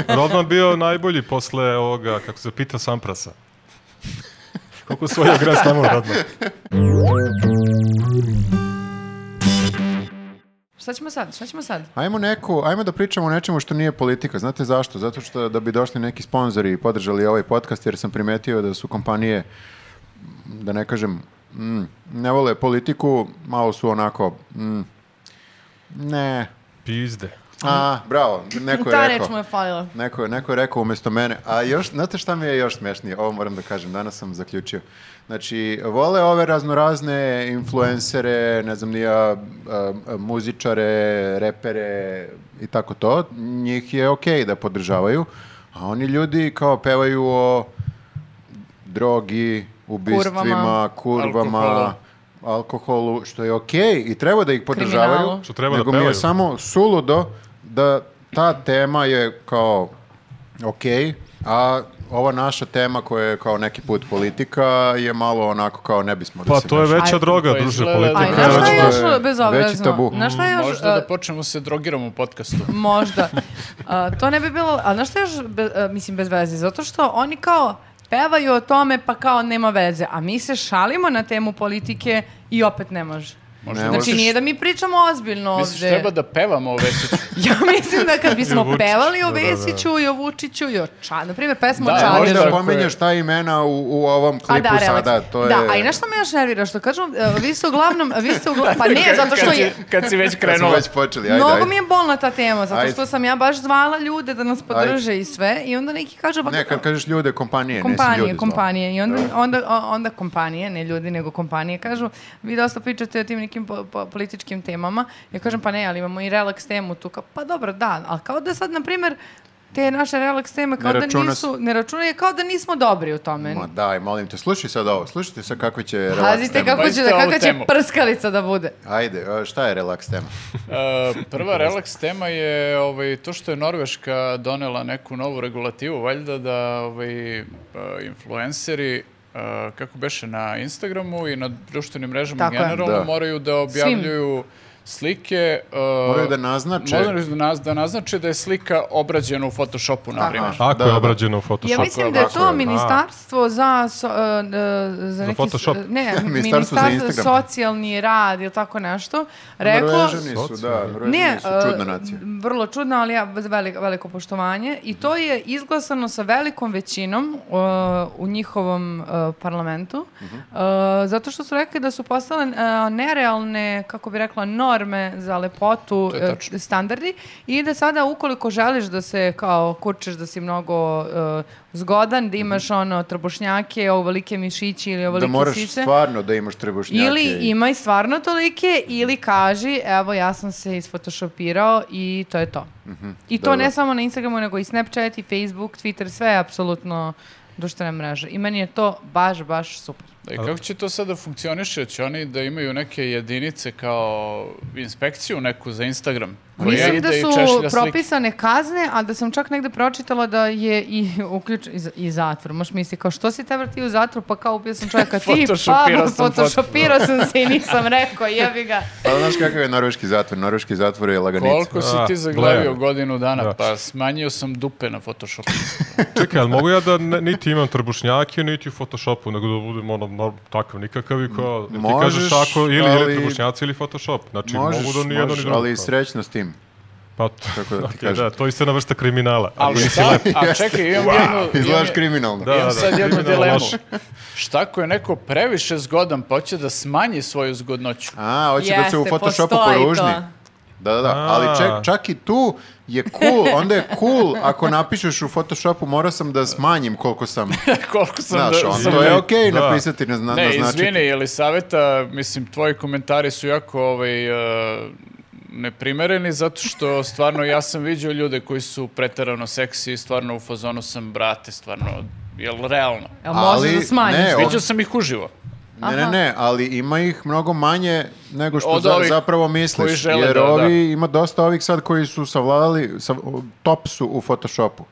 Speaker 2: da. Rodman bio najbolji posle ovoga, kako se pita Samprasa. Koliko svojio gra samo Rodman.
Speaker 3: Šta ćemo sad? Šta ćemo sad?
Speaker 1: Ajmo neku, ajmo da pričamo o nečemu što nije politika. Znate zašto? Zato što da bi došli neki sponzori i podržali ovaj podcast jer sam primetio da su kompanije da ne kažem mm, ne vole politiku, malo su onako mm, ne.
Speaker 2: Pizde.
Speaker 1: A, bravo, neko je
Speaker 3: Ta reč
Speaker 1: rekao.
Speaker 3: mu je falila.
Speaker 1: Neko, je- neko je rekao umjesto mene, a još, znate šta mi je još smešnije, ovo moram da kažem, danas sam zaključio. Znači, vole ove raznorazne influencere, ne znam nija, muzičare, repere i tako to, njih je okej da podržavaju, A oni ljudi kao pevaju o drogi, ubistvima, kurvama,
Speaker 3: Kurvama.
Speaker 4: Alkoholu.
Speaker 1: alkoholu, što je okej i treba da ih podržavaju.
Speaker 3: Kriminalu.
Speaker 2: Što treba da
Speaker 1: nego mi je
Speaker 2: pevaju.
Speaker 1: samo suludo da ta tema je kao okej, a ova naša tema koja je kao neki put politika je malo onako kao ne bismo da
Speaker 2: Pa
Speaker 1: se
Speaker 2: to je
Speaker 1: mešamo.
Speaker 2: veća
Speaker 3: Ajde.
Speaker 2: droga,
Speaker 4: Pa
Speaker 2: druže,
Speaker 4: izgleda da-
Speaker 2: politika.
Speaker 3: Aj,
Speaker 2: je
Speaker 1: znaš
Speaker 3: na
Speaker 1: šta
Speaker 3: šta
Speaker 2: već-
Speaker 1: je
Speaker 3: je
Speaker 1: to je
Speaker 3: još
Speaker 1: veći tabu.
Speaker 3: bezobrazno? Na šta je još...
Speaker 4: Možda
Speaker 3: e,
Speaker 4: da počnemo se drogiramo u podcastu.
Speaker 3: Možda. A, to ne bi bilo, a znaš što je još, be- a, mislim, bez veze? Zato što oni kao pevaju o tome pa kao nema veze, a mi se šalimo na temu politike i opet ne može.
Speaker 4: Možda
Speaker 1: Ne
Speaker 4: misliš-
Speaker 3: Znači nije da mi pričamo ozbiljno ovde.
Speaker 4: Misliš treba da pevamo o Vesiću?
Speaker 3: Ja mislim da kad bismo
Speaker 2: I o Vučiću.
Speaker 3: pevali o
Speaker 2: Da, da, da.
Speaker 3: Vesiću i o Vučiću i o Ča... Na primjer, pesmu
Speaker 4: Da,
Speaker 3: o
Speaker 1: A
Speaker 3: Čaderu.
Speaker 4: možda
Speaker 1: Možda
Speaker 4: ako je-
Speaker 1: pominješ ta imena u, u ovom klipu
Speaker 3: A da, relaks.
Speaker 1: sada, to je...
Speaker 3: Da, a i na što me još nervira, što kažu, e, vi ste uglavnom, vi ste uglavnom, pa ne, zato što
Speaker 4: Kad si-
Speaker 3: je,
Speaker 4: Kad si već
Speaker 1: Kad smo
Speaker 4: krenula.
Speaker 1: već počeli, ajde,
Speaker 3: Mnogo
Speaker 1: ajde.
Speaker 3: mi je bolna ta tema, zato
Speaker 1: Ajde.
Speaker 3: što sam ja baš zvala ljude da nas podrže i sve i onda neki kažu... Pa,
Speaker 1: Ne, kad kažeš ljude, kompanije, nisi
Speaker 3: kompanije,
Speaker 1: ljude zvao.
Speaker 3: kompanije. I
Speaker 1: Da.
Speaker 3: onda, onda, o- onda kompanije, ne ljudi, nego kompanije kažu, vi dosta pričate o tim nekim po- po- političkim temama. Ja kažem, pa ne, ali imamo i relaks temu tu. Kao, pa dobro, da, ali kao da sad, na primjer, te naše relaks teme kao da
Speaker 1: računa
Speaker 3: nisu, ne računaju, kao da nismo dobri u tome.
Speaker 1: Ma daj, molim te, slušaj sad ovo, slušajte sad kakve će relaks
Speaker 3: Pazite
Speaker 1: tema.
Speaker 3: kako će,
Speaker 4: Pazite
Speaker 3: da,
Speaker 4: ovu
Speaker 3: kakva će
Speaker 4: temu.
Speaker 3: prskalica da bude.
Speaker 1: Ajde, a, šta je relaks tema?
Speaker 4: E, prva relaks tema je ovaj, to što je Norveška donela neku novu regulativu, valjda da ovaj, e, influenceri e, kako beše na Instagramu i na društvenim mrežama
Speaker 3: Tako je.
Speaker 4: generalno
Speaker 1: Da.
Speaker 4: moraju da objavljuju slike. e,
Speaker 1: Moraju
Speaker 2: Pa,
Speaker 1: da naznače.
Speaker 4: Moraju da, naz- da naznače da je slika obrađena u Photoshopu, na
Speaker 3: Tako.
Speaker 4: primjer.
Speaker 2: Ako
Speaker 1: Da,
Speaker 2: je
Speaker 1: da.
Speaker 2: obrađeno u Photoshopu.
Speaker 3: Ja mislim da je
Speaker 1: ovako
Speaker 3: to
Speaker 1: je, da.
Speaker 3: ministarstvo za so- e, e, za, neki s-
Speaker 2: Photoshop.
Speaker 3: ne,
Speaker 1: Ministarstvo
Speaker 3: ministarstvo
Speaker 1: za
Speaker 3: za
Speaker 1: Instagram.
Speaker 3: socijalni rad ili tako nešto. Reklo
Speaker 1: Norvežani su, da,
Speaker 2: Socijalni.
Speaker 1: Norvežani su
Speaker 3: e,
Speaker 1: čudna nacija.
Speaker 3: Vrlo čudna, ali ja veliko, veliko poštovanje. I to je izglasano sa velikom većinom e, u njihovom e, parlamentu. E, zato što su rekli da su postale e, nerealne, kako bi rekla, norme za lepotu
Speaker 4: To je tačno.
Speaker 3: e, standardi i da sada ukoliko želiš da se kao kurčeš da si mnogo e, zgodan, da imaš ono trbušnjake, ovolike mišići ili
Speaker 1: Da
Speaker 3: ovolike
Speaker 1: moraš
Speaker 3: sise.
Speaker 1: stvarno da imaš trebušnjake.
Speaker 3: Ili
Speaker 1: i-
Speaker 3: imaj stvarno tolike, ili kaži, evo ja sam se isfotoshopirao i to je to. I to
Speaker 1: dobro.
Speaker 3: ne samo na Instagramu, nego i Snapchat, i Facebook, Twitter, sve je apsolutno društvene mreže. I meni je to baš, baš super.
Speaker 4: Da, i kako će to sada funkcioniše? Će oni da imaju neke jedinice kao inspekciju neku za Instagram? koja
Speaker 3: Mislim
Speaker 4: ide
Speaker 3: da
Speaker 4: i
Speaker 3: su
Speaker 4: češlja slike?
Speaker 3: propisane kazne, a da sam čak negde pročitala da je i uključ i, za- i zatvor. Možeš misli kao što si tebra ti u zatvoru, pa kao ubio sam čovjeka ti, pa
Speaker 4: Photoshopirao sam
Speaker 3: photoshopirao sam se i nisam rekao, jebi ga.
Speaker 1: Pa znaš kakav je norveški zatvor? Norveški zatvor je laganica.
Speaker 4: Koliko si
Speaker 2: A,
Speaker 4: ti zaglavio
Speaker 2: gledam.
Speaker 4: godinu dana?
Speaker 2: Da.
Speaker 4: Pa smanjio sam dupe na Photoshopu.
Speaker 2: Čekaj, ali mogu ja da ne- niti imam trbušnjake, niti u Photoshopu, nego da budem ono, no, takav nikakav i kao, ti
Speaker 1: Možeš,
Speaker 2: kažeš ako ili,
Speaker 1: ali-
Speaker 2: ili trbušnjaci ili Photoshop. Znači,
Speaker 1: Možeš,
Speaker 2: mogu da ni jedno ni
Speaker 1: možeš,
Speaker 2: drugo.
Speaker 1: ali
Speaker 2: kao.
Speaker 1: srećno s tim.
Speaker 2: Pa, to,
Speaker 1: Tako da ti
Speaker 2: okej,
Speaker 1: kažem.
Speaker 2: da, to je jedna vrsta kriminala.
Speaker 4: Ali šta? A čekaj, imam jednu...
Speaker 1: Izgledaš
Speaker 4: imam-
Speaker 1: kriminalno.
Speaker 2: Da.
Speaker 4: imam sad jednu
Speaker 2: kriminalno
Speaker 4: dilemu.
Speaker 2: loše.
Speaker 4: Šta ako je neko previše zgodan, pa hoće da smanji svoju zgodnoću?
Speaker 1: A, hoće da se
Speaker 3: Jeste,
Speaker 1: u Photoshopu
Speaker 3: postoji
Speaker 1: poružni.
Speaker 3: to.
Speaker 1: Da, da, da.
Speaker 2: A.
Speaker 1: Ali čak, čak i tu je cool, onda je cool ako napišeš u Photoshopu morao sam da smanjim koliko sam,
Speaker 4: Koliko sam
Speaker 1: znaš,
Speaker 4: da...
Speaker 1: on,
Speaker 4: sam
Speaker 1: to je znači
Speaker 4: da-
Speaker 1: okej
Speaker 2: da.
Speaker 1: napisati, ne zna,
Speaker 4: Ne,
Speaker 1: naznačiti.
Speaker 4: izvini, Jelisaveta, mislim, tvoji komentari su jako ovaj, e, neprimereni, zato što stvarno ja sam viđao ljude koji su preterano seksi i stvarno u fazonu sam, brate, stvarno, jel realno?
Speaker 3: Jel može
Speaker 1: Ali,
Speaker 3: da smanjiš?
Speaker 1: ne,
Speaker 4: Viđao sam ih uživo.
Speaker 1: Ne, ne,
Speaker 3: Aha.
Speaker 1: ne, ali ima ih mnogo manje nego što
Speaker 4: Od
Speaker 1: za-
Speaker 4: ovih
Speaker 1: zapravo
Speaker 4: koji
Speaker 1: misliš.
Speaker 4: žele
Speaker 1: jer
Speaker 4: da-
Speaker 1: ovi, ima dosta ovih sad koji su savladali, sav- top su u Photoshopu.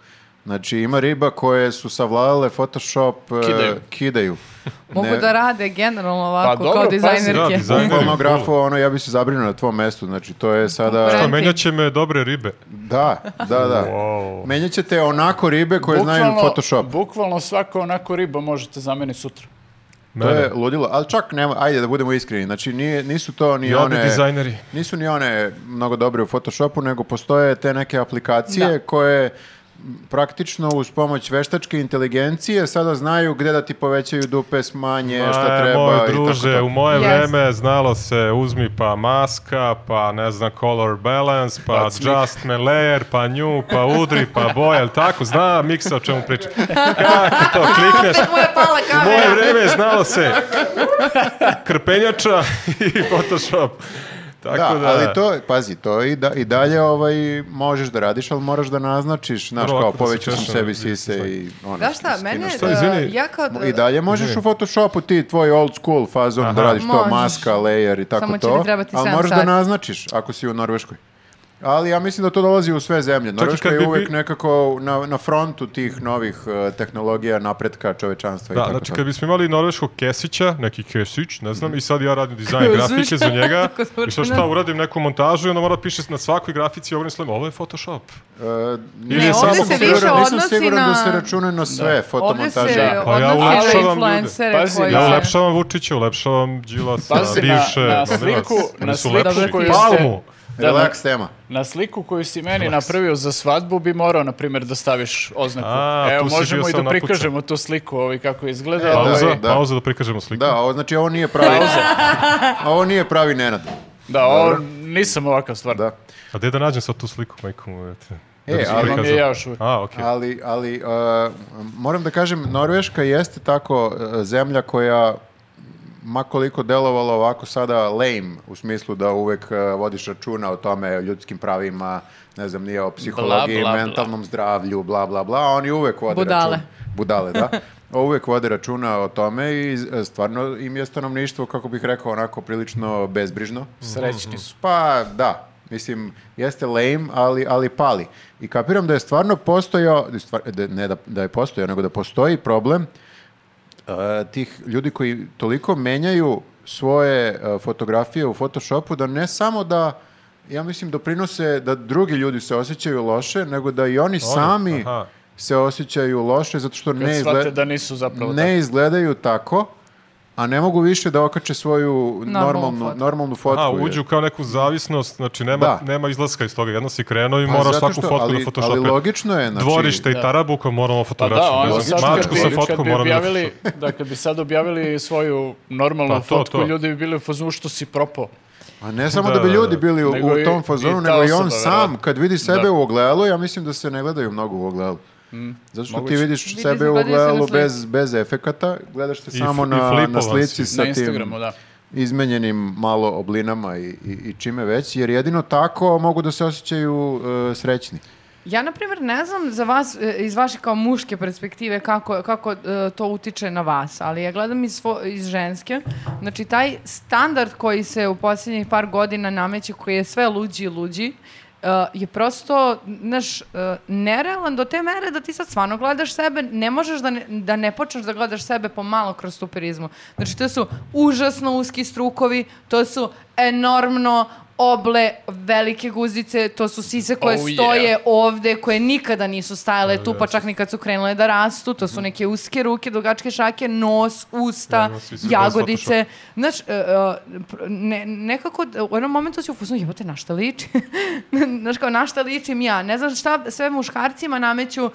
Speaker 1: Znači ima riba koje su savladale Photoshop, e,
Speaker 4: Kidaju.
Speaker 1: kidaju.
Speaker 3: Mogu
Speaker 1: Ne-
Speaker 3: da rade generalno ovako
Speaker 4: dobro,
Speaker 3: kao
Speaker 4: pazi.
Speaker 2: Da,
Speaker 3: dizajnerke.
Speaker 2: dizajn-
Speaker 1: Bukvalno grafu, ono, ja bi se zabrinuo na tvom mestu, znači to je sada...
Speaker 3: Konkurencija.
Speaker 2: Pa menjat će me dobre ribe.
Speaker 1: Da, da, da.
Speaker 2: Wow.
Speaker 1: Menjat ćete onako ribe koje znaju Photoshop.
Speaker 4: Bukvalno svaka onako riba možete zameniti sutra.
Speaker 2: Da,
Speaker 1: To
Speaker 2: Mene.
Speaker 1: je ludilo, ali čak nema, ajde da budemo iskreni, znači nije, nisu to ni
Speaker 2: Jadni
Speaker 1: one...
Speaker 2: dizajneri.
Speaker 1: Nisu ni one mnogo dobre u Photoshopu, nego postoje te neke aplikacije
Speaker 3: Da.
Speaker 1: koje m, praktično uz pomoć veštačke inteligencije sada znaju gde da ti povećaju dupe, smanje, šta
Speaker 2: Ma,
Speaker 1: treba
Speaker 2: moj
Speaker 1: i
Speaker 2: E, druže,
Speaker 1: tako to.
Speaker 2: u moje
Speaker 3: Yes.
Speaker 2: vreme znalo se uzmi pa maska, pa ne znam color balance, pa just me layer, pa nju, pa udri, pa boja, jel tako? Zna miksa o čemu priča. Kako to klikneš?
Speaker 3: Opet mu je pala
Speaker 2: U moje
Speaker 3: kamera.
Speaker 2: vreme znalo se krpenjača i Photoshop. Tako da,
Speaker 1: ali to, je- pazi, to i, da, i dalje ovaj, možeš da radiš, ali moraš da naznačiš, znaš,
Speaker 2: Dobro,
Speaker 1: kao
Speaker 2: ako da se
Speaker 1: povećao sam
Speaker 2: češem,
Speaker 1: sebi
Speaker 2: vidiš,
Speaker 1: sise i ono.
Speaker 3: Da šta,
Speaker 1: skinuš
Speaker 3: mene,
Speaker 2: Šta,
Speaker 3: e,
Speaker 2: izvini?
Speaker 3: ja kao...
Speaker 1: I dalje možeš u Photoshopu ti tvoj old school fazon da radiš to,
Speaker 3: Možeš.
Speaker 1: maska, layer i tako
Speaker 3: Samo će
Speaker 1: to.
Speaker 3: ti trebati
Speaker 1: ali
Speaker 3: sedam
Speaker 1: moraš
Speaker 3: sati.
Speaker 1: da naznačiš ako si u Norveškoj. Ali ja mislim da to dolazi u sve zemlje. Norveška
Speaker 2: kad
Speaker 1: je
Speaker 2: bi
Speaker 1: uvek
Speaker 2: bi-
Speaker 1: nekako na, na frontu tih novih eh, tehnologija, napretka, čovečanstva i
Speaker 2: Da,
Speaker 1: tako
Speaker 2: znači
Speaker 1: to.
Speaker 2: kad bismo imali norveškog kesića, neki kesić, ne znam, i sad ja radim dizajn
Speaker 3: Kesić.
Speaker 2: grafike za njega,
Speaker 3: Tako zvuči,
Speaker 2: i sad
Speaker 3: da.
Speaker 2: šta uradim neku montažu i onda mora da piše na svakoj grafici ogrom slem, ovo je Photoshop.
Speaker 1: E,
Speaker 2: Ne, ovdje
Speaker 1: samo
Speaker 2: se
Speaker 1: sam
Speaker 2: više
Speaker 1: siguran- Nisam
Speaker 3: odnosi
Speaker 1: siguran
Speaker 3: na-
Speaker 1: da se računa na sve
Speaker 3: Ovdje se
Speaker 1: fotomontaže.
Speaker 2: Da. Pa ja
Speaker 3: odnosi na
Speaker 2: ulepšavam ljude.
Speaker 3: influencere
Speaker 4: Pazi,
Speaker 3: koji...
Speaker 4: Da.
Speaker 2: Ja
Speaker 3: se-
Speaker 2: ulepšavam Vučića, ulepšavam Đilasa,
Speaker 4: Pazi, na-
Speaker 2: bivše,
Speaker 4: na
Speaker 2: novinarce.
Speaker 4: sliku-
Speaker 2: Oni
Speaker 4: na
Speaker 2: su
Speaker 4: sliku
Speaker 2: lepši.
Speaker 4: koju ste-
Speaker 2: Palmu!
Speaker 4: Da, na,
Speaker 1: Relax tema.
Speaker 4: na sliku koju si meni napravio za svadbu bi morao, na primjer, da staviš oznaku.
Speaker 2: A,
Speaker 4: Evo,
Speaker 2: tu si bio
Speaker 4: možemo i da
Speaker 2: sam napucan.
Speaker 4: prikažemo tu sliku ovaj, kako izgleda.
Speaker 1: E, da,
Speaker 4: ovaj,
Speaker 2: Pauza,
Speaker 1: da.
Speaker 2: pauza da prikažemo sliku.
Speaker 1: Da, ovo, znači ovo nije pravi... ovo nije pravi Nenad.
Speaker 4: Da, ovo nisam ovakav stvar.
Speaker 1: Da.
Speaker 2: A gde da nađem sad tu sliku, majko mu, jete? Da
Speaker 1: E,
Speaker 2: bi se
Speaker 1: ali-
Speaker 4: Imam je
Speaker 2: prikazao.
Speaker 4: ja još uvijek.
Speaker 2: A, okej.
Speaker 1: Ali, ali uh, moram da kažem, Norveška jeste tako uh, zemlja koja makoliko delovala ovako sada lame, u smislu da uvek uh, vodiš računa o tome, o ljudskim pravima, ne znam, nije o psihologiji,
Speaker 4: bla, bla.
Speaker 1: mentalnom zdravlju, bla, bla, bla, a oni uvek vode
Speaker 3: Budale.
Speaker 1: računa. Budale, da. uvek vode računa o tome i e, stvarno im je stanovništvo, kako bih rekao, onako prilično bezbrižno.
Speaker 4: Srećni su.
Speaker 1: Pa da, mislim, jeste lame, ali, ali pali. I kapiram da je stvarno postojao, da je stvar- da, ne da, da je postojao, nego da postoji problem e, tih ljudi koji toliko menjaju svoje e, fotografije u Photoshopu da ne samo da ja mislim doprinose da drugi ljudi se osjećaju loše, nego da i oni sami
Speaker 2: aha.
Speaker 1: se osjećaju loše zato što ne
Speaker 4: Kad
Speaker 1: izgleda
Speaker 4: shvate da nisu zapravo
Speaker 1: ne
Speaker 4: tako.
Speaker 1: izgledaju tako, a ne mogu više da okače svoju
Speaker 3: Normalnu
Speaker 1: normalnu,
Speaker 3: fotku.
Speaker 1: normalnu fotku.
Speaker 2: A,
Speaker 1: jer-
Speaker 2: uđu kao neku zavisnost, znači nema,
Speaker 1: Da.
Speaker 2: nema izlaska iz toga. Jedno si krenuo i
Speaker 1: Pa
Speaker 2: moraš
Speaker 1: zato
Speaker 2: svaku
Speaker 1: što-
Speaker 2: fotku
Speaker 1: ali-
Speaker 2: da photoshope.
Speaker 1: Ali logično je, znači...
Speaker 2: Dvorište i tarabuka moramo
Speaker 4: Pa da,
Speaker 2: fotografiti.
Speaker 4: onda
Speaker 2: ne
Speaker 4: sad
Speaker 2: znam,
Speaker 4: kad
Speaker 2: Mačku
Speaker 4: bi,
Speaker 2: sa
Speaker 4: kad
Speaker 2: fotkom
Speaker 4: bi
Speaker 2: moram da...
Speaker 4: objavili, da, kad bi sad objavili svoju normalnu
Speaker 2: Pa to,
Speaker 4: fotku,
Speaker 2: to.
Speaker 4: ljudi bi bili u fazonu što si propao.
Speaker 1: A ne samo da,
Speaker 2: Da,
Speaker 1: bi
Speaker 2: da,
Speaker 1: ljudi
Speaker 2: da.
Speaker 1: bili u,
Speaker 4: Nego
Speaker 1: u
Speaker 4: i-
Speaker 1: tom
Speaker 4: i
Speaker 1: fazonu,
Speaker 4: ta
Speaker 1: nego i on
Speaker 4: osoba,
Speaker 1: sam,
Speaker 4: verovatno.
Speaker 1: kad vidi sebe
Speaker 4: Da.
Speaker 1: u ogledalu, ja mislim da se ne gledaju mnogo u ogledalu. Zato što ti
Speaker 4: Mm. Moguće.
Speaker 1: vidiš
Speaker 3: Vidi,
Speaker 1: sebe u
Speaker 3: gledaju se na
Speaker 1: ogledalu
Speaker 3: slici.
Speaker 1: bez, bez efekata, gledaš te
Speaker 2: I
Speaker 1: samo
Speaker 2: f- i
Speaker 1: na, na
Speaker 2: flipovan
Speaker 1: slici
Speaker 2: si.
Speaker 1: sa
Speaker 4: na
Speaker 1: tim
Speaker 4: Instagramu, da.
Speaker 1: izmenjenim malo oblinama i, i, i čime već, jer jedino tako mogu da se osjećaju e, srećni.
Speaker 3: Ja, na primjer, ne znam za vas, e, iz vaše kao muške perspektive kako, kako e, to utiče na vas, ali ja gledam iz, svo- iz ženske. Znači, taj standard koji se u posljednjih par godina nameće, koji je sve luđi i luđi, e, je prosto, znaš, e, nerealan do te mere da ti sad stvarno gledaš sebe, ne možeš da ne, da ne počneš da gledaš sebe pomalo kroz tu prizmu. Znači, to su užasno uski strukovi, to su enormno oble, velike guzice, to su sise koje
Speaker 4: Oh, yeah.
Speaker 3: stoje ovde koje nikada nisu stajale
Speaker 1: Da,
Speaker 3: tu, pa čak ni kad su krenule da rastu, to
Speaker 1: Mhm.
Speaker 3: su neke uske ruke, dugačke šake, nos,
Speaker 1: Da,
Speaker 3: usta,
Speaker 2: Ja, svi su bez
Speaker 3: jagodice. Znaš, e, e, pr- ne- nekako d- u jednom momentu si u fuzonu, jebote, na šta liči? Znaš, kao na šta ličim ja? Ne znam šta sve muškarcima nameću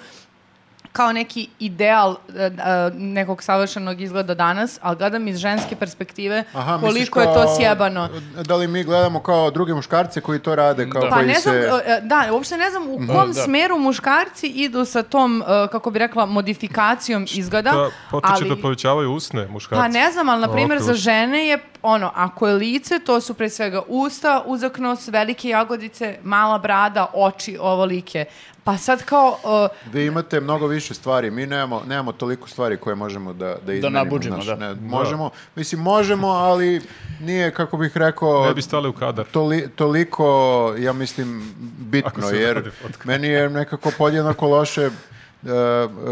Speaker 3: kao neki ideal e, e, nekog savršenog izgleda danas, ali gledam iz ženske perspektive
Speaker 1: Aha, misliš
Speaker 3: koliko je
Speaker 1: kao-
Speaker 3: to sjebano.
Speaker 1: Da li mi gledamo kao druge muškarce koji to rade, kao
Speaker 4: Da.
Speaker 3: Pa
Speaker 1: koji
Speaker 3: ne znam,
Speaker 1: se...
Speaker 3: e, da, uopšte ne znam u
Speaker 2: Mhm.
Speaker 3: kom
Speaker 4: Da.
Speaker 3: smeru muškarci idu sa tom, e, kako bi rekla, modifikacijom izgleda,
Speaker 2: Da, potiče
Speaker 3: ali...
Speaker 2: da povećavaju usne muškarci.
Speaker 3: Pa ne znam, ali na
Speaker 2: A,
Speaker 3: primjer
Speaker 2: okej,
Speaker 3: za
Speaker 2: usta.
Speaker 3: žene je ono, ako je lice, to su pre svega usta, uzak nos, velike jagodice, mala brada, oči, ovolike. Pa sad kao, e,
Speaker 1: Vi imate mnogo više stvari, mi nemamo, nemamo toliko stvari koje možemo da, da izmenimo.
Speaker 4: nabuđimo, da.
Speaker 1: ne, možemo, mislim, možemo, ali nije, kako bih rekao,
Speaker 2: Ne bi stali u kadar.
Speaker 1: toli- toliko, ja mislim,
Speaker 2: Ako
Speaker 1: bitno,
Speaker 2: se
Speaker 1: jer
Speaker 2: uradi fotka.
Speaker 1: meni je nekako podjednako loše e,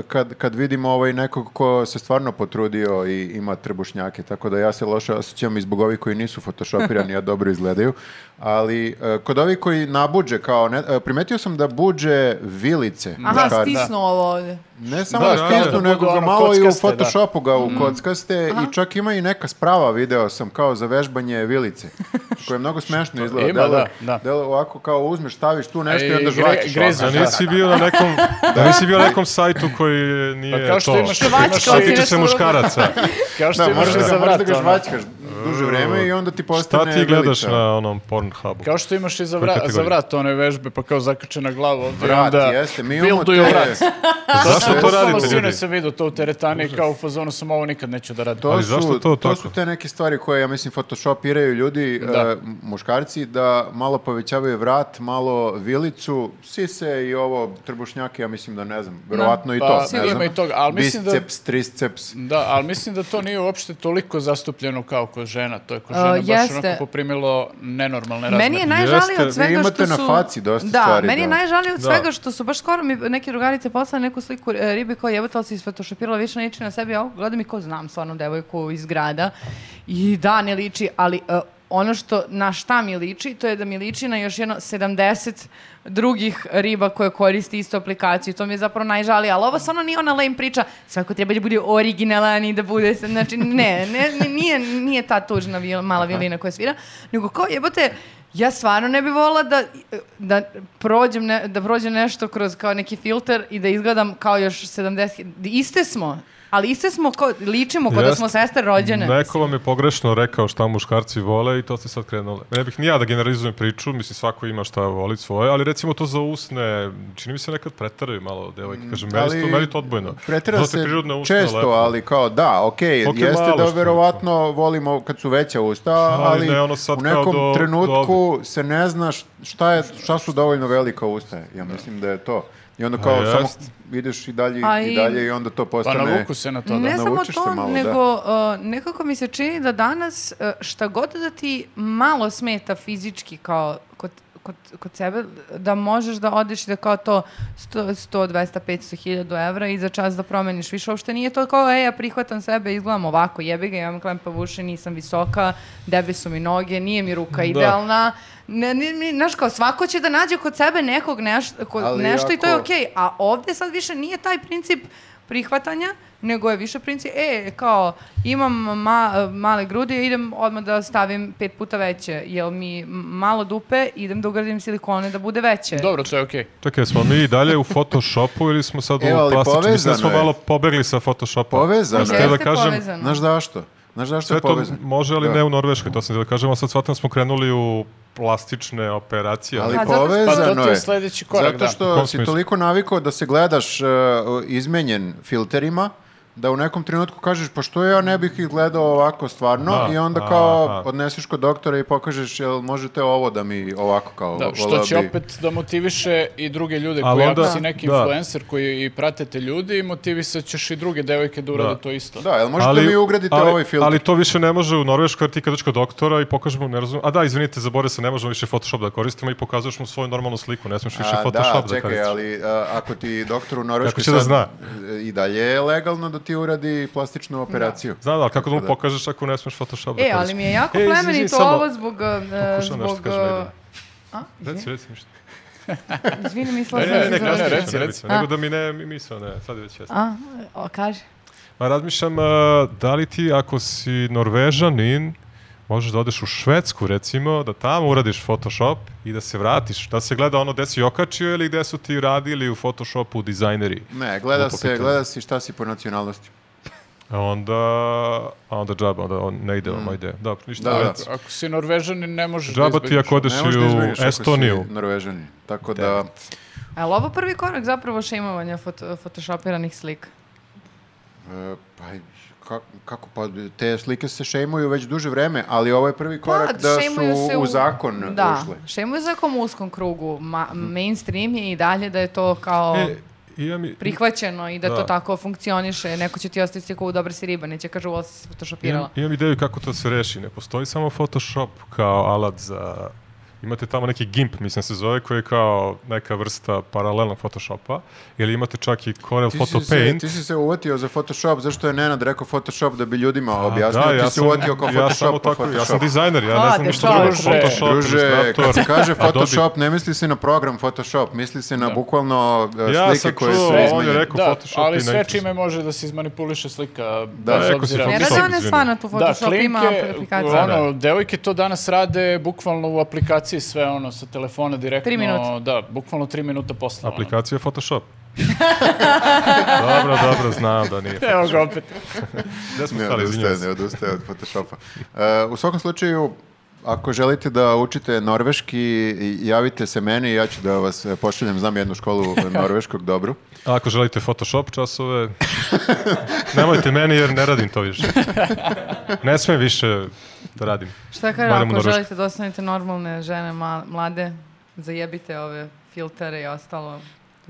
Speaker 1: kad, kad vidim ovaj nekog ko se stvarno potrudio i ima trbušnjake, tako da ja se loše osjećam i zbog ovih koji nisu photoshopirani, a dobro izgledaju, ali e, kod ovih koji nabuđe, kao, ne, e, primetio sam da buđe vilice.
Speaker 2: Da,
Speaker 3: aha,
Speaker 1: muškarci.
Speaker 3: stisnu ovo ovde.
Speaker 1: Ne samo
Speaker 4: Da,
Speaker 1: da,
Speaker 4: da,
Speaker 1: stisnu,
Speaker 4: da.
Speaker 1: nego ga
Speaker 4: Ono,
Speaker 1: malo i u
Speaker 4: kockaste, da.
Speaker 1: Photoshopu ga u kockaste i čak ima i neka sprava, video sam, kao za vežbanje vilice, koje je mnogo smešno izgleda.
Speaker 4: Ima,
Speaker 1: Deluje-
Speaker 4: da, da.
Speaker 1: deluje ovako kao uzmeš, staviš tu nešto i
Speaker 4: Ej,
Speaker 1: onda
Speaker 4: gre-
Speaker 1: žvaćeš.
Speaker 4: greze.
Speaker 2: Da
Speaker 1: ovako.
Speaker 4: Da,
Speaker 2: nisi bio na nekom, da nisi bio na nekom sajtu koji
Speaker 4: Pa
Speaker 2: nije
Speaker 4: kao što
Speaker 2: to.
Speaker 4: imaš,
Speaker 3: Švačka,
Speaker 4: imaš,
Speaker 3: Švačka,
Speaker 2: A tiče
Speaker 4: i-
Speaker 3: Odsiraš
Speaker 2: se
Speaker 3: u ruku.
Speaker 2: muškaraca.
Speaker 4: kao što
Speaker 1: Da,
Speaker 4: imaš
Speaker 1: možeš
Speaker 4: i za
Speaker 1: da, možeš da
Speaker 4: vrat,
Speaker 1: ga
Speaker 4: ono.
Speaker 1: žvaćkaš. duže vreme i onda ti postane
Speaker 2: Šta ti gledaš
Speaker 1: vilica.
Speaker 2: na onom Pornhubu?
Speaker 4: Kao što imaš i za,
Speaker 2: Koje
Speaker 4: vra, za
Speaker 2: kategorije?
Speaker 4: vrat one vežbe, pa kao zakačena glava ovde. i
Speaker 1: Vrat,
Speaker 4: onda
Speaker 1: jeste. Mi imamo
Speaker 4: Bilduju
Speaker 1: te-
Speaker 4: vrat.
Speaker 2: Zašto to
Speaker 1: Bukvalno
Speaker 2: radite ljudi?
Speaker 4: Sine sam vidio to u teretani i kao u fazonu sam ovo nikad neću da radim.
Speaker 1: To
Speaker 2: Ali
Speaker 1: su,
Speaker 2: zašto to
Speaker 1: to,
Speaker 2: tako?
Speaker 1: su te neke stvari koje, ja mislim, photoshopiraju ljudi,
Speaker 4: Da.
Speaker 1: e, muškarci, da malo povećavaju vrat, malo vilicu, sise i ovo trbušnjake, ja mislim da ne znam, verovatno i
Speaker 4: Pa,
Speaker 1: to, ne
Speaker 4: sigurno
Speaker 1: znam.
Speaker 4: ima i toga, ali mislim da-
Speaker 1: Biceps, triceps.
Speaker 4: Da, ali mislim da to nije uopšte toliko zastupljeno kao kod žena. To je kod žena
Speaker 3: A,
Speaker 4: baš
Speaker 3: jeste.
Speaker 4: onako poprimilo nenormalne razmere.
Speaker 3: Meni je najžalije
Speaker 2: Jeste.
Speaker 3: od svega
Speaker 1: Vi imate
Speaker 3: što su...
Speaker 1: na faci dosta
Speaker 3: da,
Speaker 1: stvari,
Speaker 3: meni je
Speaker 1: da.
Speaker 3: najžalije od
Speaker 2: Da.
Speaker 3: svega što su baš skoro mi neke drugarice poslale neku sliku e, ribe koja jebote, ali si isfotošopirala, više ne liči na sebi. Ja ovo gledam i ko znam stvarno devojku iz grada. I da, ne liči, ali e, ono što na šta mi liči, to je da mi liči na još jedno 70 drugih riba koje koristi istu aplikaciju. To mi je zapravo najžalije, ali ovo stvarno nije ona lame priča. Svako treba da bude originalan i da bude, znači ne, ne, ne- nije, nije ta tužna vil- mala vilina koja svira, nego kao jebote, ja stvarno ne bih volila da, da, prođem ne, da prođe nešto kroz kao neki filter i da izgledam kao još 70... Iste smo, ali iste smo, kao, ličimo kao da
Speaker 2: Jeste.
Speaker 3: smo sestre rođene.
Speaker 2: Neko vam je pogrešno rekao šta muškarci vole i to ste sad krenule. Ne bih ni ja da generalizujem priču, mislim svako ima šta voli svoje, ali recimo to za usne, čini mi se nekad pretaraju malo devojke. Kažem, meni,
Speaker 1: Mm, ali
Speaker 2: su to, meni je to odbojno.
Speaker 1: Pretera
Speaker 2: Zato je
Speaker 1: se
Speaker 2: prirodne usne
Speaker 1: često,
Speaker 2: lepo.
Speaker 1: ali kao da, okej,
Speaker 2: Ok,
Speaker 1: jeste
Speaker 2: malo
Speaker 1: da
Speaker 2: što je
Speaker 1: verovatno volimo kad su veća usta, ali,
Speaker 2: ne, ono sad
Speaker 1: u
Speaker 2: kao
Speaker 1: nekom
Speaker 2: do- do
Speaker 1: trenutku se ne zna š- šta, je, šta su dovoljno velika usta. Ja mislim da je to. I onda kao samo
Speaker 2: jest.
Speaker 1: ideš i dalje
Speaker 3: A
Speaker 1: i
Speaker 3: i-
Speaker 1: dalje i onda to
Speaker 4: Pa
Speaker 1: postane...
Speaker 4: navuku se na to, da.
Speaker 3: Ne samo
Speaker 1: Naučiš se
Speaker 3: to,
Speaker 1: malo, da.
Speaker 3: nego uh, nekako mi se čini da danas uh, šta god da ti malo smeta fizički kao kod, kod, kod sebe, da možeš da odeš i da kao to 100, 100 200, 500, 1000 evra i za čas da promeniš više. Uopšte nije to kao, e, ja prihvatam sebe, izgledam ovako, jebi ga, imam klempa uši, nisam visoka, debe su mi noge, nije mi
Speaker 1: Da.
Speaker 3: ruka idealna. Ne, ne, ne, znaš kao, svako će da nađe kod sebe nekog nešto, kod,
Speaker 1: Ali
Speaker 3: nešto i to je
Speaker 1: ako-
Speaker 3: okej. E, A ovde sad više nije taj princip prihvatanja, nego je više princip, e, kao, imam ma, male grudi, idem odmah da stavim pet puta veće, jel mi m- malo dupe, idem da ugradim silikone da bude veće.
Speaker 4: Dobro, to je okej.
Speaker 2: Čekaj, smo mi i dalje u Photoshopu ili smo sad
Speaker 1: E, ali
Speaker 2: u plastičnom? Mislim da smo
Speaker 1: povezano je.
Speaker 2: malo pobegli sa Photoshopa.
Speaker 1: Povezano
Speaker 2: Hoćete
Speaker 1: je.
Speaker 2: da
Speaker 3: Jeste
Speaker 2: kažem,
Speaker 3: povezano.
Speaker 1: Znaš zašto? Znaš zašto
Speaker 2: sve
Speaker 1: je
Speaker 2: to
Speaker 1: povezano?
Speaker 2: može, ali
Speaker 1: Da.
Speaker 2: ne u Norveškoj, to sam da kažem, a sad shvatam smo krenuli u plastične operacije.
Speaker 1: Ali
Speaker 3: Pa zato što-
Speaker 1: povezano
Speaker 4: Pa to ti je
Speaker 1: je.
Speaker 4: sledeći korak,
Speaker 1: Zato
Speaker 4: da.
Speaker 1: što
Speaker 2: U kom
Speaker 1: si
Speaker 2: smislu?
Speaker 1: toliko navikao da se gledaš uh, izmenjen filterima, da u nekom trenutku kažeš pa što ja ne bih ih gledao ovako stvarno
Speaker 2: Da,
Speaker 1: i onda kao
Speaker 2: aha.
Speaker 1: odneseš kod doktora i pokažeš jel možete ovo da mi ovako kao
Speaker 4: Da, što
Speaker 1: vola
Speaker 4: će
Speaker 1: bi."
Speaker 4: opet da motiviše i druge ljude
Speaker 2: Ali
Speaker 4: koji ako
Speaker 2: onda-
Speaker 4: si neki
Speaker 2: da.
Speaker 4: influencer koji i pratite ljudi, motivisat ćeš i druge devojke da urade
Speaker 2: Da.
Speaker 4: to isto.
Speaker 1: Da, jel možete mi ugraditi
Speaker 2: ali,
Speaker 1: ovaj filter?
Speaker 2: Ali to više ne može u Norveškoj, jer ti kad dođeš kod doktora i pokažeš mu, ne razumem, a da, izvinite, zaboravio sam, ne možemo više Photoshop da koristimo i pokazuješ mu svoju normalnu sliku, ne smiješ više
Speaker 1: A,
Speaker 2: Photoshop
Speaker 1: da,
Speaker 2: da,
Speaker 1: čekaj,
Speaker 2: koristiš.
Speaker 1: ali a, ako ti doktor u Norveškoj
Speaker 2: Kako će da zna?
Speaker 1: e, i dalje je legalno da ti uradi plastičnu operaciju.
Speaker 2: Znam da, ali kako da mu pokažeš ako ne smiješ Photoshop da
Speaker 3: E,
Speaker 2: koristiš?
Speaker 3: ali mi je jako
Speaker 2: E, izvini,
Speaker 3: plemenito
Speaker 2: samo-
Speaker 3: ovo zbog... Uh,
Speaker 2: Pokušavam nešto
Speaker 3: zbog
Speaker 2: kažem, ajde.
Speaker 3: uh, a,
Speaker 2: Reci, reci ništa.
Speaker 3: izvini, mislila
Speaker 4: Ne,
Speaker 3: sam
Speaker 4: ne,
Speaker 3: da
Speaker 4: ne,
Speaker 3: si
Speaker 4: ne,
Speaker 3: završila.
Speaker 4: ne, reci,
Speaker 2: nebitno,
Speaker 4: reci.
Speaker 2: Nego da mi ne, mi misao ne, sad je već jasno.
Speaker 3: A, o, kaži.
Speaker 2: Ma razmišljam, e, da li ti ako si Norvežanin, možeš da odeš u Švedsku recimo, da tamo uradiš Photoshop i da se vratiš, da se gleda ono gde si okačio ili gde su ti radili u Photoshopu dizajneri.
Speaker 1: Ne, gleda
Speaker 2: Glupo
Speaker 1: se,
Speaker 2: pitanje.
Speaker 1: gleda se šta si po nacionalnosti.
Speaker 2: A E onda, a onda džaba, onda on ne ide ovamo ide. Da, ništa
Speaker 1: Da,
Speaker 2: da,
Speaker 1: da.
Speaker 2: reci.
Speaker 4: Ako si Norvežanin, ne možeš da
Speaker 2: Džaba ti
Speaker 4: izbegneš.
Speaker 2: ako odeš
Speaker 1: Ne
Speaker 2: i
Speaker 1: možeš da izbjegneš
Speaker 2: u
Speaker 1: ako si
Speaker 2: Estoniju.
Speaker 1: Norvežanin. Tako da,
Speaker 3: A jel ovo prvi korak zapravo šeimovanja foto, photoshopiranih slika?
Speaker 1: E, pa, ka- kako, pa te slike se šejmuju već duže vreme, ali ovo je prvi korak da,
Speaker 3: Pa, šejmuju
Speaker 1: su
Speaker 3: se
Speaker 1: u, zakon Mhm.
Speaker 3: da,
Speaker 1: ušle.
Speaker 3: šejmuju se u nekom uskom krugu. Ma, mainstream je i dalje da je to kao
Speaker 2: E, imam i-
Speaker 3: prihvaćeno i da,
Speaker 2: da.
Speaker 3: to tako funkcioniše. Neko će ti ostaviti sliku u dobar si riba, neće kažu ovo si se photoshopirala.
Speaker 2: Imam, imam ideju kako to se reši. Ne postoji samo Photoshop kao alat za... Imate tamo neki GIMP, mislim se zove, koji je kao neka vrsta paralelnog Photoshopa. Ili imate čak i Corel
Speaker 1: Ti si, se,
Speaker 2: Photopaint.
Speaker 1: ti si se uvatio za Photoshop, zašto je Nenad rekao Photoshop da bi ljudima
Speaker 2: A,
Speaker 1: objasnio,
Speaker 2: da,
Speaker 1: ti
Speaker 2: ja
Speaker 1: si
Speaker 2: sam-
Speaker 1: uvatio kao
Speaker 2: ja
Speaker 1: Photoshop
Speaker 2: samo
Speaker 1: po
Speaker 2: tako, ja sam
Speaker 1: Photoshopu.
Speaker 2: dizajner, ja ne
Speaker 3: A,
Speaker 2: znam
Speaker 3: te
Speaker 2: ništa drugo.
Speaker 3: čoveče.
Speaker 2: Photoshop,
Speaker 1: Druže,
Speaker 2: Illustrator,
Speaker 1: kad se kaže
Speaker 2: Adobe.
Speaker 1: Photoshop, ne misli se na program Photoshop, misli se na bukvalno e,
Speaker 2: Da. Ja
Speaker 1: slike
Speaker 2: sam
Speaker 1: koje
Speaker 2: čuo,
Speaker 1: su
Speaker 2: on je
Speaker 1: izmenjene.
Speaker 2: rekao-
Speaker 4: Da,
Speaker 2: Photoshop i
Speaker 4: ali
Speaker 2: na
Speaker 4: sve
Speaker 2: internetu.
Speaker 4: čime može da se izmanipuliše slika,
Speaker 1: Da,
Speaker 4: bez
Speaker 2: rekao si
Speaker 4: obzira...
Speaker 2: Photoshop.
Speaker 3: Ne
Speaker 2: Photoshop,
Speaker 3: rade one
Speaker 2: izvini. da.
Speaker 3: stvarno tu
Speaker 4: Da,
Speaker 3: Photoshop, ima
Speaker 4: klinke,
Speaker 3: aplikaciju.
Speaker 4: ono, devojke to danas rade bukvalno u aplikaciji sve ono, sa telefona direktno.
Speaker 3: Tri minuta.
Speaker 4: Da, bukvalno tri minuta posla. ono.
Speaker 2: Aplikacija Photoshop. Dobro, dobro, znam da nije.
Speaker 4: Evo ga opet.
Speaker 2: Gde smo
Speaker 1: Ne
Speaker 2: stali, izvinjam
Speaker 1: odustaje,
Speaker 2: se.
Speaker 1: ne odustaje od Photoshopa. E, u svakom slučaju, ako želite da učite norveški, javite se meni, ja ću da vas e, pošaljem, znam jednu školu norveškog dobru.
Speaker 2: A ako želite Photoshop časove, nemojte meni jer ne radim to više. Ne smem više da radim.
Speaker 3: Šta kaže,
Speaker 2: Barem u
Speaker 3: ako
Speaker 2: Norveškoj.
Speaker 3: želite da ostanete normalne žene ma- mlade, zajebite ove filtere i ostalo.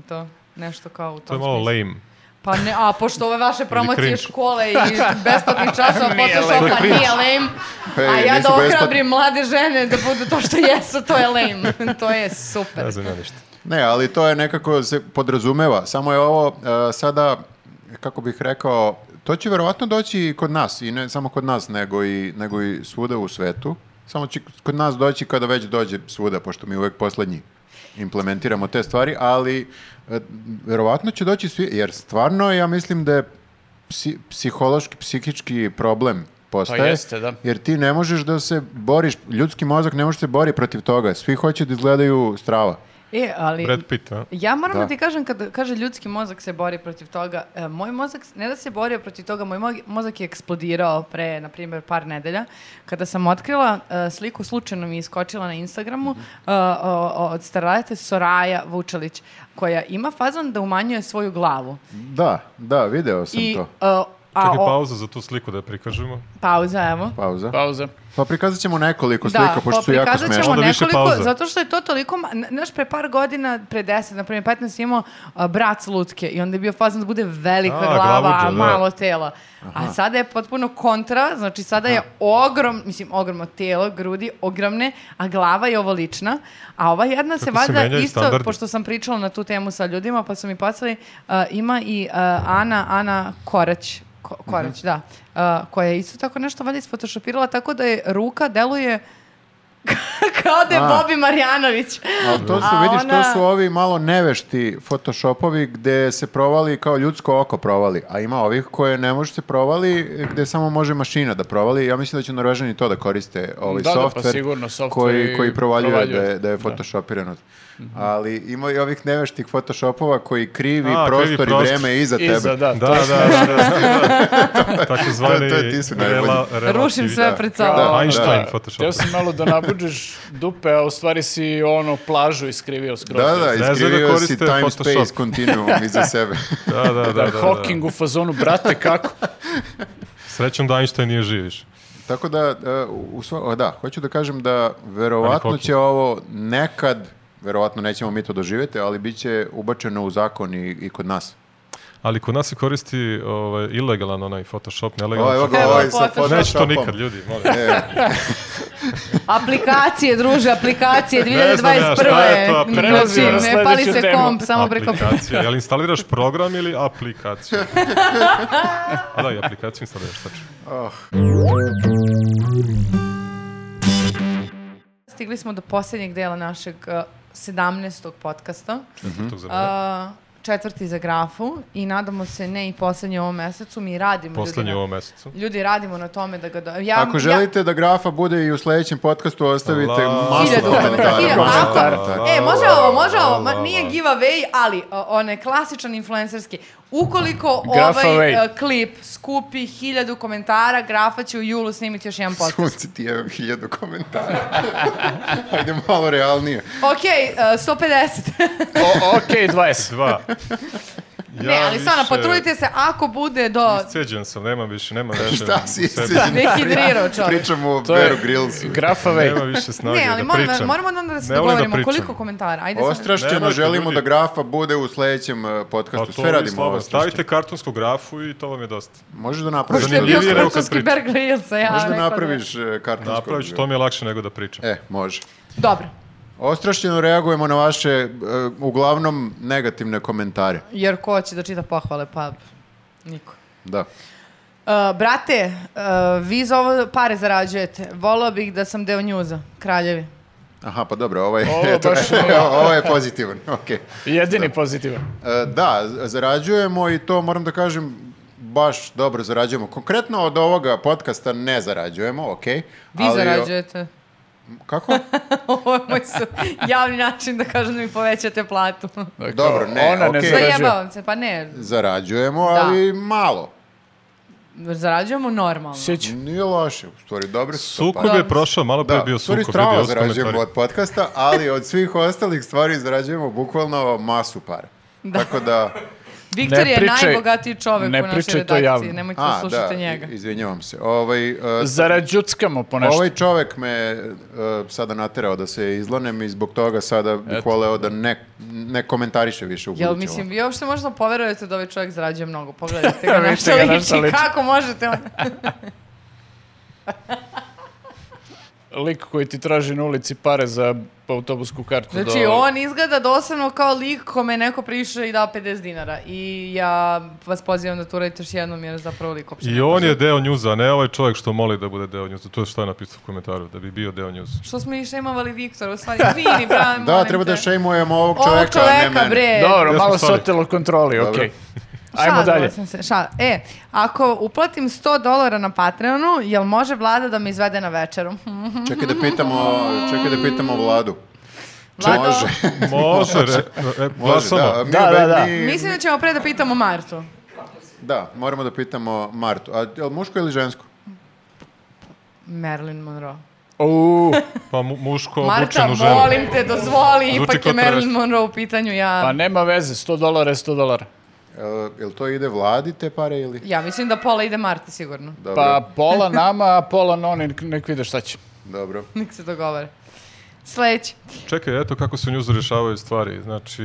Speaker 3: To nešto kao u tom
Speaker 2: To je malo
Speaker 3: smislu.
Speaker 2: lame.
Speaker 3: Pa ne, a pošto ove vaše promocije
Speaker 2: cringe.
Speaker 3: škole i besplatnih časova
Speaker 4: Nije
Speaker 2: lame.
Speaker 3: Photoshopa
Speaker 2: To je
Speaker 3: nije lame,
Speaker 1: Hej,
Speaker 3: a ja
Speaker 1: nisu
Speaker 3: da
Speaker 1: besplatni.
Speaker 3: ohrabrim mlade žene da budu to što jesu, to je lame. to je super.
Speaker 2: Ne znam ja ništa.
Speaker 1: Ne, ali to je nekako se podrazumeva. Samo je ovo e, sada, kako bih rekao, to će verovatno doći i kod nas, i ne samo kod nas, nego i, nego i svuda u svetu. Samo će kod nas doći kada već dođe svuda, pošto mi uvek poslednji implementiramo te stvari, ali e, verovatno će doći svi, jer stvarno ja mislim da je psi- psihološki, psihički problem postaje.
Speaker 4: jeste, da.
Speaker 1: Jer ti ne možeš da se boriš, ljudski mozak ne može da se bori protiv toga. Svi hoće da izgledaju strava.
Speaker 3: E, ali...
Speaker 2: Brad Pitt, a?
Speaker 3: Ja moram da.
Speaker 1: Da.
Speaker 3: ti kažem, kada kaže ljudski mozak se bori protiv toga, e, moj mozak, s- ne da se borio protiv toga, moj mo- mozak je eksplodirao pre, na primjer, par nedelja, kada sam otkrila e, sliku, slučajno mi je iskočila na Instagramu, e, o- o- od starajete Soraja Vučalić, koja ima fazan da umanjuje svoju glavu.
Speaker 1: Da, da, video sam
Speaker 3: I,
Speaker 1: to.
Speaker 3: e, a
Speaker 2: Čekaj,
Speaker 3: o-
Speaker 2: pauza za tu sliku da je prikažemo.
Speaker 3: pauza, evo.
Speaker 1: Pauza.
Speaker 4: Pauza.
Speaker 1: Pa prikazat ćemo nekoliko slika, pošto su jako
Speaker 3: Da, pa prikazat
Speaker 1: smešne.
Speaker 3: ćemo
Speaker 2: Onda više pauza.
Speaker 3: zato što je to toliko, ma- n- znaš, pre par godina, pre 10, na primjer 15, imao a, brat lutke i onda je bio fazan da bude velika
Speaker 2: A,
Speaker 3: glava,
Speaker 2: glavuđa,
Speaker 3: a
Speaker 2: da.
Speaker 3: malo tela. A sada je potpuno kontra, znači sada je ogrom, mislim, ogromno telo, grudi, ogromne, a glava je ovolična. A ova jedna se
Speaker 2: Kako se
Speaker 3: valjda
Speaker 2: menjaju
Speaker 3: isto,
Speaker 2: standardi?
Speaker 3: pošto sam pričala na tu temu sa ljudima, pa su mi poslali, a, ima i a, Ana, Ana Korać, Ko- Korać,
Speaker 2: Mhm.
Speaker 3: da, a, koja je isto tako nešto valjda isfotoshopirala, tako da je ruka deluje kao da je
Speaker 1: A.
Speaker 3: Bobi Marjanović.
Speaker 1: Ali to su,
Speaker 3: A
Speaker 1: vidiš,
Speaker 3: ona-
Speaker 1: to su ovi malo nevešti photoshopovi gde se provali kao ljudsko oko provali, a ima ovih koje ne može se provali gde samo može mašina da provali. Ja mislim da će Norvežani to da koriste ovaj
Speaker 4: Da, da, pa
Speaker 1: softver,
Speaker 4: sigurno, softver
Speaker 1: koji,
Speaker 4: i
Speaker 1: koji provaljuje,
Speaker 4: provaljuje.
Speaker 1: da je, da je
Speaker 4: Da. Mhm.
Speaker 1: photoshopirano. Ali ima i ovih neveštih photoshopova koji krivi
Speaker 2: A, krivi
Speaker 1: prostor i
Speaker 2: prostor.
Speaker 1: vreme iza tebe.
Speaker 4: Iza, da.
Speaker 2: Da, da, da, da. Tako zvani
Speaker 1: To- to je ti su najbolji.
Speaker 3: Rušim sve pred sobom.
Speaker 1: Da,
Speaker 2: Einstein
Speaker 1: da.
Speaker 2: Photoshop.
Speaker 4: Teo sam malo da nabuđeš dupe, a u stvari si ono plažu iskrivio skroz.
Speaker 1: Da, da,
Speaker 2: Zezaj da
Speaker 1: iskrivio si
Speaker 2: koriste
Speaker 1: time
Speaker 2: Photoshop.
Speaker 1: space continuum iza sebe.
Speaker 2: Da, da, da. da, da.
Speaker 4: Hawking u fazonu, brate, kako?
Speaker 2: Srećom da Einstein nije živiš.
Speaker 1: Tako da, e, u sva- o, da, hoću da kažem da verovatno
Speaker 2: Ali hoki.
Speaker 1: će ovo nekad, verovatno nećemo mi to doživjeti, ali bit će ubačeno u zakon i, i kod nas.
Speaker 2: Ali kod nas se koristi ovaj, ilegalan onaj Photoshop,
Speaker 1: O,
Speaker 2: nelegalan
Speaker 1: evo ga
Speaker 3: Evo,
Speaker 1: ovaj sa
Speaker 3: Photoshop.
Speaker 2: Neće to
Speaker 1: Photoshopom.
Speaker 2: nikad, ljudi, molim.
Speaker 1: E,
Speaker 3: Aplikacije, druže, aplikacije, 2021.
Speaker 2: Ne znam ja, šta je to aplikacija?
Speaker 3: Znači, ne pali
Speaker 4: Sledeću
Speaker 3: se
Speaker 4: temu.
Speaker 3: komp, samo preko...
Speaker 2: Aplikacija. Jel instaliraš program ili aplikaciju? A da, i aplikaciju instaliraš, tačno.
Speaker 3: Stigli smo do posljednjeg dela našeg uh, 17. podcasta.
Speaker 1: Mhm.
Speaker 2: Četvrtog za mene.
Speaker 3: Uh, četvrti za grafu i nadamo se ne i poslednji u ovom mesecu. Mi radimo
Speaker 2: Poslednji
Speaker 3: ljudi.
Speaker 2: u
Speaker 3: na-
Speaker 2: ovom mesecu.
Speaker 3: Ljudi radimo na tome da ga... Do... Ja,
Speaker 1: Ako želite da grafa bude i u sljedećem podcastu, ostavite
Speaker 2: La-
Speaker 1: masu
Speaker 3: Hiljadu komentara,
Speaker 1: komentara.
Speaker 3: hiljadu.
Speaker 1: masu
Speaker 3: Ako-
Speaker 1: komentara.
Speaker 3: E, može ovo, može ovo. Ma,
Speaker 2: la,
Speaker 3: nije
Speaker 2: la.
Speaker 3: giveaway, ali o, onaj klasičan influencerski. Ukoliko
Speaker 4: Graf
Speaker 3: ovaj
Speaker 4: away.
Speaker 3: e, klip skupi hiljadu komentara, Grafa će u julu snimiti još jedan podcast.
Speaker 1: Sunce ti jevem hiljadu komentara. Ajde malo realnije.
Speaker 3: Ok, e, 150.
Speaker 4: O, okej, 20.
Speaker 2: Dva.
Speaker 3: ne, ali stvarno,
Speaker 2: više
Speaker 3: potrudite se ako bude do...
Speaker 2: Isceđen sam, nemam više, nema više.
Speaker 1: Šta si
Speaker 2: u sebi.
Speaker 1: isceđen?
Speaker 3: Dehidrirao Da, čovjek.
Speaker 1: Pričamo o
Speaker 4: To je
Speaker 1: Beru Grillsu.
Speaker 4: grafavej.
Speaker 2: Nema više snage
Speaker 3: Ne, ali
Speaker 2: da
Speaker 3: moram,
Speaker 2: pričam.
Speaker 3: moramo onda da se
Speaker 2: Ne volim da
Speaker 3: dogovorimo
Speaker 2: pričam.
Speaker 3: koliko komentara. Ajde sad.
Speaker 1: Ostrašćeno
Speaker 2: Nemojte,
Speaker 1: želimo
Speaker 2: ljudi.
Speaker 1: da grafa bude u sljedećem eh,
Speaker 2: Pa
Speaker 1: podcastu.
Speaker 2: to
Speaker 1: Sve
Speaker 2: vi
Speaker 1: radimo ovo.
Speaker 2: slobodno. Stavite
Speaker 1: Stavite...
Speaker 2: kartonsku grafu i to vam je dosta.
Speaker 1: Možeš da napraviš.
Speaker 3: Pošto je bio
Speaker 2: Zanimljivije nego kad
Speaker 3: francuski
Speaker 2: pričam.
Speaker 3: Bear Grylls, a ja
Speaker 1: Možeš da
Speaker 3: rekla
Speaker 1: napraviš eh, kartonsko.
Speaker 2: Napravit ću, to mi je lakše nego da pričam.
Speaker 1: E, može.
Speaker 3: Dobro.
Speaker 1: Ostrašćeno reagujemo na vaše, eh, uglavnom, negativne komentare.
Speaker 3: Jer ko će da čita pohvale, pa niko.
Speaker 1: Da.
Speaker 3: Uh, brate, uh, vi za ovo pare zarađujete. Volao bih da sam deo njuza, kraljevi.
Speaker 1: Aha, pa dobro, ovaj,
Speaker 4: Ovo
Speaker 1: eto,
Speaker 4: baš
Speaker 1: evo,
Speaker 4: nije.
Speaker 1: ovo je pozitivan. okej.
Speaker 4: Jedini pozitivan.
Speaker 1: Eh, da, z- zarađujemo i to moram da kažem baš dobro zarađujemo. Konkretno od ovoga podcasta ne zarađujemo, ok.
Speaker 3: Vi zarađujete.
Speaker 1: Kako?
Speaker 3: Ovo je moj su javni način da kažem da mi povećate platu.
Speaker 4: Dakle,
Speaker 1: Dobro, ne,
Speaker 4: ona
Speaker 1: okej.
Speaker 4: ne zarađuje.
Speaker 3: Zajebavam se, pa ne,
Speaker 1: Zarađujemo,
Speaker 3: Da.
Speaker 1: ali malo.
Speaker 3: zarađujemo normalno.
Speaker 4: Sić.
Speaker 1: Nije loše, u stvari, dobro su to pa-
Speaker 2: Sukob
Speaker 1: pare.
Speaker 2: je prošao, malo pre je bio
Speaker 1: Da. u stvari
Speaker 2: sukob.
Speaker 1: strava
Speaker 2: vidio sam
Speaker 1: zarađujemo
Speaker 2: komentare.
Speaker 1: od podcasta, ali od svih ostalih stvari zarađujemo bukvalno masu para. Tako da,
Speaker 3: Viktor
Speaker 4: Ne
Speaker 3: je
Speaker 4: pričaj-
Speaker 3: najbogatiji čovek
Speaker 4: ne
Speaker 3: u našoj
Speaker 4: pričaj to
Speaker 3: redakciji,
Speaker 4: javno.
Speaker 3: nemojte da
Speaker 1: a, da,
Speaker 3: slušate njega.
Speaker 1: i- izvinjavam se. Ovaj, uh,
Speaker 4: da Zarađuckamo po nešto.
Speaker 1: ovaj čovek me uh, sada naterao da se izlanem i zbog toga sada bih voleo da ne, ne komentariše više u budućem.
Speaker 3: Jel, mislim, vi uopšte možda poverujete da ovaj čovjek zarađuje mnogo. Pogledajte ga
Speaker 4: Vidite
Speaker 3: na što
Speaker 4: ga na šta
Speaker 3: liči.
Speaker 4: liči.
Speaker 3: Kako možete? on-
Speaker 4: Lik koji ti traži na ulici pare za autobusku kartu.
Speaker 3: Znači,
Speaker 4: do-
Speaker 3: on izgleda doslovno kao lik kome je neko prišao i dao 50 dinara. I ja vas pozivam da to uradite još jednom, jer zapravo lik uopšte.
Speaker 2: I on je deo njuza, ne ovaj čovjek što moli da bude deo njuza. To je što je napisao u komentaru, da bi bio deo njuza.
Speaker 3: Što smo i šemovali Viktora, u stvari, izvini, bravo, molim
Speaker 1: Da, treba da
Speaker 3: te.
Speaker 1: šejmujemo ovog čoveka,
Speaker 3: Ovog
Speaker 1: a ne
Speaker 3: čoveka,
Speaker 1: mene.
Speaker 3: bre.
Speaker 2: Ja
Speaker 4: Dobro,
Speaker 2: smo
Speaker 4: malo se
Speaker 2: stali.
Speaker 4: otelo kontroli, okej.
Speaker 1: Dobro.
Speaker 4: Ajmo
Speaker 3: Šalila
Speaker 4: dalje.
Speaker 3: sam se, šal- E, ako uplatim 100 dolara na Patreonu, jel može vlada da me izvede na večeru?
Speaker 1: Čekaj da pitamo, čekaj da pitamo vladu.
Speaker 3: Vlado,
Speaker 1: Može.
Speaker 2: Može, re, re, e,
Speaker 1: Može,
Speaker 2: glasamo.
Speaker 1: da, mi
Speaker 4: Da, da, da.
Speaker 1: mi-
Speaker 3: Mislim da ćemo pre da pitamo Martu.
Speaker 1: Da, moramo da pitamo Martu. A je li muško ili žensko?
Speaker 3: Marilyn Monroe.
Speaker 4: Uuu,
Speaker 2: Pa mu, muško
Speaker 3: Marta,
Speaker 2: obučenu ženu.
Speaker 3: molim te, dozvoli,
Speaker 2: Zvuči
Speaker 3: ipak
Speaker 2: kao
Speaker 3: je Marilyn
Speaker 2: terorist.
Speaker 3: Monroe u pitanju, ja...
Speaker 4: pa nema veze, 100 dolara je 100 dolara.
Speaker 1: Jel, jel to ide vladi te pare ili?
Speaker 3: Ja mislim da pola ide Marti sigurno.
Speaker 1: Dobro,
Speaker 4: Pa pola nama, a pola noni, nek vide šta će.
Speaker 1: dobro.
Speaker 3: Nek se dogovore. Sledeći.
Speaker 2: Čekaj, eto kako se u njuzu rješavaju stvari. Znači,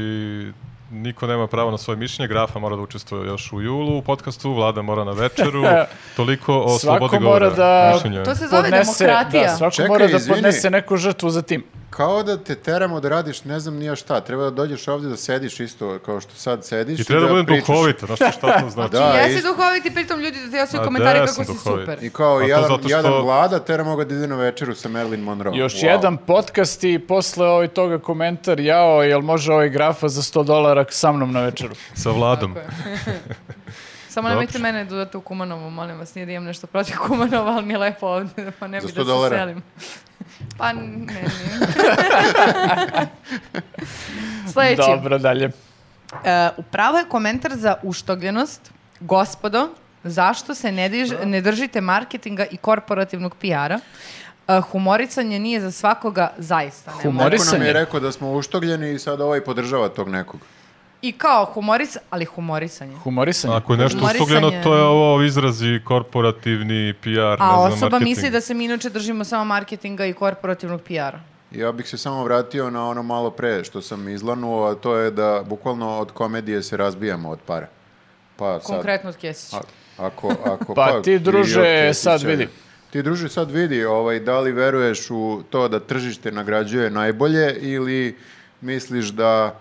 Speaker 2: niko nema pravo na svoje mišljenje, Grafa mora da učestvuje još u julu u podcastu, Vlada mora na večeru, toliko o
Speaker 4: Svako
Speaker 2: slobodi
Speaker 4: mora
Speaker 2: govora.
Speaker 4: da-
Speaker 2: mišljenja.
Speaker 3: To se zove demokratija.
Speaker 4: Da, svako
Speaker 1: Čekaj,
Speaker 4: mora da
Speaker 1: izvini.
Speaker 4: podnese neku žrtvu za tim.
Speaker 1: Kao da te teramo da radiš ne znam nija šta. Treba da dođeš ovdje da sediš isto kao što sad sediš.
Speaker 2: I treba da budem
Speaker 1: pričaš.
Speaker 2: duhovita, znaš šta to znači.
Speaker 1: Da,
Speaker 3: ja si
Speaker 1: isto.
Speaker 3: duhoviti, pritom ljudi da ti
Speaker 2: A
Speaker 3: jasno
Speaker 2: da,
Speaker 3: komentari
Speaker 2: ja
Speaker 3: kako
Speaker 2: sam
Speaker 3: si
Speaker 2: duhovit.
Speaker 1: I
Speaker 3: super.
Speaker 1: kao
Speaker 2: A to
Speaker 1: jedan,
Speaker 2: zato što-
Speaker 1: jedan vlada teramo ga da ide na večeru sa Marilyn Monroe.
Speaker 4: Još
Speaker 1: Oh, Wow.
Speaker 4: jedan podcast i posle ovaj toga komentar, jao, jel može ovaj grafa za 100 dolara sa mnom na večeru?
Speaker 2: Sa Vladom.
Speaker 3: Tako je. Samo nemojte mene da dodate u Kumanovo, molim vas, nije da imam nešto protiv Kumanova, ali mi je lepo ovde, pa ne
Speaker 1: Za
Speaker 3: bi
Speaker 1: 100
Speaker 3: da se
Speaker 1: dolara.
Speaker 3: selim. Pa ne, ne. Sledeći.
Speaker 4: Dobro, dalje.
Speaker 3: E, upravo je komentar za uštogljenost. Gospodo, zašto se ne, diž- ne držite marketinga i korporativnog PR-a? E, humoricanje nije za svakoga zaista. ne
Speaker 4: Humor-
Speaker 1: Neko nam
Speaker 4: Morisanje.
Speaker 1: je rekao da smo uštogljeni i sad ovaj podržava tog nekog.
Speaker 3: I kao humoric, ali humorisanje.
Speaker 4: Humorisanje.
Speaker 2: Ako je nešto
Speaker 3: Humorisanje.
Speaker 2: ustugljeno, to je ovo izrazi korporativni PR, ne znam,
Speaker 3: A osoba
Speaker 2: marketing.
Speaker 3: misli da se mi inače držimo samo marketinga i korporativnog PR-a.
Speaker 1: Ja bih se samo vratio na ono malo pre što sam izlanuo, a to je da bukvalno od komedije se razbijamo od para. Pa sad,
Speaker 3: Konkretno od Kesića.
Speaker 1: a- ako, ako,
Speaker 4: Pa ti,
Speaker 1: i od
Speaker 4: druže,
Speaker 1: Kesića.
Speaker 4: sad vidi.
Speaker 1: Ti druže sad vidi, ovaj, da li veruješ u to da tržište nagrađuje najbolje ili misliš da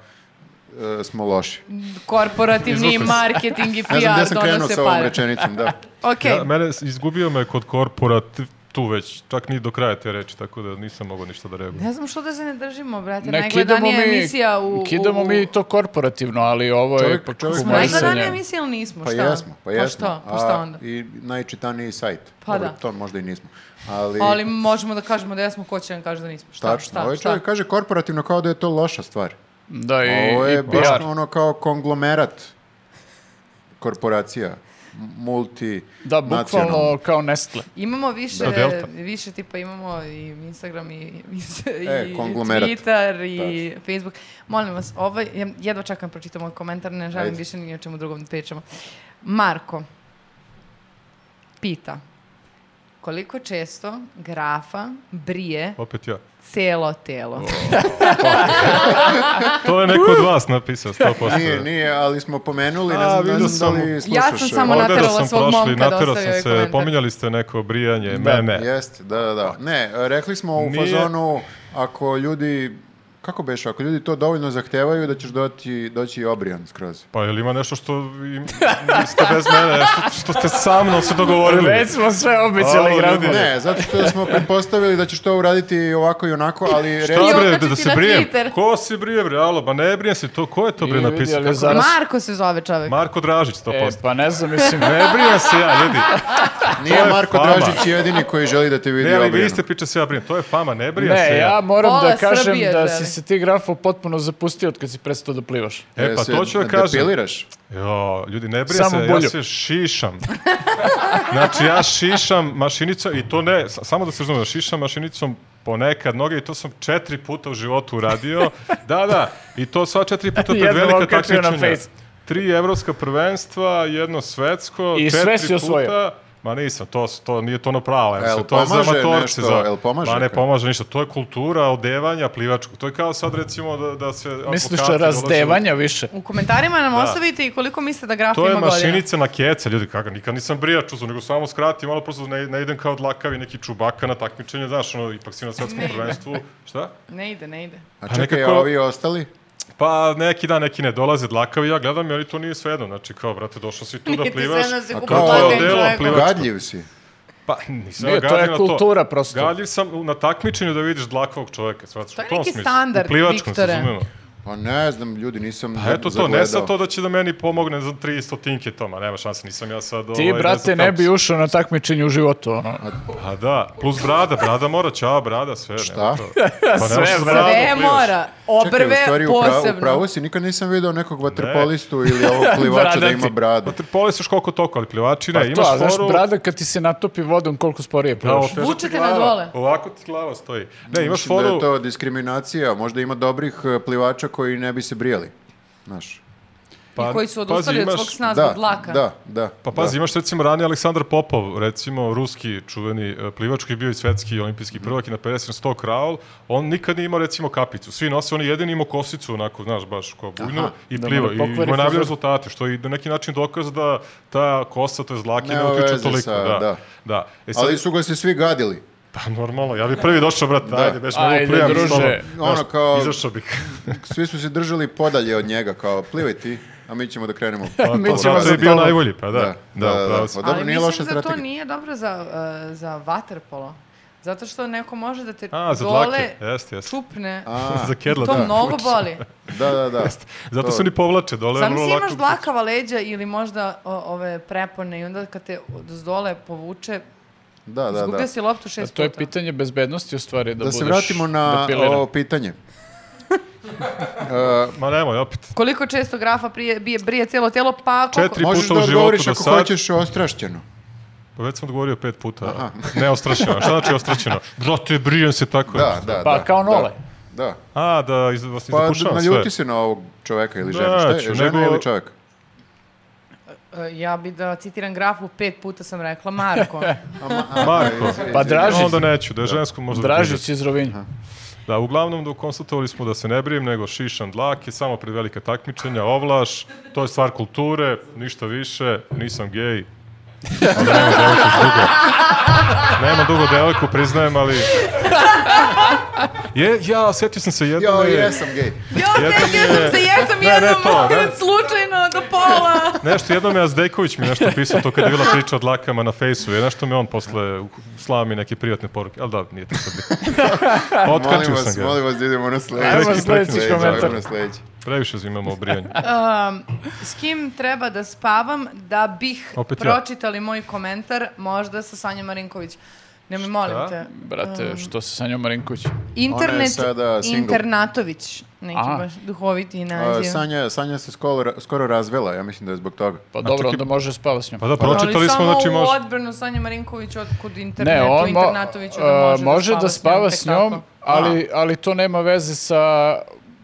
Speaker 1: e, smo loši?
Speaker 3: Korporativni
Speaker 2: Izvukao si.
Speaker 3: marketing i PR
Speaker 1: Ne znam gde sam krenuo
Speaker 3: donose
Speaker 1: sa ovom
Speaker 3: pare.
Speaker 1: rečenicom, da.
Speaker 3: Ok,
Speaker 2: Ja, mene s- izgubio me kod korporativ tu već, čak ni do kraja te reči, tako da nisam mogao ništa da reagujem.
Speaker 3: ne znam što da se ne držimo, brate.
Speaker 4: Ne, kidamo
Speaker 3: najgledanija
Speaker 4: mi-
Speaker 3: emisija u...
Speaker 4: Kidamo
Speaker 3: u-
Speaker 4: mi to korporativno, ali ovo je
Speaker 1: Čovjek-
Speaker 4: ipak
Speaker 1: čovjek-
Speaker 3: Smo
Speaker 1: Humorisanje.
Speaker 3: najgledanija emisija, ali nismo,
Speaker 1: Pa
Speaker 3: šta?
Speaker 1: jesmo, pa jesmo.
Speaker 3: Pa što, pa
Speaker 1: A,
Speaker 3: šta onda?
Speaker 1: I najčitaniji sajt.
Speaker 3: Pa
Speaker 1: Dobro,
Speaker 3: da.
Speaker 1: To možda i nismo. Ali,
Speaker 3: Ali možemo da kažemo da jesmo, ko će nam kaže da nismo. Šta,
Speaker 1: tačno,
Speaker 3: šta,
Speaker 1: ovaj
Speaker 3: šta?
Speaker 1: čovjek kaže korporativno kao da je to loša stvar.
Speaker 4: Da, i,
Speaker 1: Ovo je
Speaker 4: i
Speaker 1: baš
Speaker 4: PR.
Speaker 1: ono kao konglomerat korporacija, m- multi
Speaker 4: Da,
Speaker 1: nacionalna.
Speaker 4: bukvalno kao Nestle.
Speaker 3: Imamo više,
Speaker 2: Da, Delta.
Speaker 3: više tipa, imamo i Instagram i, i,
Speaker 1: E,
Speaker 3: i
Speaker 1: konglomerat. Da.
Speaker 3: Twitter i Facebook. Molim vas, ovaj, ja jedva čekam da pročitam ovaj komentar, ne želim
Speaker 1: Ajde.
Speaker 3: više ni o čemu drugom da pričamo. Marko pita koliko često grafa brije
Speaker 2: Opet ja.
Speaker 3: celo telo.
Speaker 2: To je neko od vas napisao, 100%.
Speaker 1: Nije, nije, ali smo pomenuli, ne
Speaker 2: A,
Speaker 1: znam, ne
Speaker 2: vidio
Speaker 1: znam da
Speaker 2: sam.
Speaker 1: li
Speaker 2: Ja
Speaker 1: slušaš.
Speaker 3: sam
Speaker 1: e,
Speaker 3: samo
Speaker 1: ovo.
Speaker 3: na-
Speaker 2: Oderao
Speaker 3: naterala
Speaker 2: sam
Speaker 3: svog
Speaker 2: prošli,
Speaker 3: momka da
Speaker 2: naterao
Speaker 3: ostavi ovaj
Speaker 2: sam se,
Speaker 3: komentar.
Speaker 2: pominjali ste neko brijanje,
Speaker 1: Da,
Speaker 2: mene.
Speaker 1: Jeste, da, da, da. Ne, e, rekli smo u
Speaker 2: Nije.
Speaker 1: fazonu, ako ljudi Kako beš, ako ljudi to dovoljno zahtevaju da ćeš doti, doći i obrijan skroz?
Speaker 2: Pa je li ima nešto što im, ste bez mene, nešto što ste sa mnom se dogovorili?
Speaker 4: Već smo sve obećali
Speaker 2: Alo,
Speaker 4: grabu.
Speaker 2: ljudi.
Speaker 1: Ne, zato što smo pretpostavili da ćeš to uraditi i ovako i onako, ali
Speaker 2: Šta
Speaker 1: recimo...
Speaker 3: I
Speaker 2: bre, da,
Speaker 3: okačiti
Speaker 2: da se
Speaker 3: na
Speaker 2: brijem?
Speaker 3: Twitter.
Speaker 2: Ko se brije bre, alo, ba ne brijem se to, ko je to bre
Speaker 4: Nije
Speaker 2: napisao?
Speaker 4: vidio, ali
Speaker 2: Kako-
Speaker 4: za- Danas-
Speaker 3: Marko se zove čovek.
Speaker 2: Marko Dražić, 100%.
Speaker 4: E, pa ne znam, mislim,
Speaker 2: Ne brijem se ja, ljudi.
Speaker 1: Nije
Speaker 2: je
Speaker 1: Marko
Speaker 2: fama.
Speaker 1: Dražić jedini koji želi da te vidi
Speaker 2: Ne, ali vi
Speaker 1: obrijeno.
Speaker 2: ste priča se ja brijem. To je fama, ne brijem se
Speaker 4: ne, ja moram
Speaker 3: Pola
Speaker 4: da kažem
Speaker 3: Srbije
Speaker 4: da
Speaker 3: želi.
Speaker 4: si se ti grafo potpuno zapustio od kad si prestao da plivaš.
Speaker 2: E, pa
Speaker 1: se
Speaker 2: to ću ja kažem.
Speaker 1: Depiliraš?
Speaker 2: Jo, ljudi, ne brije
Speaker 4: Samo
Speaker 2: se,
Speaker 4: bolju.
Speaker 2: ja se šišam. Znači, ja šišam mašinica i to ne, sa- samo da se razumemo, šišam mašinicom ponekad noge i to sam četiri puta u životu uradio. Da, da, i to sva četiri puta pred
Speaker 4: Jednom
Speaker 2: velika
Speaker 4: okačio na
Speaker 2: takmičenja.
Speaker 4: fejs.
Speaker 2: Tri evropska prvenstva, jedno svetsko,
Speaker 4: I sve
Speaker 2: četiri
Speaker 4: si
Speaker 2: puta.
Speaker 4: osvojio.
Speaker 2: Ma nisam, to, s- to nije to ono pravo.
Speaker 1: Jel
Speaker 2: Jel to je za
Speaker 1: pomaže
Speaker 2: amatorce.
Speaker 1: nešto?
Speaker 2: za-
Speaker 1: Jel pomaže
Speaker 2: Ma ne
Speaker 1: kao?
Speaker 2: pomaže ništa. To je kultura odevanja plivačkog. To je kao sad recimo da, da se...
Speaker 4: Misliš
Speaker 2: advokati dolaze u-
Speaker 4: razdevanja više?
Speaker 3: U komentarima nam ostavite i koliko mislite da graf
Speaker 2: Da. To je
Speaker 3: ima godina.
Speaker 2: mašinica na keca, ljudi, kako, nikad nisam brijač uzao, nego samo skratim, malo prosto da ne, ne idem kao dlakavi neki čubaka na takmičenje, znaš, ono, ipak si na svetskom
Speaker 3: Ne ide.
Speaker 2: prvenstvu, šta?
Speaker 3: Ne ide, ne ide.
Speaker 1: A
Speaker 2: Pa
Speaker 1: čekaj, a
Speaker 2: nekako-
Speaker 1: ovi ostali?
Speaker 2: Pa neki dan, neki ne dolaze dlakavi, ja gledam, ali to nije svejedno, znači, kao, brate, došao si tu da
Speaker 3: Nije ti
Speaker 2: plivaš,
Speaker 3: svejedno da si
Speaker 1: A Pa
Speaker 3: kupio
Speaker 1: kao
Speaker 3: platen
Speaker 1: odelo
Speaker 3: čoveku.
Speaker 2: pliva- Plivačko.
Speaker 1: Gadljiv si.
Speaker 2: pa nisam
Speaker 4: Nije,
Speaker 2: ja
Speaker 4: to
Speaker 2: gadljiv
Speaker 4: je
Speaker 2: na
Speaker 4: kultura prosto.
Speaker 2: Gadljiv sam na takmičenju da vidiš dlakavog čoveka, svataš,
Speaker 3: To je
Speaker 2: u tom
Speaker 3: neki
Speaker 2: smislu.
Speaker 3: standard,
Speaker 2: u plivačkom, se
Speaker 3: Viktore.
Speaker 2: razumemo.
Speaker 1: Pa ne znam, ljudi, nisam
Speaker 2: A Pa eto to, ne
Speaker 1: zagledao.
Speaker 2: sad to da će da meni pomogne za tri stotinke toma, nema šanse, nisam ja sad...
Speaker 4: Ti,
Speaker 2: ovaj, ne
Speaker 4: brate,
Speaker 2: znam
Speaker 4: ne
Speaker 2: kako
Speaker 4: bi ušao na takmičenje u životu, ono.
Speaker 2: A da, plus brada, brada mora, čao brada, sve. nema
Speaker 1: Šta?
Speaker 2: to. Pa ne možeš
Speaker 4: Sve
Speaker 2: sa
Speaker 4: brada.
Speaker 2: bradom
Speaker 3: Sve
Speaker 2: plivaš.
Speaker 3: mora.
Speaker 1: Čekaj, u
Speaker 3: Obrve
Speaker 1: stvari,
Speaker 3: Pa posebno.
Speaker 1: upravo, upravo si, nikad nisam video nekog vaterpolistu ili ovog plivača da
Speaker 4: Bradati.
Speaker 1: ima bradu.
Speaker 2: Vaterpolist još Pa koliko toliko, ali plivači ne,
Speaker 4: Pa to,
Speaker 2: imaš foru.
Speaker 4: a znaš, brada kad ti se natopi vodom, koliko sporije
Speaker 2: Da,
Speaker 4: plivaš.
Speaker 2: oteža
Speaker 3: Vuče
Speaker 2: ti
Speaker 3: te na
Speaker 2: glava.
Speaker 3: dole.
Speaker 2: Ovako ti glava stoji. Ne, E, imaš
Speaker 1: Mislim da je
Speaker 2: foru,
Speaker 1: to diskriminacija, možda ima dobrih eh, plivača koji ne bi se brijali. Znaš.
Speaker 2: pa,
Speaker 3: I koji su
Speaker 2: pazi,
Speaker 3: odustali od
Speaker 2: imaš-
Speaker 3: svog sna
Speaker 1: da,
Speaker 3: zbog dlaka.
Speaker 1: Da, da.
Speaker 2: Pa pazi, imaš recimo ranije Aleksandar Popov, recimo ruski čuveni e, plivač koji je bio i svetski i olimpijski prvak i na 50 100 kraul, on nikad nije imao recimo kapicu. Svi nose, on je jedini imao kosicu onako, znaš, baš kao bujnu
Speaker 1: Aha,
Speaker 2: i
Speaker 4: da mu
Speaker 2: pliva.
Speaker 4: ne
Speaker 2: I
Speaker 4: pokvari
Speaker 2: ima najbolje
Speaker 4: frizuru.
Speaker 2: rezultate, što je i na neki način dokaz da ta kosa, to je zlaki, ne,
Speaker 1: Nema
Speaker 2: utiče
Speaker 1: veze
Speaker 2: toliko.
Speaker 1: sa-
Speaker 2: da,
Speaker 1: da.
Speaker 2: da. da. E, sad,
Speaker 1: Ali su ga se svi gadili.
Speaker 2: Pa normalno, ja bi prvi došao, brate, da. ajde, beš, ne
Speaker 4: Ajde,
Speaker 2: mogu prijam
Speaker 4: druže.
Speaker 1: Ono kao-
Speaker 2: Izašao bih.
Speaker 1: Svi su se držali podalje od njega, kao plivaj ti, a mi ćemo da krenemo.
Speaker 2: Pa,
Speaker 4: Mi
Speaker 2: mi
Speaker 4: ćemo
Speaker 2: ćemo
Speaker 4: za
Speaker 2: je bio
Speaker 4: tobom.
Speaker 2: najbolji, pa da. Da, da, da, da,
Speaker 1: Pa
Speaker 2: da.
Speaker 1: dobro,
Speaker 3: Ali
Speaker 1: nije
Speaker 3: mislim
Speaker 1: loša
Speaker 3: da to
Speaker 1: strategija.
Speaker 3: nije dobro za, uh, za vaterpolo. Zato što neko može da te
Speaker 2: A, za
Speaker 3: dole
Speaker 2: dlake, jeste, jeste.
Speaker 3: čupne.
Speaker 1: A,
Speaker 2: za kedla,
Speaker 3: to
Speaker 2: da.
Speaker 3: mnogo boli.
Speaker 1: da, da, da.
Speaker 2: Zato
Speaker 1: to-
Speaker 2: se ni povlače dole.
Speaker 3: Sam
Speaker 2: vrlo
Speaker 3: si imaš
Speaker 2: lako-
Speaker 3: dlakava leđa ili možda o, ove prepone i onda kad te od dole povuče,
Speaker 1: Da, da,
Speaker 3: izgubio
Speaker 1: da.
Speaker 3: si loptu šest
Speaker 4: To je
Speaker 3: puta.
Speaker 4: pitanje bezbednosti u stvari, da,
Speaker 1: Da
Speaker 4: budeš
Speaker 1: se vratimo na
Speaker 4: depiliran.
Speaker 1: ovo pitanje.
Speaker 2: Ma nemoj, opet.
Speaker 3: Koliko često grafa prije, bije, brije cijelo tijelo, pa koliko...
Speaker 2: Četiri. Tri
Speaker 1: Možeš
Speaker 2: puta
Speaker 1: da
Speaker 2: u životu
Speaker 1: odgovoriš
Speaker 2: do
Speaker 1: ako
Speaker 2: sad.
Speaker 1: hoćeš ostrašćeno.
Speaker 2: Pa već sam odgovorio pet puta. Ne ostrašeno. Šta znači ostrašeno? Brate, brijem se tako.
Speaker 1: Da, da,
Speaker 4: Pa
Speaker 1: da,
Speaker 4: kao
Speaker 1: da.
Speaker 4: Nole.
Speaker 1: Da.
Speaker 2: A, da, iz, vas
Speaker 1: Pa
Speaker 2: izapušavam sve.
Speaker 1: naljuti se na ovog čoveka ili
Speaker 2: Da,
Speaker 1: ženu. Šta je,
Speaker 2: ću,
Speaker 1: žena
Speaker 2: nego-
Speaker 1: ili čovek?
Speaker 3: E, Ja bi da citiram grafu, pet puta sam rekla Marko.
Speaker 2: Marko.
Speaker 4: Pa Dražić,
Speaker 2: Onda neću, da je žensko možda...
Speaker 4: Dražić iz Rovinja.
Speaker 2: Da, uglavnom da konstatovali smo da se ne brijem, nego šišam dlake, samo pred velika takmičenja, ovlaš, to je stvar kulture, ništa više, nisam gej. Ali nema devojku dugo. Nema dugo devojku, priznajem, ali... Je, ja, setio sam se jedno...
Speaker 1: Jo, jesam gej.
Speaker 3: Jo,
Speaker 2: Jednom
Speaker 3: setio sam
Speaker 2: je-
Speaker 3: se, jesam
Speaker 2: Ne, ne
Speaker 3: jednom
Speaker 2: to, da. ne.
Speaker 3: okrenut slučajno do pola.
Speaker 2: Nešto, jednom je Azdejković mi nešto pisao to kad je bila priča o dlakama na fejsu. Je nešto mi on posle u- slao mi neke privatne poruke. Ali da, nije to sad bitno.
Speaker 1: Molim
Speaker 2: Otkačio
Speaker 1: vas,
Speaker 2: sam ga.
Speaker 1: molim vas da idemo na sledeći.
Speaker 4: Ajmo
Speaker 2: Prekid,
Speaker 4: sledeći
Speaker 2: prekid.
Speaker 4: komentar.
Speaker 1: Ajmo na sledeći.
Speaker 2: Previše imamo obrijanje.
Speaker 3: Um, s kim treba da spavam da bih
Speaker 2: Opet ja.
Speaker 3: pročitali moj komentar, možda sa Sanjom Marinković. Ne mi molim te.
Speaker 4: Brate, što se sa njom Marinković?
Speaker 1: Ona je
Speaker 3: Internet,
Speaker 1: sada single.
Speaker 3: Internatović, neki
Speaker 4: Aha.
Speaker 3: baš duhoviti
Speaker 1: A,
Speaker 3: naziv.
Speaker 1: Sanja, Sanja se skoro, skoro razvela, ja mislim da je zbog toga.
Speaker 4: Pa dobro,
Speaker 2: čekaj-
Speaker 4: onda može spava s njom.
Speaker 2: Pa da,
Speaker 3: Ali
Speaker 2: pročitali smo,
Speaker 3: samo
Speaker 2: znači
Speaker 3: u
Speaker 2: može...
Speaker 3: odbranu Sanje Marinković od kud
Speaker 4: Ne,
Speaker 3: internetu,
Speaker 4: on mo-
Speaker 3: Internatoviću
Speaker 4: e,
Speaker 3: da može,
Speaker 4: može da spava
Speaker 3: tek
Speaker 4: s njom,
Speaker 3: tako.
Speaker 4: ali, ali to nema veze sa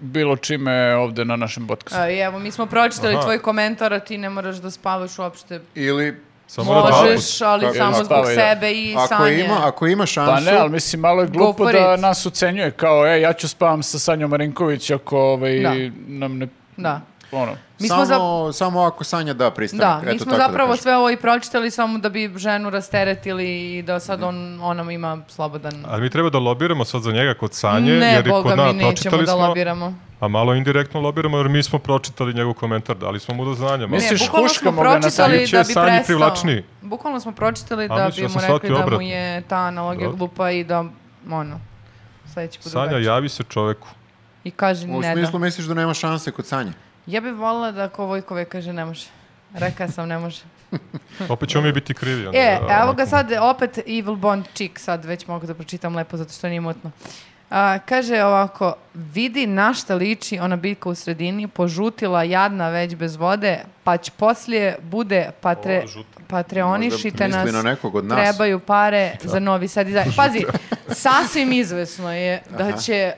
Speaker 4: bilo čime ovde na našem podcastu.
Speaker 3: A, E, I evo, mi smo pročitali
Speaker 2: Aha.
Speaker 3: tvoj komentar, a ti ne moraš da spavaš uopšte.
Speaker 1: Ili
Speaker 2: Samo da dva puta.
Speaker 3: Možeš, ali
Speaker 1: Tako je.
Speaker 3: samo
Speaker 1: Ili
Speaker 3: zbog
Speaker 4: spavaj, da.
Speaker 3: sebe i
Speaker 1: ako
Speaker 3: sanje.
Speaker 1: ima, ako ima šansu...
Speaker 4: Pa ne, ali mislim, malo je glupo
Speaker 3: for
Speaker 4: da
Speaker 3: it.
Speaker 4: nas ucenjuje kao, e, ja ću spavam sa Sanjom Marinković ako ovaj,
Speaker 3: Da.
Speaker 4: nam ne...
Speaker 3: Da.
Speaker 4: ono,
Speaker 3: Mi smo
Speaker 1: samo,
Speaker 3: za-
Speaker 1: samo ako Sanja da
Speaker 3: Da,
Speaker 1: pristanak.
Speaker 3: mi
Speaker 1: Eto,
Speaker 3: smo
Speaker 1: tako da
Speaker 3: zapravo
Speaker 1: kažem.
Speaker 3: sve ovo i pročitali samo da bi ženu rasteretili i da sad on, ona ima slobodan...
Speaker 2: Ali mi treba da lobiramo sad za njega kod Sanje,
Speaker 3: ne,
Speaker 2: jer je
Speaker 3: boga
Speaker 2: kod
Speaker 3: mi
Speaker 2: nas
Speaker 3: nećemo
Speaker 2: pročitali
Speaker 3: da
Speaker 2: smo,
Speaker 3: lobiramo.
Speaker 2: a malo indirektno lobiramo, jer mi smo pročitali njegov komentar, dali smo mu do znanja. malo.
Speaker 4: Misliš,
Speaker 3: ne, bukvalno smo
Speaker 4: huškamo ga na
Speaker 3: pročitali
Speaker 2: Sanji će
Speaker 3: da bi
Speaker 2: Sanji
Speaker 3: prestao.
Speaker 2: privlačniji.
Speaker 3: Bukvalno smo pročitali
Speaker 2: A,
Speaker 3: da
Speaker 2: mislim
Speaker 3: bi
Speaker 2: da sam
Speaker 3: mu rekli
Speaker 2: shvatio
Speaker 3: da mu
Speaker 2: obratno.
Speaker 3: je ta analogija
Speaker 2: Dobro.
Speaker 3: glupa i da, ono, sledeći put
Speaker 2: Sanja,
Speaker 3: drugačije.
Speaker 2: javi se čoveku.
Speaker 3: I kaže
Speaker 1: U
Speaker 3: ne
Speaker 1: smislu
Speaker 3: da.
Speaker 1: misliš da nema šanse kod Sanje.
Speaker 3: Ja bih volila da ako Vojkove kaže ne može. Reka sam ne može.
Speaker 2: Opet ćemo mi biti krivi. onda,
Speaker 3: E,
Speaker 2: a,
Speaker 3: evo ga
Speaker 2: da, onako.
Speaker 3: sad, opet Evil Bond chick, sad već mogu da pročitam lepo zato što nije mutno. A, kaže ovako, vidi na šta liči ona biljka u sredini, požutila jadna već bez vode, pa će poslije bude patre,
Speaker 2: Ova žuta.
Speaker 1: Možda
Speaker 3: patreonišite nas,
Speaker 1: misli na nekog od nas.
Speaker 3: trebaju pare za novi sad i dalje. Pazi, sasvim izvesno je da će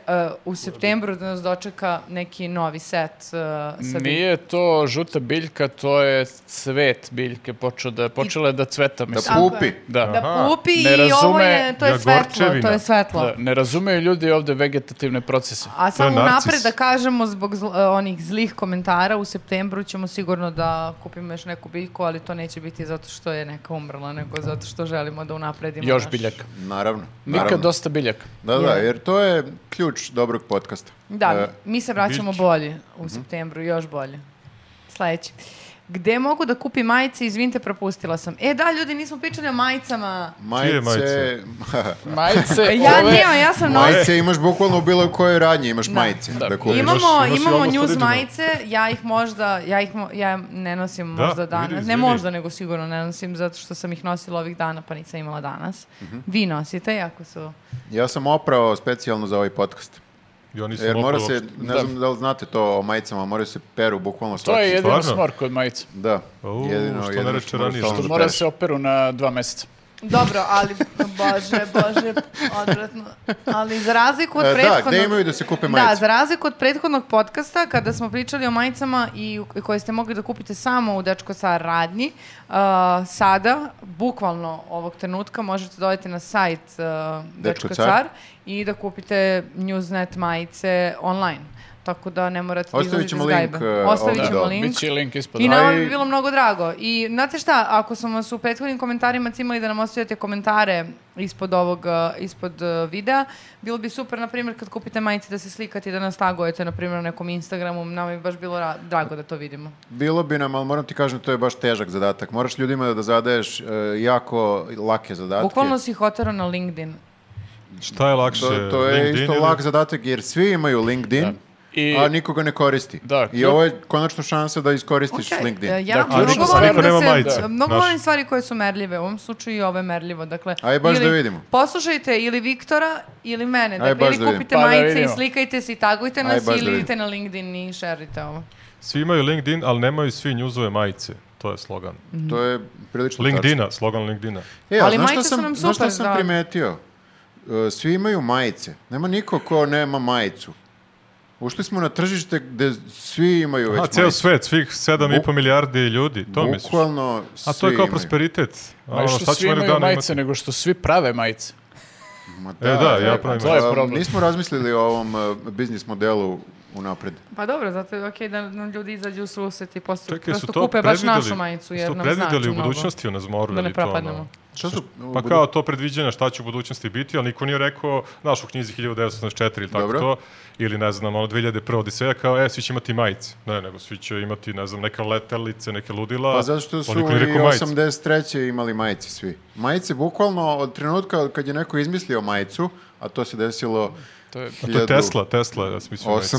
Speaker 3: uh, u septembru da nas dočeka neki novi set uh, sa biljkom.
Speaker 4: nije to žuta biljka, to je cvet biljke, počeo da, počela je da cveta,
Speaker 1: Da
Speaker 4: mislim.
Speaker 3: Tako je.
Speaker 1: pupi.
Speaker 4: Da,
Speaker 2: Da.
Speaker 3: Da
Speaker 2: Aha,
Speaker 3: pupi
Speaker 4: ne
Speaker 3: i ovo je,
Speaker 4: razume
Speaker 3: to je svetlo, to
Speaker 2: Jagorčevina.
Speaker 3: je svetlo.
Speaker 4: Da, ne razumeju ljudi ovde vegetativne procese.
Speaker 3: A samo
Speaker 2: narcis.
Speaker 3: napred da kažemo zbog zl- e, onih zlih komentara, u septembru ćemo sigurno da kupimo još neku biljku, ali to neće biti zato što je neka umrla, nego zato što želimo da unapredimo
Speaker 4: Još
Speaker 3: naš-
Speaker 4: biljaka.
Speaker 1: Naravno.
Speaker 4: Nikad
Speaker 1: naravno.
Speaker 4: dosta biljaka.
Speaker 1: Da, da, jer to je ključ dobrog podcasta.
Speaker 3: Da,
Speaker 1: E,
Speaker 3: mi se vraćamo
Speaker 2: biljke.
Speaker 3: bolje u septembru, još bolje. Sledeći. Gde mogu da kupim majice? Izvinite, propustila sam. E da, ljudi, nismo pričali o majicama.
Speaker 1: majice...
Speaker 2: majice?
Speaker 4: Majice,
Speaker 3: E, Ja
Speaker 4: ove...
Speaker 3: nije, ja sam nosila.
Speaker 1: majice imaš bukvalno u bilo kojoj radnji, imaš majice. Da,
Speaker 4: Da.
Speaker 1: kupiš.
Speaker 2: Ima-
Speaker 3: Imamo,
Speaker 2: imaš- imaš i
Speaker 3: imamo
Speaker 2: odnos sa
Speaker 3: news
Speaker 2: ljudima.
Speaker 3: majice, ja ih možda, ja ih mo- ja ne nosim
Speaker 2: Da,
Speaker 3: možda
Speaker 2: vidi,
Speaker 3: danas. ne
Speaker 2: izvini.
Speaker 3: možda, nego sigurno ne nosim, zato što sam ih nosila ovih dana, pa nisam imala danas.
Speaker 2: Mhm.
Speaker 3: Vi nosite, jako su...
Speaker 1: Ja sam oprao specijalno za ovaj podcast.
Speaker 2: Ja nisam
Speaker 1: Jer mora
Speaker 2: opravo
Speaker 1: se,
Speaker 2: uopšte.
Speaker 1: ne
Speaker 4: Da.
Speaker 1: znam da li znate to o majicama, moraju se peru bukvalno
Speaker 4: To
Speaker 1: svaki.
Speaker 4: je jedino
Speaker 2: Stvarno?
Speaker 4: smor kod majica.
Speaker 1: Da.
Speaker 2: U, što ne
Speaker 1: jedino
Speaker 2: reče
Speaker 1: moraš
Speaker 2: ranije,
Speaker 1: stalno
Speaker 2: što-
Speaker 1: da
Speaker 4: Mora da
Speaker 1: pereš.
Speaker 4: se operu na dva meseca.
Speaker 3: Dobro, ali, bože, bože, odvratno. Ali za razliku od
Speaker 1: E, da,
Speaker 3: prethodnog...
Speaker 1: gde imaju da se kupe
Speaker 3: Da,
Speaker 1: majice?
Speaker 3: za razliku od prethodnog podcasta, kada smo pričali o majicama i u- koje ste mogli da kupite samo u Dečko sa radnji, uh, sada, bukvalno ovog trenutka, možete dodati na sajt uh, Dečko,
Speaker 1: Dečko
Speaker 3: car.
Speaker 1: car.
Speaker 3: i da kupite Newsnet majice online. Tako da ne morate da
Speaker 1: Ostavit
Speaker 3: izlazite iz
Speaker 1: ćemo link,
Speaker 3: gajbe.
Speaker 1: e,
Speaker 3: Ostavit
Speaker 1: ovde
Speaker 3: ćemo
Speaker 1: dole.
Speaker 3: link.
Speaker 4: Da. Biće i link ispod.
Speaker 3: I
Speaker 1: na-
Speaker 3: nama bi
Speaker 1: i-
Speaker 3: bilo mnogo drago. I znate šta, ako sam vas u prethodnim komentarima cimali da nam ostavljate komentare ispod ovog, uh, ispod uh, videa, bilo bi super, na primjer, kad kupite majice da se slikate i da nas tagujete, na primjer, na nekom Instagramu, nama bi baš bilo ra- drago da to vidimo.
Speaker 1: Bilo bi nam, ali moram ti kažem, to je baš težak zadatak. Moraš ljudima da zadaješ e, jako lake zadatke.
Speaker 3: Bukvalno si ih oterao na LinkedIn.
Speaker 2: Šta je lakše?
Speaker 1: To, to je
Speaker 2: LinkedIn
Speaker 1: isto
Speaker 2: ili-
Speaker 1: lak zadatak, jer svi imaju LinkedIn,
Speaker 4: Da. I-
Speaker 1: a niko ga ne koristi.
Speaker 4: Da,
Speaker 1: I ovo je konačno šansa da iskoristiš
Speaker 3: Okej,
Speaker 1: LinkedIn.
Speaker 3: e, Ja
Speaker 4: Dakle,
Speaker 3: mnogo
Speaker 4: ništa
Speaker 3: volim
Speaker 4: niko
Speaker 2: nema
Speaker 3: da se,
Speaker 2: majice,
Speaker 3: da, mnogo
Speaker 2: znaš.
Speaker 3: volim stvari koje su merljive. U ovom slučaju i ovo je merljivo. Dakle,
Speaker 1: Aj, baš
Speaker 3: ili
Speaker 1: da vidimo.
Speaker 3: Poslušajte ili Viktora ili mene.
Speaker 1: Aj,
Speaker 3: Dakle,
Speaker 1: baš
Speaker 3: ili
Speaker 1: da
Speaker 3: kupite
Speaker 4: vidimo. Pa da
Speaker 3: majice i
Speaker 4: vidimo.
Speaker 3: slikajte se i tagujte
Speaker 1: Aj,
Speaker 3: nas
Speaker 1: baš da
Speaker 3: ili
Speaker 1: vidimo.
Speaker 3: idite na LinkedIn i šerite ovo.
Speaker 2: Svi imaju LinkedIn, ali nemaju svi njuzove majice. To je slogan.
Speaker 3: Mhm.
Speaker 1: To je prilično
Speaker 2: LinkedIna, slogan Linkedina.
Speaker 1: tačno. E, a
Speaker 3: Ali
Speaker 1: znaš šta
Speaker 3: majice su
Speaker 1: sam-
Speaker 3: nam
Speaker 1: Znaš šta
Speaker 3: super,
Speaker 1: sam
Speaker 3: da.
Speaker 1: primetio? E, Svi imaju majice. Nema niko ko nema majicu. Ušli smo na tržište gde svi imaju već
Speaker 2: A,
Speaker 1: majice.
Speaker 2: ceo svet, svih 7,5 milijardi ljudi, to misliš?
Speaker 1: Bukvalno svi
Speaker 2: A to je kao
Speaker 1: imaju.
Speaker 2: prosperitet.
Speaker 4: Ma i
Speaker 2: Ono,
Speaker 4: što
Speaker 2: šta
Speaker 4: svi
Speaker 2: ćemo jednog
Speaker 4: imaju
Speaker 2: dana
Speaker 4: majice,
Speaker 2: imati?
Speaker 4: nego što svi prave majice.
Speaker 1: Ma
Speaker 2: E, da, ja pravim
Speaker 4: To je
Speaker 1: A,
Speaker 4: problem.
Speaker 1: Nismo razmislili o ovom e, biznis modelu unapred.
Speaker 3: Pa dobro, zato je okej da nam ljudi izađu u susret i posto,
Speaker 2: Čekaj, su
Speaker 3: prosto
Speaker 2: to
Speaker 3: kupe baš
Speaker 2: predvideli?
Speaker 3: našu majicu jer
Speaker 2: Su to
Speaker 3: nam znači
Speaker 2: predvideli u
Speaker 3: mnogo.
Speaker 2: budućnosti u Nazmoru?
Speaker 3: Da ne
Speaker 2: ili to, ono?
Speaker 3: propadnemo.
Speaker 1: Šta su?
Speaker 2: Pa kao to predviđanja šta će u budućnosti biti, ali niko nije rekao, znaš, u knjizi 1984 ili tako
Speaker 1: Dobro.
Speaker 2: to, ili ne znam, ono 2001. Odiseja, kao, e, svi će imati majice. Ne, nego svi će imati, ne znam, neke letelice, neke ludila.
Speaker 1: Pa zato što su i
Speaker 2: ali niko nije rekao majice.
Speaker 1: 83. imali majice svi. Majice bukvalno od trenutka kad je neko izmislio majicu, a to se desilo
Speaker 4: To je,
Speaker 2: A to je Tesla, Tesla, ja da smislio majice.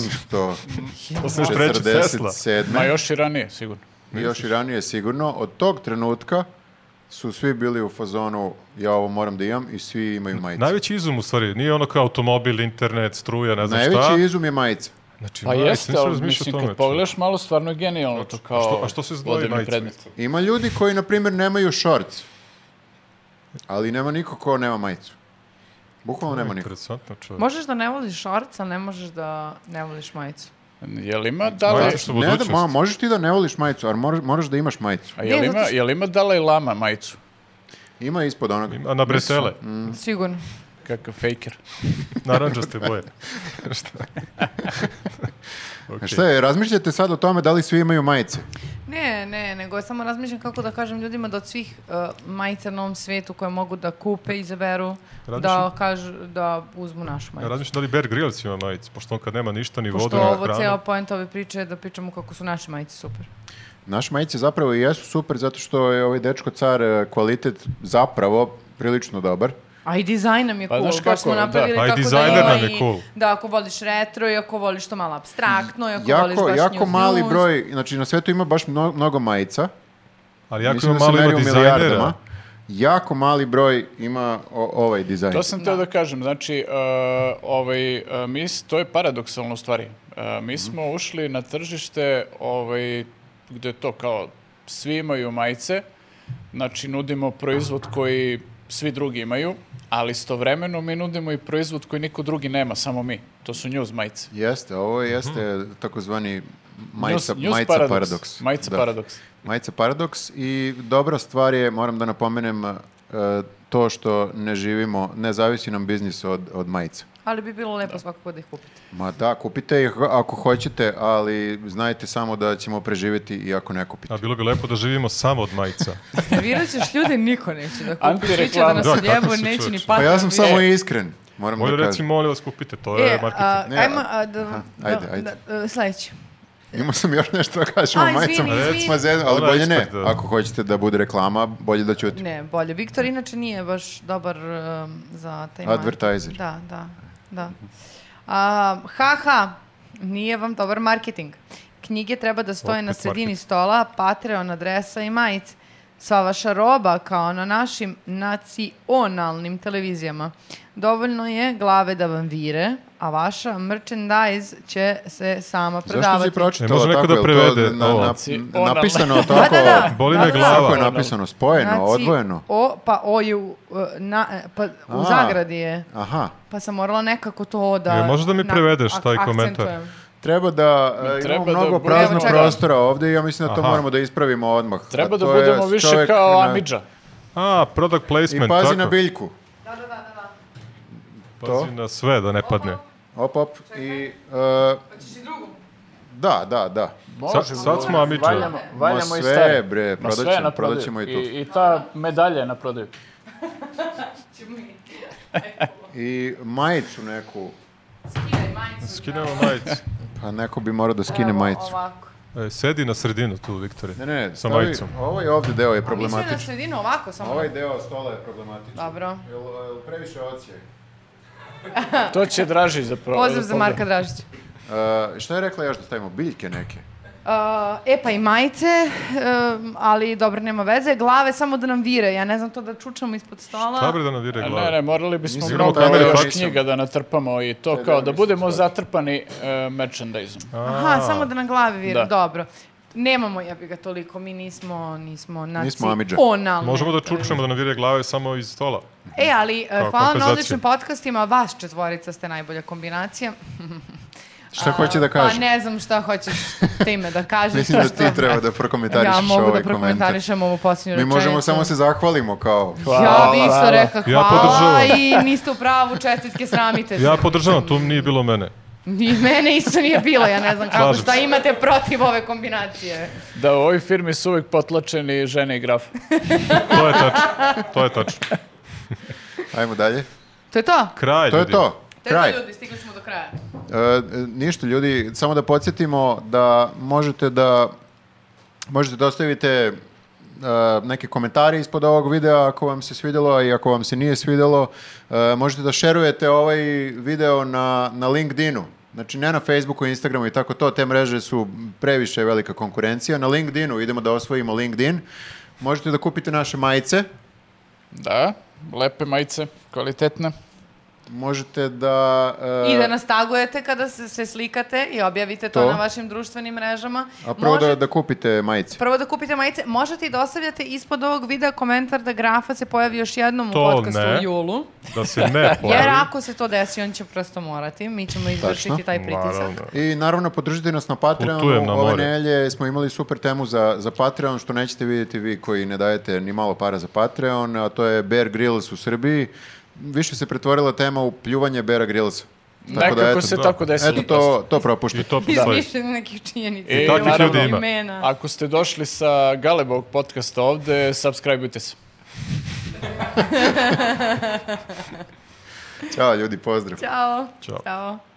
Speaker 2: 83. Tesla.
Speaker 1: 847.
Speaker 4: ma još i ranije, sigurno.
Speaker 1: I još i ranije sigurno. Od tog trenutka su svi bili u fazonu ja ovo moram da imam i svi imaju majice.
Speaker 2: Najveći izum u stvari, nije ono kao automobil, internet, struja, ne znam šta.
Speaker 1: Najveći izum je majica.
Speaker 2: Znači,
Speaker 4: Pa
Speaker 2: majice,
Speaker 4: jeste,
Speaker 2: nisam
Speaker 4: ali
Speaker 2: razmišljao o
Speaker 4: mislim,
Speaker 2: tome,
Speaker 4: kad pogledaš malo, stvarno je genijalno to kao
Speaker 2: A što, a što se znoji
Speaker 4: vodeni
Speaker 2: majice?
Speaker 4: predmet.
Speaker 1: Ima ljudi koji, na primjer, nemaju shorts. Ali nema niko ko nema majicu. Bukvalno nema niko.
Speaker 2: Interesantno čovjek.
Speaker 3: Možeš da ne voliš šorc, ali ne možeš da ne voliš majicu.
Speaker 4: Jel ima Dalaj,
Speaker 2: Majice su
Speaker 1: Ne, da,
Speaker 2: budućnost.
Speaker 1: ma, možeš ti da ne voliš majicu, ali moraš, moraš da imaš majicu.
Speaker 4: a jel
Speaker 3: Ne,
Speaker 4: ima,
Speaker 3: zato što-
Speaker 4: jel ima Dalaj Lama majicu?
Speaker 1: Ima ispod onoga.
Speaker 2: A na bretele,
Speaker 3: Sigurno.
Speaker 4: Kakav fejker.
Speaker 2: narandžaste boje. Šta? Okej.
Speaker 1: E, Šta je, razmišljate sad o tome da li svi imaju majice?
Speaker 3: Ne, ne, nego samo razmišljam kako da kažem ljudima da od svih uh, majica na ovom svijetu koje mogu da kupe, izaberu, da,
Speaker 2: Razmišljam-
Speaker 3: kažu, da uzmu našu
Speaker 2: Ja
Speaker 3: majicu.
Speaker 2: razmišljam da li Bear Grylls ima majicu, pošto on kad nema ništa, ni vodu,
Speaker 3: Pošto
Speaker 2: ni
Speaker 3: ovo
Speaker 2: hranu.
Speaker 3: ceo point ove priče je da pričamo kako su naše majice super.
Speaker 1: Naš majice zapravo i jesu super zato što je ovaj dečko car e, kvalitet zapravo prilično dobar.
Speaker 3: A i dizajn nam je
Speaker 4: Pa,
Speaker 3: cool,
Speaker 4: znaš
Speaker 3: baš smo
Speaker 4: kako, da.
Speaker 3: napravili
Speaker 2: Pa i
Speaker 3: tako da
Speaker 2: dizajner
Speaker 3: ima
Speaker 2: nam je
Speaker 3: i-
Speaker 2: cool.
Speaker 3: Da, ako voliš retro i ako voliš to malo abstraktno i ako voliš
Speaker 1: Jako,
Speaker 3: baš
Speaker 1: jako
Speaker 3: news
Speaker 1: mali
Speaker 3: news.
Speaker 1: broj, znači na svetu ima baš mno- mnogo majica.
Speaker 2: Ali jako
Speaker 1: Mislim
Speaker 2: ima
Speaker 1: da se
Speaker 2: malo
Speaker 1: meri
Speaker 2: ima
Speaker 1: u
Speaker 2: dizajnera.
Speaker 1: milijardama. Jako mali broj ima o- ovaj dizajn.
Speaker 4: To sam teo da kažem, znači, uh, ovaj, uh, mi, s- to je paradoksalno u stvari. Uh,
Speaker 1: Mhm.
Speaker 4: mi smo ušli na tržište ovaj, gde to kao svi imaju majice, znači nudimo proizvod koji svi drugi imaju, ali istovremeno mi nudimo i proizvod koji niko drugi nema, samo mi. To su news majice.
Speaker 1: Jeste, ovo
Speaker 2: Mhm.
Speaker 1: jeste takozvani majica,
Speaker 4: News- news
Speaker 1: majica paradoks.
Speaker 4: Majica
Speaker 1: Da.
Speaker 4: paradoks.
Speaker 1: Majica paradoks i dobra stvar je, moram da napomenem, e, to što ne živimo, ne zavisi nam biznis od, od majica.
Speaker 3: Ali bi bilo lepo svakako da ih kupite.
Speaker 1: Ma da, kupite ih ako hoćete, ali znajte samo da ćemo preživjeti i ako ne kupite.
Speaker 2: A bilo bi lepo da živimo samo od majica.
Speaker 1: Da
Speaker 3: Nervirat ćeš ljude, niko neće da kupi. Svi će da
Speaker 4: Antireklama.
Speaker 3: nas
Speaker 2: Da, kako
Speaker 3: odjebu,
Speaker 2: si
Speaker 3: neće ni
Speaker 2: čovječ.
Speaker 3: pati.
Speaker 1: Pa ja sam samo iskren, moram
Speaker 2: e, Bolje
Speaker 1: da
Speaker 2: reci,
Speaker 1: kažem.
Speaker 2: molim vas, kupite, to
Speaker 3: E,
Speaker 2: je
Speaker 3: a,
Speaker 2: marketing.
Speaker 1: Ne,
Speaker 3: ajmo, a, da,
Speaker 1: ajde,
Speaker 3: da-
Speaker 1: ajde.
Speaker 3: da- e, sledeći.
Speaker 1: Imao sam još nešto da kažem
Speaker 3: A,
Speaker 1: o
Speaker 3: izvini,
Speaker 1: majicama.
Speaker 3: izvini.
Speaker 1: Ma zezam, ali
Speaker 2: Ona je
Speaker 1: bolje ne.
Speaker 2: ekspert, da.
Speaker 1: Ako hoćete da bude reklama, bolje da ćutim.
Speaker 3: Ne, bolje. Viktor inače nije baš dobar um, za taj market.
Speaker 1: Advertiser.
Speaker 3: Da, da, da. A, haha, nije vam dobar marketing. Knjige treba da stoje na
Speaker 2: Opet
Speaker 3: sredini
Speaker 2: marketing.
Speaker 3: stola, Patreon adresa i majice. Sva vaša roba kao na našim nacionalnim televizijama. Dovoljno je glave da vam vire, a vaša merchandise će se sama
Speaker 1: Zašto
Speaker 3: prodavati. Znači,
Speaker 1: si pročitala
Speaker 2: Ne može neko da
Speaker 1: tako? Je li to
Speaker 2: prevede
Speaker 1: na-
Speaker 2: ovo?
Speaker 1: na- napisano
Speaker 3: Da,
Speaker 1: tako?
Speaker 3: da, da. znači-
Speaker 2: Boli me
Speaker 3: Da, da.
Speaker 1: Kako je
Speaker 2: glava.
Speaker 1: napisano? Spojeno,
Speaker 3: Naci-
Speaker 1: odvojeno?
Speaker 3: O, pa o je u, e, na, e, pa, u
Speaker 1: A.
Speaker 3: zagradi je.
Speaker 1: Aha.
Speaker 3: Pa sam morala nekako to da...
Speaker 2: E, možeš da mi
Speaker 3: na-
Speaker 2: prevedeš
Speaker 3: ak-
Speaker 2: taj komentar?
Speaker 3: akcentujem.
Speaker 1: Treba da e,
Speaker 4: Treba
Speaker 1: imamo
Speaker 4: da
Speaker 1: mnogo
Speaker 4: budemo-
Speaker 1: praznog
Speaker 3: Evo, čekaj.
Speaker 1: prostora ovdje i ja mislim da to
Speaker 2: Aha.
Speaker 1: moramo da ispravimo odmah.
Speaker 4: Treba
Speaker 1: A
Speaker 4: da
Speaker 1: to je
Speaker 4: budemo više
Speaker 1: čovek
Speaker 4: kao
Speaker 1: na-
Speaker 4: Amidža.
Speaker 2: A, product
Speaker 1: I
Speaker 2: placement, tako.
Speaker 1: pazi na biljku.
Speaker 2: Pazi na sve da ne padne.
Speaker 1: Op, op. I, e,
Speaker 3: Pa
Speaker 1: da, da, da.
Speaker 2: Sa- sad smo Amidža.
Speaker 4: Valjamo,
Speaker 1: Ma
Speaker 4: valjamo i
Speaker 1: sve,
Speaker 4: stare.
Speaker 1: bre,
Speaker 4: Ma
Speaker 1: prodat
Speaker 4: sve
Speaker 1: ćemo-
Speaker 4: na prodaju.
Speaker 1: prodat ćemo i tu.
Speaker 4: I, i ta medalja je na prodaju.
Speaker 1: I majicu neku.
Speaker 2: Skinemo majicu.
Speaker 1: Pa neko bi morao da skine
Speaker 3: Evo,
Speaker 1: majicu.
Speaker 3: Ovako.
Speaker 2: E, sedi na sredinu tu, Viktore.
Speaker 1: Ne, ne,
Speaker 2: Sa
Speaker 1: stavi-
Speaker 2: majicom.
Speaker 1: Ovaj ovdje deo je
Speaker 3: A mislim da na
Speaker 1: problematičan.
Speaker 3: sredinu ovako samo.
Speaker 1: Ovaj deo stola je problematičan.
Speaker 3: Dobro.
Speaker 1: Jel, jel previše ocijaj?
Speaker 4: To će Dražić da pro-
Speaker 3: Pozdrav za
Speaker 4: proda.
Speaker 3: Marka Dražića.
Speaker 1: E, šta je rekla još da stavimo? Biljke neke.
Speaker 3: Uh, e pa i majice, um, ali dobro, nema veze. Glave samo da nam vire, ja ne znam to da čučamo ispod stola.
Speaker 2: Šta bre da nam vire
Speaker 4: A
Speaker 2: glava?
Speaker 4: Ne, ne, morali bismo
Speaker 1: Nisam
Speaker 4: mnogo
Speaker 1: imao kamere,
Speaker 4: još
Speaker 1: nisam.
Speaker 4: knjiga da natrpamo i to
Speaker 1: E,
Speaker 4: kao
Speaker 1: da,
Speaker 4: da
Speaker 1: mislim
Speaker 4: budemo
Speaker 1: sad.
Speaker 4: zatrpani e, merchandise-om.
Speaker 3: Aha, samo da nam glave vire,
Speaker 4: Da.
Speaker 3: dobro. Nemamo, ja bi ga toliko, mi nismo, nismo znači,
Speaker 1: Amidža.
Speaker 3: nacionalne.
Speaker 2: Možemo da čučemo da nam vire glave samo iz stola.
Speaker 3: E, ali e,
Speaker 2: Kao
Speaker 3: hvala na
Speaker 2: kompenzacija.
Speaker 3: odličnim podcastima, vas četvorica ste najbolja kombinacija.
Speaker 1: Šta hoće da
Speaker 3: Pa
Speaker 1: kaže?
Speaker 3: ne znam šta hoćeš time da kažeš.
Speaker 1: Mislim da
Speaker 3: pošto
Speaker 1: ti treba da prokomentarišeš
Speaker 3: Ja mogu da
Speaker 1: ovaj komentar.
Speaker 3: prokomentarišem ovu posljednju
Speaker 1: Mi
Speaker 3: rečenicu.
Speaker 1: možemo samo se zahvalimo kao...
Speaker 3: Ja bi isto
Speaker 4: Hvala.
Speaker 3: rekao
Speaker 2: Ja
Speaker 3: hvala
Speaker 2: podržavam.
Speaker 3: i niste u pravu, čestitke, sramite se.
Speaker 2: Ja podržavam, tu nije bilo mene.
Speaker 3: Ni mene isto nije bilo, ja ne znam kako,
Speaker 2: Slažem
Speaker 3: šta
Speaker 2: se.
Speaker 3: imate protiv ove kombinacije.
Speaker 4: Da u ovoj firmi su uvijek potlačeni žene i graf.
Speaker 2: To je tačno. To je tačno.
Speaker 1: Ajmo dalje.
Speaker 3: To je to.
Speaker 2: Kraj,
Speaker 1: To je
Speaker 2: ljudi.
Speaker 1: to.
Speaker 3: To je
Speaker 1: Kraj.
Speaker 3: to ljudi, stigli smo do kraja.
Speaker 1: E, ništa ljudi, samo da podsjetimo da možete da možete da ostavite e, neke komentare ispod ovog videa ako vam se svidjelo i ako vam se nije svidjelo. E, možete da šerujete ovaj video na, na LinkedInu. Znači ne na Facebooku, Instagramu i tako to, te mreže su previše velika konkurencija. Na LinkedInu, idemo da osvojimo LinkedIn. Možete da kupite naše majice,
Speaker 4: Da, lepe majice, kvalitetne.
Speaker 1: možete da... e,
Speaker 3: I da nas tagujete kada se, se slikate i objavite to,
Speaker 1: To.
Speaker 3: na vašim društvenim mrežama.
Speaker 1: A prvo da,
Speaker 3: Može-
Speaker 1: da kupite majice.
Speaker 3: Prvo da kupite majice. Možete i da ostavljate ispod ovog videa komentar da grafa se pojavi još jednom
Speaker 2: To
Speaker 3: u podcastu
Speaker 2: ne.
Speaker 3: u julu.
Speaker 2: Da se ne
Speaker 3: Jer
Speaker 2: pojavi.
Speaker 3: ako se to desi, on će prosto morati. Mi ćemo
Speaker 1: Tačno.
Speaker 3: izvršiti taj pritisak.
Speaker 2: Naravno.
Speaker 1: I naravno podržite nas na Patreonu.
Speaker 2: Putujem na
Speaker 1: Ove
Speaker 2: more.
Speaker 1: nelje smo imali super temu za, za Patreon, što nećete vidjeti vi koji ne dajete ni malo para za Patreon, a to je Bear Grylls u Srbiji. Više se pretvorila tema u pljuvanje Beara Grylls. Tako da,
Speaker 4: Nekako
Speaker 1: eto,
Speaker 4: se
Speaker 2: da.
Speaker 4: tako desilo.
Speaker 1: Eto, to, to propušta.
Speaker 2: I to
Speaker 3: Da.
Speaker 2: postoji.
Speaker 3: Izmišljeno nekih činjenica.
Speaker 4: I
Speaker 2: takvih
Speaker 3: naravno,
Speaker 2: ljudi ima.
Speaker 3: imena.
Speaker 4: Ako ste došli sa Galebog podcasta ovde, subscribeujte se.
Speaker 1: Ćao ljudi, pozdrav.
Speaker 3: Ćao.
Speaker 2: Ćao.
Speaker 3: Ćao.